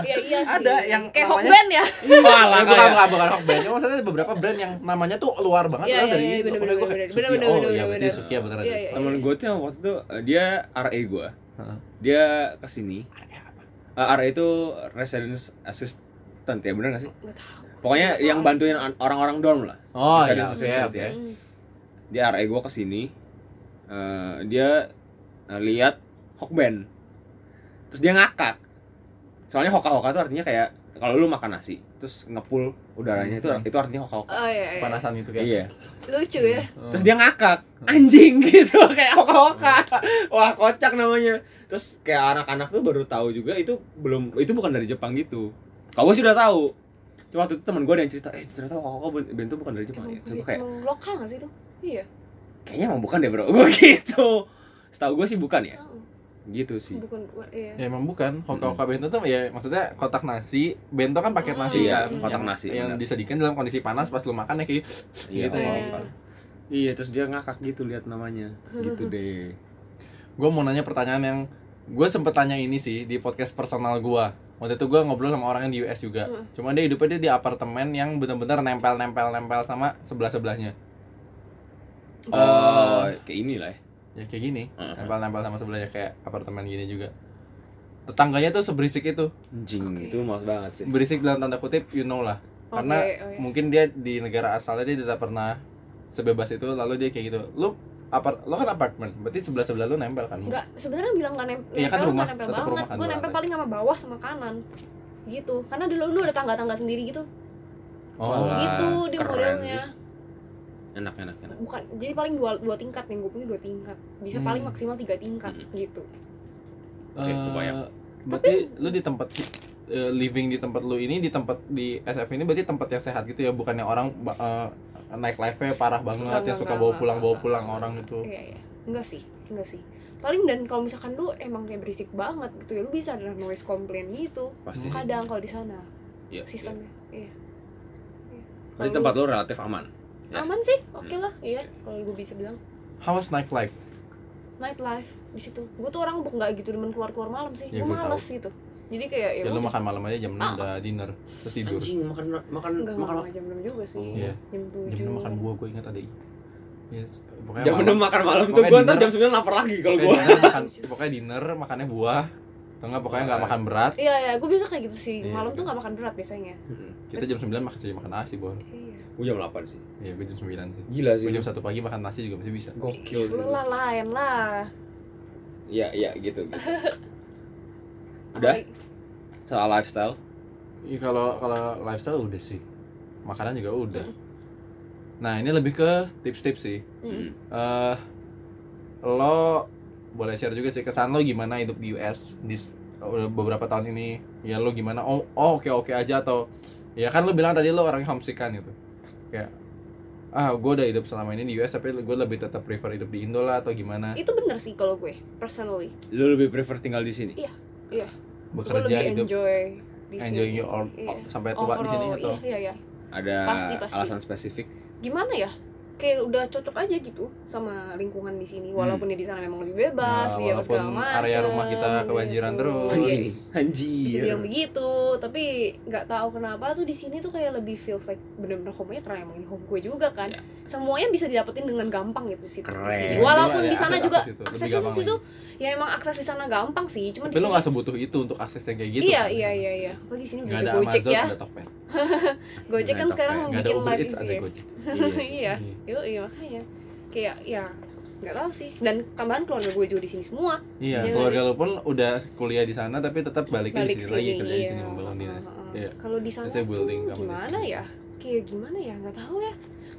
Speaker 3: iya iya sih
Speaker 1: Ada yang
Speaker 3: kayak
Speaker 1: namanya-
Speaker 3: Hokben ya
Speaker 2: wah lah
Speaker 1: Bukan, bukan,
Speaker 2: kayak
Speaker 1: bukan, bukan Hawk Brand. Cuma maksudnya ada beberapa brand yang namanya tuh luar banget
Speaker 3: Iya,
Speaker 1: padahal
Speaker 3: iya,
Speaker 1: dari
Speaker 3: iya,
Speaker 1: Indo.
Speaker 3: bener,
Speaker 1: Padahal gua
Speaker 3: bener,
Speaker 1: kayak,
Speaker 3: bener,
Speaker 1: Sukiya,
Speaker 3: bener,
Speaker 1: Oh, iya
Speaker 3: bener,
Speaker 1: berarti
Speaker 3: bener.
Speaker 1: Sukiya beneran.
Speaker 3: Iya,
Speaker 1: dari Jepang.
Speaker 3: iya, iya.
Speaker 2: temen gue tuh yang waktu itu eh, dia RE gue
Speaker 1: Heeh.
Speaker 2: dia kesini Eh, RE itu residence assistant ya bener gak sih
Speaker 3: nggak tahu Iya.
Speaker 2: pokoknya yang bantuin ya. an- orang-orang dorm lah
Speaker 1: Oh,
Speaker 2: Bisa
Speaker 1: iya,
Speaker 2: di-
Speaker 1: oke,
Speaker 2: di-
Speaker 1: oke.
Speaker 3: Mm.
Speaker 2: dia RE gue kesini eh, dia eh, lihat hokben terus dia ngakak soalnya hoka-hoka itu artinya kayak kalau lu makan nasi terus ngepul udaranya itu itu artinya hoka-hoka
Speaker 3: oh iya, iya.
Speaker 1: Panasan gitu kayak. Oh.
Speaker 2: iya
Speaker 3: lucu ya
Speaker 2: terus dia ngakak anjing gitu kayak hoka-hoka wah kocak namanya terus kayak anak-anak tuh baru tahu juga itu belum itu bukan dari Jepang gitu kalau gue sudah tahu cuma waktu itu teman gue ada yang cerita eh ternyata hoka-hoka bento bukan dari
Speaker 1: Gitu,
Speaker 2: Jepang
Speaker 3: emang,
Speaker 2: ya terus gue kayak
Speaker 3: Oh, iya. emang lokal nggak sih itu iya
Speaker 2: kayaknya emang bukan deh bro gue gitu setahu gue sih bukan ya
Speaker 3: Oh,
Speaker 2: gitu sih
Speaker 3: bukan bukan- iya
Speaker 1: Ya emang bukan, hoka-hoka bento tuh ya maksudnya kotak nasi, bento kan paket nasi
Speaker 2: Iya,
Speaker 1: kan.
Speaker 2: kotak
Speaker 1: Yang-
Speaker 2: nasi,
Speaker 1: Yang
Speaker 2: benar.
Speaker 1: disajikan dalam kondisi panas pas lu makan ya kayak
Speaker 2: Iya,
Speaker 1: gitu.
Speaker 2: oh,
Speaker 3: Iya.
Speaker 2: bukan. Iya, terus dia ngakak gitu lihat namanya. Gitu deh.
Speaker 1: Gue mau nanya pertanyaan yang gue sempet tanya ini sih di podcast personal gue. Waktu itu gue ngobrol sama orang yang di US juga.
Speaker 3: Hmm.
Speaker 1: Cuman dia hidupnya dia di apartemen yang bener-bener nempel-nempel-nempel sama sebelah-sebelahnya. eh,
Speaker 2: Oh, kayak inilah ya.
Speaker 1: Ya kayak gini,
Speaker 2: Heeh.
Speaker 1: nempel-nempel sama sebelahnya kayak apartemen gini juga. Tetangganya tuh seberisik itu,
Speaker 2: Anjing,
Speaker 3: Oke.
Speaker 2: itu males banget sih.
Speaker 1: berisik dalam tanda kutip, you know lah.
Speaker 3: Oke,
Speaker 1: karena
Speaker 3: oh, iya.
Speaker 1: mungkin dia di negara asalnya dia tidak pernah sebebas itu lalu dia kayak gitu lu apart lo kan apartemen berarti sebelah sebelah lu nempel kan
Speaker 3: Enggak, sebenarnya bilang nggak nempel,
Speaker 1: Iya kan
Speaker 3: nempel,
Speaker 1: rumah,
Speaker 3: nggak nempel
Speaker 1: tetap
Speaker 3: banget.
Speaker 1: rumah kan
Speaker 3: gue
Speaker 1: dua
Speaker 3: nempel
Speaker 1: lantai.
Speaker 3: paling sama bawah sama kanan. Gitu. Karena dulu dulu ada tangga-tangga sendiri gitu.
Speaker 1: oh
Speaker 2: Wah,
Speaker 3: gitu di
Speaker 2: keren
Speaker 3: modelnya.
Speaker 2: enak enak enak
Speaker 3: bukan jadi paling dua dua tingkat yang gue punya dua tingkat bisa paling
Speaker 1: Hmm.
Speaker 3: maksimal tiga tingkat
Speaker 2: Mm-mm.
Speaker 3: gitu
Speaker 2: Oke, kebayang.
Speaker 1: Eh, berarti lu di tempat eh, living di tempat lu ini di tempat di SF ini berarti tempat yang sehat gitu ya bukan yang orang ba- eh, naik live parah banget yang
Speaker 3: Enggak, enggak,
Speaker 1: suka bawa
Speaker 3: enggak, enggak,
Speaker 1: pulang bawa
Speaker 3: enggak,
Speaker 1: pulang
Speaker 3: enggak,
Speaker 1: orang gitu.
Speaker 3: enggak.
Speaker 1: itu
Speaker 3: iya iya enggak sih enggak sih paling dan kalau misalkan lu emang kayak berisik banget gitu ya lu bisa ada noise complaint gitu
Speaker 2: pasti sih.
Speaker 3: kadang kalau di sana
Speaker 2: Iya, iya.
Speaker 3: sistemnya iya Iya.
Speaker 2: Berarti
Speaker 3: Kalau
Speaker 2: tempat
Speaker 3: lu-
Speaker 2: lo relatif aman. ya.
Speaker 3: aman sih
Speaker 1: Hmm.
Speaker 3: oke lah iya kalau gue bisa bilang
Speaker 1: how was night life
Speaker 3: nightlife di situ gue tuh orang nggak gitu demen keluar keluar malam sih
Speaker 1: Ya,
Speaker 3: gue
Speaker 1: gua
Speaker 3: males gitu jadi kayak
Speaker 1: ya lu
Speaker 3: udah.
Speaker 1: makan malam aja jam 6
Speaker 3: Ah.
Speaker 1: udah dinner terus tidur
Speaker 2: Anjing makan makan
Speaker 3: Enggak
Speaker 2: makan
Speaker 3: makan jam 6 juga sih.
Speaker 1: Iya.
Speaker 3: Jam 7.
Speaker 1: jam 6 makan buah gue ingat ada i yes, pokoknya
Speaker 2: jam
Speaker 1: malam.
Speaker 2: 6 makan malam tuh
Speaker 1: Pokoknya
Speaker 2: gua ntar
Speaker 1: dinner.
Speaker 2: jam 9 lapar lagi kalau
Speaker 1: Pokoknya
Speaker 2: gua.
Speaker 1: dinner makan pokoknya dinner makannya buah atau enggak pokoknya nggak
Speaker 2: Buah.
Speaker 1: makan berat
Speaker 3: Iya, iya, gue biasa kayak gitu sih.
Speaker 1: Iya.
Speaker 3: Malam tuh gak makan berat biasanya.
Speaker 1: kita jam 9 makan makan nasi bor
Speaker 3: Iya.
Speaker 2: Gua jam 8 sih.
Speaker 1: iya gue jam 9 sih
Speaker 2: Gila sih.
Speaker 1: gue jam 1 pagi makan nasi juga masih bisa
Speaker 2: Gokil sih.
Speaker 3: Lu lah lain lah.
Speaker 2: Iya, iya gitu. gitu. Udah?
Speaker 3: Apalagi-
Speaker 2: Soal lifestyle.
Speaker 1: Iya kalau kalau lifestyle udah sih, makanan juga udah. Nah ini lebih ke tips-tips sih.
Speaker 2: Hmm.
Speaker 3: Mm.
Speaker 1: Eh lo boleh share juga sih kesan lo gimana hidup di US di s- udah beberapa tahun ini. Ya lo gimana? Oh oh, oke oke aja atau ya kan lo bilang tadi lo orang homesick kan gitu. Kayak ah gue udah hidup selama ini di US tapi gue lebih tetap prefer hidup di Indo lah atau gimana
Speaker 3: Itu bener sih kalau gue personally.
Speaker 2: Lu lebih prefer tinggal di sini?
Speaker 3: Gue
Speaker 1: bekerja
Speaker 3: lebih
Speaker 1: hidup
Speaker 3: enjoy di sini.
Speaker 1: enjoying your all,
Speaker 3: Iya.
Speaker 1: sampai tua di sini
Speaker 3: Overall,
Speaker 1: atau Ya,
Speaker 3: Iya, iya, iya.
Speaker 2: Ada
Speaker 3: Pasti, pasti.
Speaker 2: alasan spesifik?
Speaker 3: Gimana ya? Kayak udah cocok aja gitu sama lingkungan di sini. Walaupun ya di sana memang lebih bebas,
Speaker 1: Hmm. Ya,
Speaker 3: dia
Speaker 1: walaupun
Speaker 3: segala gitu. macam.
Speaker 1: area rumah kita kebanjiran terus.
Speaker 3: Iya.
Speaker 2: Anjing.
Speaker 3: bisa
Speaker 2: Anjir.
Speaker 3: bilang begitu tapi nggak tahu kenapa tuh di sini tuh kayak lebih feels like bener-bener home-nya karena emang ini home gue juga kan
Speaker 1: Ya.
Speaker 2: Iya.
Speaker 3: semuanya bisa didapetin dengan gampang gitu sih
Speaker 2: Keren.
Speaker 3: sini.
Speaker 2: Iya,
Speaker 3: walaupun
Speaker 1: ada
Speaker 3: di sana
Speaker 1: akses-
Speaker 3: juga
Speaker 1: akses itu, lebih
Speaker 3: akses di
Speaker 1: gampang
Speaker 3: situ ya emang akses di sana gampang sih cuman
Speaker 1: Tapi
Speaker 3: di
Speaker 1: lo
Speaker 3: sini
Speaker 1: gak sebutuh itu untuk akses yang kayak gitu.
Speaker 3: iya
Speaker 1: kan?
Speaker 3: iya iya iya apalagi di sini udah
Speaker 1: Nggak
Speaker 3: ada
Speaker 1: ada
Speaker 3: gojek
Speaker 1: Amazon,
Speaker 3: ya
Speaker 1: ada Tokped.
Speaker 3: gojek kan
Speaker 2: Nggak ada
Speaker 3: sekarang
Speaker 2: Tokped,
Speaker 1: Nggak ada
Speaker 3: bikin
Speaker 1: Uber
Speaker 3: live
Speaker 1: Eats, ada
Speaker 3: easier
Speaker 1: Gojek.
Speaker 2: Iya sih.
Speaker 3: iya yo iya makanya kayak ya nggak tahu sih dan tambahan keluarga gue juga di sini semua
Speaker 1: Iya,
Speaker 3: Iya,
Speaker 1: keluarga lo pun udah kuliah di sana tapi tetap balik
Speaker 3: balik
Speaker 1: di sini lagi
Speaker 3: sini,
Speaker 1: kerja di sini
Speaker 3: iya.
Speaker 1: membangun dinas.
Speaker 3: Heeh.
Speaker 1: Iya.
Speaker 3: Kalau di sana
Speaker 1: Biasanya
Speaker 3: tuh
Speaker 1: building kamu di
Speaker 3: gimana
Speaker 1: sini.
Speaker 3: ya? Kayak gimana ya? Nggak tahu ya.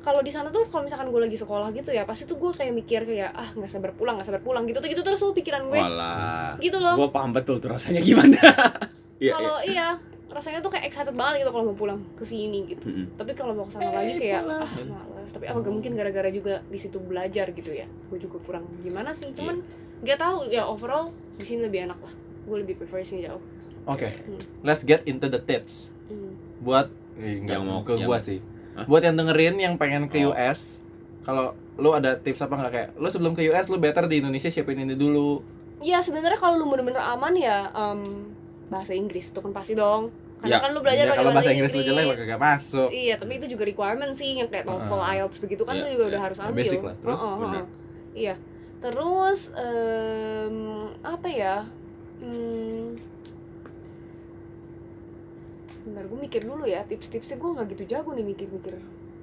Speaker 3: Kalau di sana tuh kalau misalkan gue lagi sekolah gitu ya, pasti tuh gue kayak mikir kayak ah nggak sabar pulang, nggak sabar pulang gitu tuh gitu terus tuh pikiran gue.
Speaker 2: Walah.
Speaker 3: Gitu loh.
Speaker 2: Gua paham betul tuh rasanya gimana. Iya, iya.
Speaker 3: Kalau iya, rasanya tuh kayak excited banget gitu kalau mau pulang ke sini gitu.
Speaker 2: Mm-mm.
Speaker 3: Tapi kalau mau ke sana lagi kayak ah malas. Tapi apa nggak mungkin gara-gara juga di situ belajar gitu ya. Gue juga kurang gimana sih.
Speaker 1: Iya.
Speaker 3: Cuman nggak tahu ya overall di sini lebih enak lah. Gue lebih prefer di sini jauh.
Speaker 1: Oke,
Speaker 3: Hmm.
Speaker 1: let's get into the tips
Speaker 3: Hmm.
Speaker 1: buat eh, nggak
Speaker 2: Yang mau-
Speaker 1: ke
Speaker 2: yang-
Speaker 1: gua sih.
Speaker 2: Hah?
Speaker 1: Buat yang dengerin yang pengen ke
Speaker 2: Oh.
Speaker 1: US, kalau lo ada tips apa nggak kayak lo sebelum ke US lo better di Indonesia siapin ini dulu.
Speaker 3: Ya sebenarnya kalau lu bener-bener aman ya em, bahasa Inggris itu kan pasti dong.
Speaker 2: Ya,
Speaker 3: Karena kan lu belajar
Speaker 1: Ya,
Speaker 3: pakai
Speaker 1: kalau bahasa Inggris lo
Speaker 3: Inggris.
Speaker 1: jelek mah kagak masuk.
Speaker 3: Iya, tapi itu juga requirement sih yang kayak TOEFL,
Speaker 1: Heeh.
Speaker 3: IELTS begitu kan
Speaker 2: Iya,
Speaker 3: lu juga
Speaker 2: iya.
Speaker 3: udah harus
Speaker 1: Ya,
Speaker 3: ambil.
Speaker 1: basic lah. Terus,
Speaker 3: Heeh, heeh.
Speaker 2: bener.
Speaker 3: Iya. Terus em, apa ya? Hmm, Bentar, gue mikir dulu ya tips-tipsnya gue nggak gitu jago nih mikir-mikir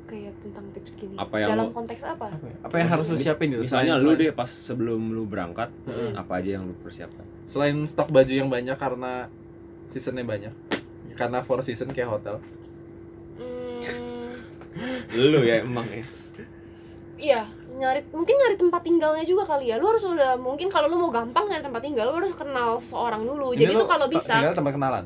Speaker 3: kayak tentang tips gini
Speaker 2: Apa yang
Speaker 3: dalam
Speaker 2: lu-
Speaker 3: konteks apa?
Speaker 1: Apa ya? Apa yang harus lo
Speaker 2: Mis-
Speaker 1: siapin gitu?
Speaker 2: Misalnya
Speaker 1: selain-
Speaker 2: lu deh pas sebelum lu berangkat,
Speaker 1: Heeh.
Speaker 2: apa aja yang lu persiapkan?
Speaker 1: selain stok baju yang banyak karena seasonnya banyak karena four season kayak hotel
Speaker 3: Hmm,
Speaker 2: Lu ya emang ya.
Speaker 3: Iya, nyari mungkin nyari tempat tinggalnya juga kali ya. Lu harus udah mungkin kalau lu mau gampang nyari tempat tinggal, lu harus kenal seorang dulu. Oh, Jadi
Speaker 1: Ini
Speaker 3: tuh
Speaker 1: lo
Speaker 3: kalau
Speaker 1: ta-
Speaker 3: bisa
Speaker 1: tinggal tempat kenalan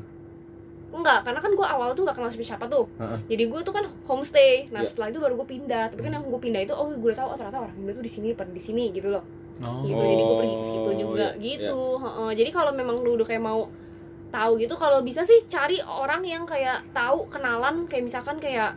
Speaker 3: enggak, karena kan gua awal tuh nggak kenal siapa-siapa tuh.
Speaker 1: Heeh.
Speaker 3: Jadi gua tuh kan homestay. Nah,
Speaker 2: Iya.
Speaker 3: setelah itu baru gua pindah. Tapi kan yang gua pindah itu oh gua udah tahu oh, ternyata orang Indo tuh di sini pada di sini gitu loh.
Speaker 2: Oh.
Speaker 3: Gitu. Jadi gua pergi ke situ juga
Speaker 2: iya,
Speaker 3: gitu. Heeh. Jadi kalau memang lu udah kayak mau tahu gitu kalau bisa sih cari orang yang kayak tahu kenalan kayak misalkan kayak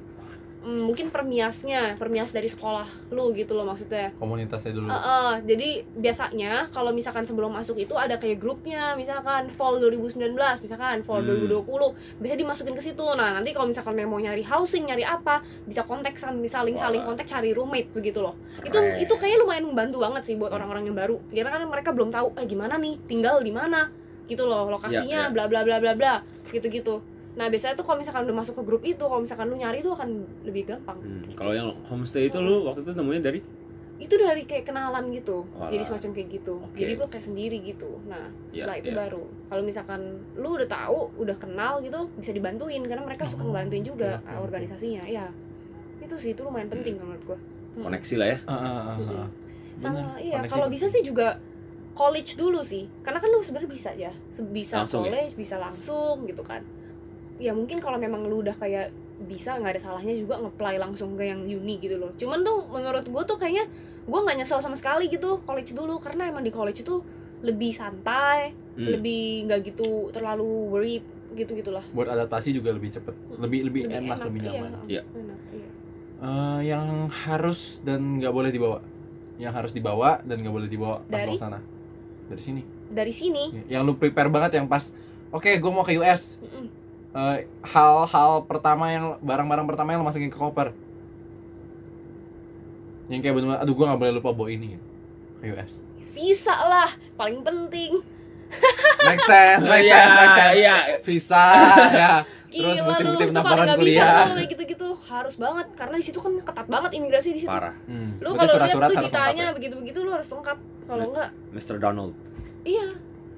Speaker 3: mm, mungkin permiasnya, permias dari sekolah lu gitu loh maksudnya.
Speaker 1: komunitasnya dulu
Speaker 3: Heeh, jadi biasanya kalau misalkan sebelum masuk itu ada kayak grupnya misalkan fall 2019 misalkan fall
Speaker 2: Hmm.
Speaker 3: 2020 bisa dimasukin ke situ nah nanti kalau misalkan memang mau nyari housing nyari apa bisa kontak sam- bisa saling saling
Speaker 2: Wah.
Speaker 3: kontak cari roommate begitu loh itu
Speaker 2: Keren.
Speaker 3: itu kayaknya lumayan membantu banget sih buat
Speaker 2: Hmm.
Speaker 3: orang-orang yang baru karena kan mereka belum tahu eh gimana nih tinggal di mana gitu loh lokasinya
Speaker 2: ya.
Speaker 3: bla bla bla bla bla gitu gitu nah biasanya tuh kalau misalkan udah masuk ke grup itu kalau misalkan lu nyari itu akan lebih gampang
Speaker 2: Hmm, Kalau yang homestay itu lu waktu itu nemunya dari
Speaker 3: itu dari kayak kenalan gitu
Speaker 2: Walah.
Speaker 3: jadi semacam kayak gitu
Speaker 2: Oke.
Speaker 3: jadi gue kayak sendiri gitu nah
Speaker 2: Ya,
Speaker 3: setelah itu
Speaker 2: ya.
Speaker 3: baru kalau misalkan lu udah tahu udah kenal gitu bisa dibantuin karena mereka suka
Speaker 1: Oh,
Speaker 3: ngebantuin juga Iya.
Speaker 1: oke, oke,
Speaker 3: organisasinya ya itu sih itu lumayan penting menurut gue
Speaker 2: koneksi lah ya
Speaker 1: Ah, ah, ah, ah.
Speaker 3: iya. sama
Speaker 1: Bener,
Speaker 3: iya
Speaker 1: koneksi.
Speaker 3: kalau bisa sih juga college dulu sih karena kan lu sebenarnya bisa ya Se- bisa
Speaker 2: Langsung ya?
Speaker 3: college bisa langsung gitu kan ya mungkin kalau memang lu udah kayak bisa nggak ada salahnya juga ngeplay langsung ke yang uni gitu loh cuman tuh menurut gue tuh kayaknya gue nggak nyesel sama sekali gitu college dulu karena emang di college itu lebih santai
Speaker 2: Hmm.
Speaker 3: lebih nggak gitu terlalu worried gitu gitulah
Speaker 1: buat adaptasi juga lebih cepet lebih lebih, enak, lebih nyaman
Speaker 2: Iya.
Speaker 3: Hmm. iya, enak, iya.
Speaker 1: Eh, yang harus dan nggak boleh dibawa yang harus dibawa dan nggak boleh dibawa pas
Speaker 3: Dari? Oh.
Speaker 1: mau sana dari sini Iya.
Speaker 3: dari sini
Speaker 1: yang lu prepare banget yang pas oke gue mau ke US
Speaker 3: mm-mm.
Speaker 1: Eh, hal-hal pertama yang barang-barang pertama yang lo masukin ke koper yang kayak bener aduh gue nggak boleh lupa bawa ini ya, ke US
Speaker 3: visa lah paling penting
Speaker 1: make sense make sense make sense
Speaker 2: iya
Speaker 1: visa ya Terus
Speaker 3: Gila lu,
Speaker 1: bukti-bukti
Speaker 3: itu
Speaker 1: pendaftaran
Speaker 3: paling nggak bisa
Speaker 1: kuliah.
Speaker 3: tuh, kayak gitu-gitu harus banget karena di situ kan ketat banget imigrasi di situ.
Speaker 2: parah
Speaker 1: Hmm.
Speaker 3: Lu
Speaker 1: Berarti
Speaker 3: kalau lihat
Speaker 1: surat-surat
Speaker 3: tuh
Speaker 1: harus lengkap ya?
Speaker 3: ditanya begitu-begitu lu harus lengkap. Kalau enggak,
Speaker 2: Mr. Donald
Speaker 3: iya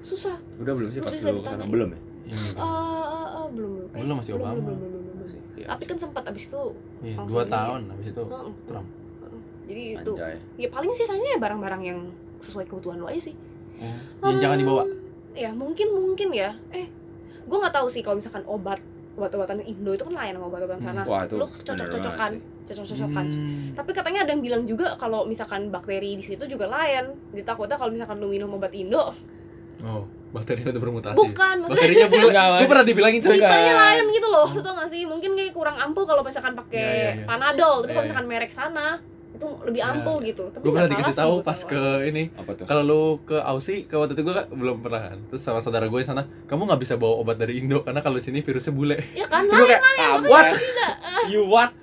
Speaker 3: susah.
Speaker 2: udah belum sih
Speaker 3: Lu
Speaker 2: pas
Speaker 3: bisa
Speaker 2: lu kesana
Speaker 3: ditanya.
Speaker 2: belum ya
Speaker 1: ya? Iya.
Speaker 3: Eh, eh, eh, belum belum. Eh,
Speaker 1: Belum, masih Obama.
Speaker 3: Belum, belum, belum, belum.
Speaker 2: Masih, iya.
Speaker 3: Tapi kan sempat abis itu.
Speaker 1: Iya,
Speaker 3: Langsung Oh,
Speaker 1: dua
Speaker 3: ini.
Speaker 1: tahun habis itu
Speaker 3: heeh.
Speaker 1: Trump.
Speaker 3: Heeh. Jadi itu.
Speaker 2: Anjay.
Speaker 3: Ya paling sisanya ya barang-barang yang sesuai kebutuhan lu aja sih.
Speaker 1: yang Iya, jangan
Speaker 3: Hmm,
Speaker 1: dibawa
Speaker 3: Ya mungkin mungkin ya. Eh, gua nggak tahu sih kalau misalkan obat obat-obatan Indo itu kan lain sama obat-obatan
Speaker 1: Hmm.
Speaker 3: sana.
Speaker 2: Wah itu
Speaker 3: Lu
Speaker 2: bener
Speaker 3: cocok-cocokan.
Speaker 2: banget sih.
Speaker 3: Cocok-cocokan.
Speaker 1: Hmm.
Speaker 3: Tapi katanya ada yang bilang juga kalau misalkan bakteri di situ juga lain. Jadi takutnya kalau misalkan lu minum obat Indo,
Speaker 1: oh bakterinya udah bermutasi
Speaker 3: bukan maksudnya
Speaker 1: bakterinya bulu
Speaker 2: Enggak,
Speaker 1: gue
Speaker 2: Mas.
Speaker 1: pernah dibilangin coy
Speaker 3: kitanya lain gitu loh. Lu tau gak sih? Mungkin kayak kurang ampuh kalau misalkan pakai
Speaker 1: Iya, iya, iya.
Speaker 3: Panadol,
Speaker 1: Iya,
Speaker 3: tapi kalau
Speaker 1: iya.
Speaker 3: misalkan merek sana itu lebih
Speaker 1: Iya,
Speaker 3: ampuh gitu. Tapi
Speaker 1: gue
Speaker 3: nggak
Speaker 1: pernah
Speaker 3: salah
Speaker 1: dikasih
Speaker 3: sih gitu
Speaker 1: tahu
Speaker 3: buat
Speaker 1: pas
Speaker 3: awal.
Speaker 1: ke ini
Speaker 2: apa tuh
Speaker 1: kalau lu ke Aussie ke waktu itu gue belum pernah kan terus sama saudara gue sana kamu nggak bisa bawa obat dari Indo karena kalau di sini virusnya bule
Speaker 3: Ya kan lah.
Speaker 2: Lu kayak ah, what you what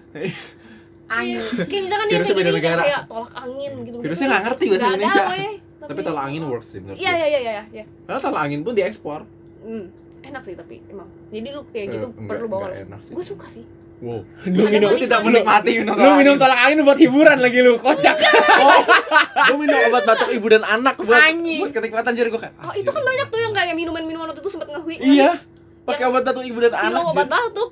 Speaker 3: Angin. Kayak misalkan dia
Speaker 1: Virusnya
Speaker 3: kayak
Speaker 1: beda
Speaker 3: gini kan
Speaker 1: negara.
Speaker 3: kayak tolak angin gitu.
Speaker 1: virusnya nggak ngerti bahasa Indonesia tapi tolak angin
Speaker 3: work.
Speaker 1: works sih menurut
Speaker 3: Iya
Speaker 1: gue
Speaker 3: iya iya iya iya.
Speaker 1: karena tolak angin pun diekspor
Speaker 3: Hmm. Enak sih tapi emang. Jadi lu kayak
Speaker 1: Eh,
Speaker 3: gitu
Speaker 1: enggak-
Speaker 3: perlu bawa.
Speaker 1: enggak enak sih
Speaker 3: Gue suka sih.
Speaker 1: wow
Speaker 2: kan? lu
Speaker 3: Ada
Speaker 2: minum
Speaker 1: gue tidak menikmati minum
Speaker 2: lu minum tolak angin buat hiburan lagi lu kocak
Speaker 1: gue Oh. minum obat batuk ibu dan anak buat
Speaker 2: Anjing.
Speaker 1: buat kenikmatan jadi gue kayak
Speaker 3: Oh, itu kan banyak tuh yang kayak minuman-minuman waktu itu sempet nge
Speaker 1: iya pakai obat batuk ibu dan
Speaker 3: Sirup
Speaker 1: anak
Speaker 3: obat batuk,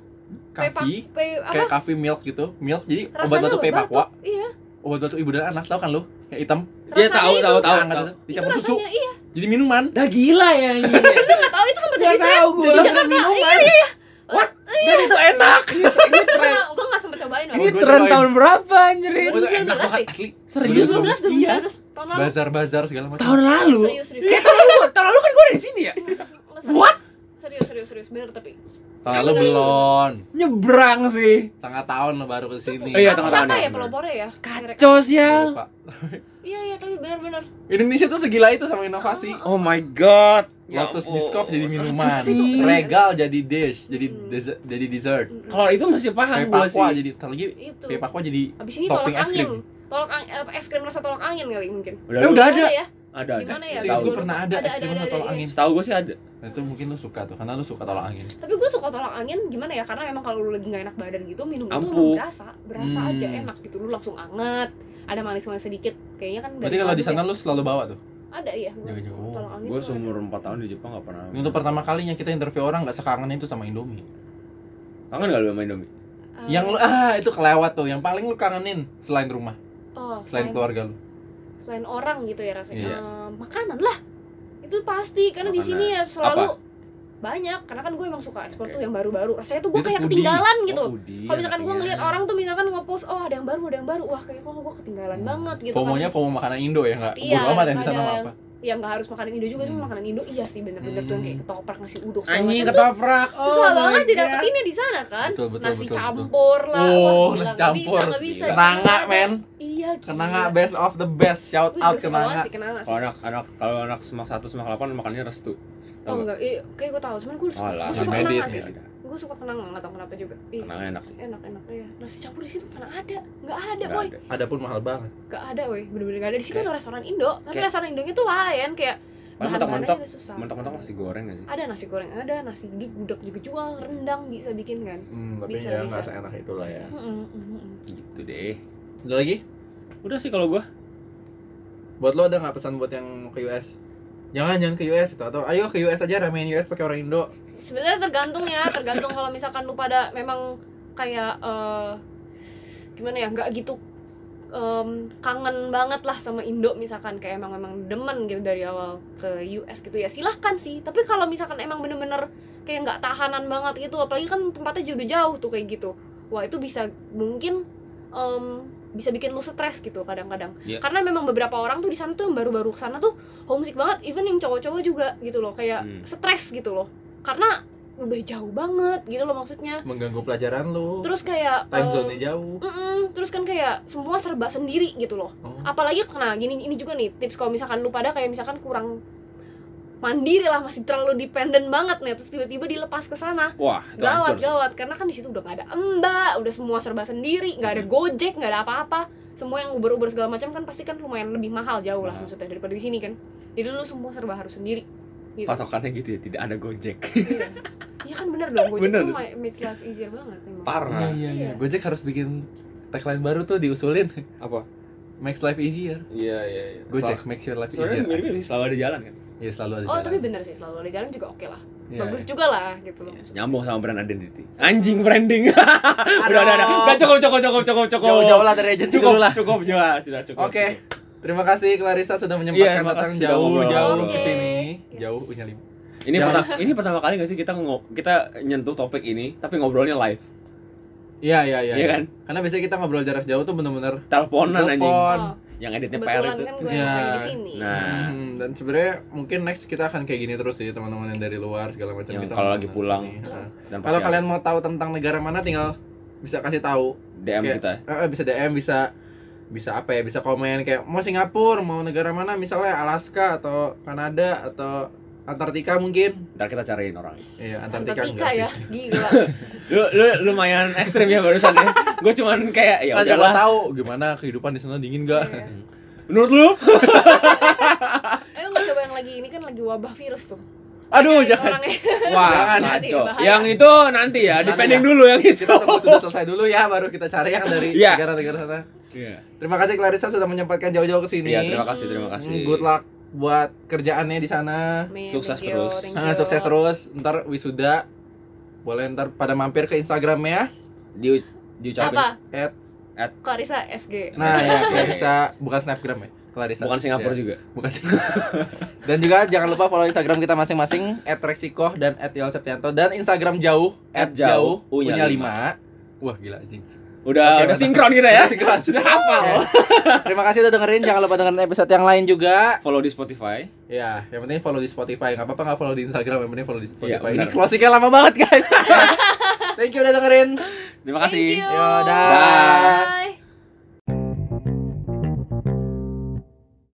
Speaker 1: kafi
Speaker 3: pepak- pe- apa?
Speaker 1: kayak kafe milk gitu milk jadi
Speaker 3: Rasanya
Speaker 1: obat batuk
Speaker 3: obat
Speaker 1: pay
Speaker 3: batuk,
Speaker 1: pakwa
Speaker 3: iya.
Speaker 1: obat batuk ibu dan anak tau kan lu yang hitam
Speaker 2: Iya
Speaker 3: Rasanya
Speaker 2: tahu
Speaker 3: itu-
Speaker 2: tahu tahu.
Speaker 1: Hangat
Speaker 2: tahu.
Speaker 1: itu,
Speaker 3: Itu
Speaker 1: dicampur susu
Speaker 3: rasanya iya.
Speaker 1: jadi minuman
Speaker 2: Dah gila ya ini.
Speaker 3: Lu enggak tahu itu sempet
Speaker 2: Gak
Speaker 3: jadi tren.
Speaker 2: tahu gue.
Speaker 3: Di Jakarta, iya iya iya.
Speaker 2: Dan itu enak. Ini
Speaker 3: Gua
Speaker 2: tren.
Speaker 3: nggak- gua enggak sempet cobain loh.
Speaker 2: Ini
Speaker 1: Gua
Speaker 2: tren
Speaker 1: cobain.
Speaker 2: tahun berapa
Speaker 3: Iya,
Speaker 2: anjir?
Speaker 1: Gua tuh enak
Speaker 3: 2019
Speaker 1: banget
Speaker 3: deh.
Speaker 1: asli
Speaker 2: Serius lu?
Speaker 3: 2019,
Speaker 1: Iya.
Speaker 3: 2019 tahun lalu.
Speaker 1: bazar-bazar segala macam
Speaker 2: Tahun lalu.
Speaker 3: Serius, serius.
Speaker 2: Iya, tahun lalu. Tahun lalu kan gue dari sini ya.
Speaker 3: Nggak se- nggak se-
Speaker 2: What?
Speaker 3: Serius, serius, serius bener tapi.
Speaker 1: tahun lalu belum
Speaker 2: Nyebrang sih.
Speaker 1: tengah tahun lo baru ke sini
Speaker 2: Iya,
Speaker 3: Apa
Speaker 2: tengah
Speaker 3: siapa
Speaker 2: tahun,
Speaker 3: ya
Speaker 2: bener.
Speaker 3: pelopornya ya? Mereka-
Speaker 2: Kacau sial.
Speaker 1: Lupa.
Speaker 3: Iya, iya tapi bener-bener.
Speaker 1: Indonesia tuh segila itu sama inovasi
Speaker 3: Oh,
Speaker 2: Oh my god.
Speaker 1: Lotus
Speaker 2: Ya ampun.
Speaker 1: Biscoff jadi minuman
Speaker 2: Apa sih?
Speaker 1: Regal jadi dish jadi
Speaker 3: Hmm.
Speaker 1: dessert, jadi dessert
Speaker 3: Mm-mm.
Speaker 2: Kalau itu masih
Speaker 3: Kan
Speaker 2: paham gue
Speaker 1: Pepakwa
Speaker 2: sih.
Speaker 1: jadi ntar lagi
Speaker 3: itu.
Speaker 1: Pepakwa jadi
Speaker 3: Abis ini
Speaker 1: topping
Speaker 3: tolak
Speaker 1: es krim.
Speaker 3: angin. Tolak ang- eh, es krim rasa tolak angin kali mungkin.
Speaker 2: Udah,
Speaker 1: Eh,
Speaker 2: lu-
Speaker 1: udah ada
Speaker 3: ya?
Speaker 2: ada
Speaker 3: Di
Speaker 2: ada.
Speaker 3: mana ya?
Speaker 1: Seingat
Speaker 2: Tahu.
Speaker 1: gue pernah ada
Speaker 3: Ada,
Speaker 1: es
Speaker 3: ada,
Speaker 1: krim
Speaker 3: ada,
Speaker 1: atau
Speaker 3: ada,
Speaker 1: angin
Speaker 2: Setahu gue sih ada.
Speaker 1: Nah, itu mungkin lu suka tuh karena lu suka tolak angin
Speaker 3: Tapi gue suka tolak angin gimana ya? Karena emang kalau lu lagi nggak enak badan gitu minum itu
Speaker 2: Ampuh.
Speaker 3: emang berasa, berasa
Speaker 1: Hmm.
Speaker 3: aja enak gitu. Lu langsung anget, ada manis-manis sedikit. Kayaknya kan. dari
Speaker 1: berarti kalau
Speaker 3: madu
Speaker 1: di sana lu selalu bawa tuh
Speaker 3: ya. ada ya. Gua,
Speaker 1: Jangan-jangan. Oh,
Speaker 3: tolak angin.
Speaker 2: Gue
Speaker 3: tuh Eh,
Speaker 2: seumur 4 tahun di Jepang gak pernah.
Speaker 1: ini untuk pertama kalinya kita interview orang nggak sekangen itu sama Indomie
Speaker 3: Hmm.
Speaker 2: Kangen gak lu main Indomie?
Speaker 3: ada. Eh,
Speaker 1: yang lu ah itu kelewat tuh yang paling lu kangenin selain rumah
Speaker 3: oh,
Speaker 1: selain keluarga lu
Speaker 3: selain orang gitu ya rasanya.
Speaker 1: Iya.
Speaker 3: Eh, makanan lah. Itu pasti karena di
Speaker 2: Makanan.
Speaker 3: sini ya selalu banyak karena kan gue emang suka ekspor
Speaker 2: Oke.
Speaker 3: tuh yang baru-baru rasanya tuh gue
Speaker 1: Dia tuh
Speaker 3: kayak
Speaker 1: foodie.
Speaker 3: ketinggalan gitu
Speaker 2: Oh, foodie,
Speaker 3: kalau misalkan gue
Speaker 2: anaknya.
Speaker 3: ngeliat orang tuh misalkan nge-post oh ada yang baru ada yang baru wah kayak kok gue ketinggalan banget gitu kan.
Speaker 1: Hmm. FOMO-nya FOMO makanan Indo ya nggak
Speaker 3: Iya,
Speaker 1: bodo amat yang di sana sama
Speaker 3: kadang.
Speaker 1: apa
Speaker 3: ya nggak harus makanan Indo juga cuma
Speaker 1: Hmm.
Speaker 3: makanan Indo iya sih bener-bener tuh yang kayak ketoprak nasi uduk segala
Speaker 2: Anjing
Speaker 3: macam tuh
Speaker 2: ketoprak. Oh
Speaker 3: susah
Speaker 2: my
Speaker 3: banget
Speaker 2: God.
Speaker 3: didapetinnya di sana kan
Speaker 1: betul betul
Speaker 3: nasi
Speaker 1: betul, betul.
Speaker 3: campur lah
Speaker 1: Oh,
Speaker 3: wah
Speaker 1: nasi
Speaker 3: gila nggak bisa
Speaker 1: campur.
Speaker 3: nggak bisa
Speaker 2: Gila.
Speaker 1: Kenanga
Speaker 3: Gimana?
Speaker 1: men
Speaker 3: iya gila.
Speaker 1: Kenanga best of the best shout
Speaker 3: Gue juga
Speaker 1: out
Speaker 3: suka banget
Speaker 1: Kenanga
Speaker 3: sih kenanga sih
Speaker 2: Kalau anak anak kalau anak semak satu semak delapan makannya restu.
Speaker 3: oh enggak iya kayak gue tahu cuman gue suka
Speaker 2: Alah,
Speaker 3: gue suka
Speaker 1: medit
Speaker 3: kenanga sih
Speaker 1: ya.
Speaker 3: gue suka kenanga nggak tahu kenapa juga iya
Speaker 2: Kenangan enak sih.
Speaker 3: enak enak iya nasi campur di situ mana ada nggak ada
Speaker 2: Nggak
Speaker 3: woi
Speaker 2: ada.
Speaker 1: ada pun mahal banget
Speaker 3: nggak ada woi bener-bener nggak ada di sini
Speaker 2: Kayak-
Speaker 3: ada restoran Indo tapi
Speaker 2: kayak-
Speaker 3: restoran Indonya tuh lain kayak
Speaker 2: Paling
Speaker 3: bahan-bahannya
Speaker 2: mentok-mentok
Speaker 3: udah susah
Speaker 2: mentok-mentok nasi goreng gak sih?
Speaker 3: ada nasi goreng ada nasi di gudeg juga jual rendang bisa bikin kan
Speaker 1: hmm, tapi
Speaker 3: Bisa,
Speaker 1: ya nggak
Speaker 3: bisa.
Speaker 1: seenak itulah ya
Speaker 3: Mm-mm, mm-mm.
Speaker 2: Gitu deh.
Speaker 1: ada lagi
Speaker 2: Udah sih kalau gua.
Speaker 1: buat lo ada nggak pesan buat yang mau ke US jangan jangan ke US itu atau ayo ke US aja ramein US pakai orang Indo
Speaker 3: sebenarnya tergantung ya tergantung kalau misalkan lu pada memang kayak eh, gimana ya nggak gitu em, kangen banget lah sama Indo misalkan kayak emang memang demen gitu dari awal ke US gitu ya silahkan sih tapi kalau misalkan emang bener-bener kayak nggak tahanan banget gitu apalagi kan tempatnya juga jauh tuh kayak gitu wah itu bisa mungkin em, bisa bikin lu stres gitu kadang-kadang
Speaker 1: Iya.
Speaker 3: karena memang beberapa orang tuh di sana tuh yang baru-baru kesana tuh homesick banget even yang cowok-cowok juga gitu loh kayak
Speaker 2: Hmm.
Speaker 3: stres gitu loh karena udah jauh banget gitu loh maksudnya
Speaker 1: mengganggu pelajaran lu
Speaker 3: terus eh, kayak
Speaker 1: time
Speaker 3: em,
Speaker 1: zone-nya jauh
Speaker 3: Mm-mm, terus kan kayak semua serba sendiri gitu loh.
Speaker 1: Oh.
Speaker 3: Apalagi nah gini ini juga nih tips kalau misalkan lu pada kayak misalkan kurang mandiri lah masih terlalu dependent banget nih terus tiba-tiba dilepas ke sana
Speaker 2: Wah, itu hancur.
Speaker 3: gawat gawat karena kan di situ udah nggak ada embak udah semua serba sendiri nggak ada gojek nggak ada apa-apa semua yang uber uber segala macam kan pasti kan lumayan lebih mahal jauh lah
Speaker 2: Nah.
Speaker 3: maksudnya daripada di sini kan jadi lu semua serba harus sendiri gitu
Speaker 2: Patokannya gitu ya, tidak ada Gojek.
Speaker 3: iya Iya kan bener dong gojek
Speaker 2: Bener.
Speaker 3: tuh ma- makes life easier banget memang.
Speaker 1: Iya,
Speaker 2: Parah.
Speaker 1: iya, iya.
Speaker 3: Iya.
Speaker 1: Gojek harus bikin tagline baru tuh diusulin.
Speaker 2: Apa?
Speaker 1: Makes life easier.
Speaker 2: Iya, iya, iya.
Speaker 1: Gojek makes your life
Speaker 2: Soalnya
Speaker 1: easier.
Speaker 2: mirip sih Iya. selalu ada jalan kan.
Speaker 1: Iya selalu ada.
Speaker 3: oh
Speaker 1: jalan.
Speaker 3: tapi bener sih selalu ada jalan juga oke lah
Speaker 1: Iya,
Speaker 3: bagus
Speaker 1: iya.
Speaker 3: juga lah gitu loh
Speaker 2: Nyambung sama brand identity. Anjing branding. udah, udah, udah. Udah cukup, cukup, cukup, cukup, cukup.
Speaker 1: Jauh-jauh lah dari agensi
Speaker 2: Cukup,
Speaker 1: dulu lah.
Speaker 2: cukup, Jawa. Sudah cukup.
Speaker 1: Oke. Terima kasih Clarissa sudah menyempatkan
Speaker 2: Iya, terima
Speaker 1: datang
Speaker 2: kasih sudah ngobrol.
Speaker 1: jauh-jauh
Speaker 3: Oke.
Speaker 1: ke sini.
Speaker 3: Yes.
Speaker 1: Jauh punya lima.
Speaker 2: Ini
Speaker 1: Jangan-
Speaker 2: pertama, ini pertama kali gak sih kita ngo- kita nyentuh topik ini tapi ngobrolnya live.
Speaker 1: Iya, iya, iya.
Speaker 2: Iya
Speaker 1: iya.
Speaker 2: kan?
Speaker 1: Karena biasanya kita ngobrol jarak jauh tuh bener-bener
Speaker 2: Teleponan anjing.
Speaker 1: telepon.
Speaker 3: Oh.
Speaker 2: Yang editnya PR
Speaker 3: kebetulan
Speaker 2: itu.
Speaker 3: kan gue
Speaker 1: Iya.
Speaker 3: emang lagi di sini
Speaker 2: Nah.
Speaker 1: Hmm, dan sebenarnya mungkin next kita akan kayak gini terus sih teman-teman yang dari luar segala macam
Speaker 2: Yang
Speaker 1: kita
Speaker 2: Iya, kalau
Speaker 1: ngobrol
Speaker 2: lagi
Speaker 1: dari
Speaker 2: pulang.
Speaker 1: sini. Heeh.
Speaker 2: Dan pasti
Speaker 1: Kalau
Speaker 2: ada
Speaker 1: kalian mau tahu tentang negara mana tinggal bisa kasih tahu.
Speaker 2: DM
Speaker 1: kayak-
Speaker 2: kita.
Speaker 1: Eh, bisa DM bisa bisa apa ya bisa komen kayak mau Singapura mau negara mana misalnya Alaska atau Kanada atau Antartika mungkin
Speaker 2: Ntar kita cariin orang.
Speaker 1: iya Antartika,
Speaker 3: Antartika
Speaker 1: enggak
Speaker 3: ya
Speaker 1: sih
Speaker 3: gila
Speaker 2: Lu, lu lumayan ekstrim ya barusan ya. Gue cuman kayak ya
Speaker 1: Kan siapa
Speaker 2: udahlah.
Speaker 1: tahu gimana kehidupan di sana dingin gak
Speaker 3: Iya.
Speaker 2: Menurut lu?
Speaker 3: eh lu nggak coba yang lagi ini kan lagi wabah virus tuh
Speaker 2: Aduh,
Speaker 3: Kayak ya.
Speaker 2: jangan.
Speaker 3: orangnya
Speaker 2: Wah,
Speaker 1: Jangan.
Speaker 2: kacau.
Speaker 3: Bahaya.
Speaker 2: Yang itu nanti ya,
Speaker 1: Nanti
Speaker 2: depending
Speaker 1: ya.
Speaker 2: dulu yang itu.
Speaker 1: kita tunggu sudah selesai dulu ya baru kita cari yang dari
Speaker 2: Iya.
Speaker 1: negara-negara sana
Speaker 2: Iya.
Speaker 1: terima kasih Clarissa sudah menyempatkan jauh-jauh ke sini
Speaker 2: Iya, terima kasih, terima
Speaker 1: Hmm,
Speaker 2: kasih.
Speaker 1: good luck buat kerjaannya di sana
Speaker 3: Men,
Speaker 2: Sukses
Speaker 3: thank you,
Speaker 2: terus.
Speaker 3: thank
Speaker 1: Nah,
Speaker 3: you.
Speaker 1: sukses terus ntar wisuda boleh ntar pada mampir ke ya. Instagramnya
Speaker 2: Di diucapin
Speaker 3: apa
Speaker 1: At-
Speaker 2: at-
Speaker 3: Clarissa SG
Speaker 1: nah ya Clarissa bukan Snapgram ya Clarissa
Speaker 2: Iya. bukan Singapura
Speaker 1: Ya.
Speaker 2: juga.
Speaker 1: Bukan sih. dan juga jangan lupa follow Instagram kita masing-masing @reksikoh dan @yolseptianto dan Instagram jauh
Speaker 2: Jauh,
Speaker 1: @jauh
Speaker 2: punya
Speaker 1: punya 5. Wah, gila anjing.
Speaker 2: Udah
Speaker 1: Oke,
Speaker 2: udah
Speaker 1: mantap.
Speaker 2: sinkron kita ya.
Speaker 1: Udah sinkron.
Speaker 2: Sudah hafal.
Speaker 1: Terima kasih udah dengerin, jangan lupa dengerin episode yang lain juga.
Speaker 2: Follow di Spotify.
Speaker 1: Ya, yang penting follow di Spotify. Enggak apa-apa enggak follow di Instagram, yang penting follow di
Speaker 2: Iya,
Speaker 1: Spotify.
Speaker 2: benar.
Speaker 1: Ini closing-nya lama banget, guys. Thank you udah dengerin.
Speaker 2: Terima
Speaker 3: thank
Speaker 2: kasih.
Speaker 3: you
Speaker 1: Yo, dah.
Speaker 2: Dah.
Speaker 3: bye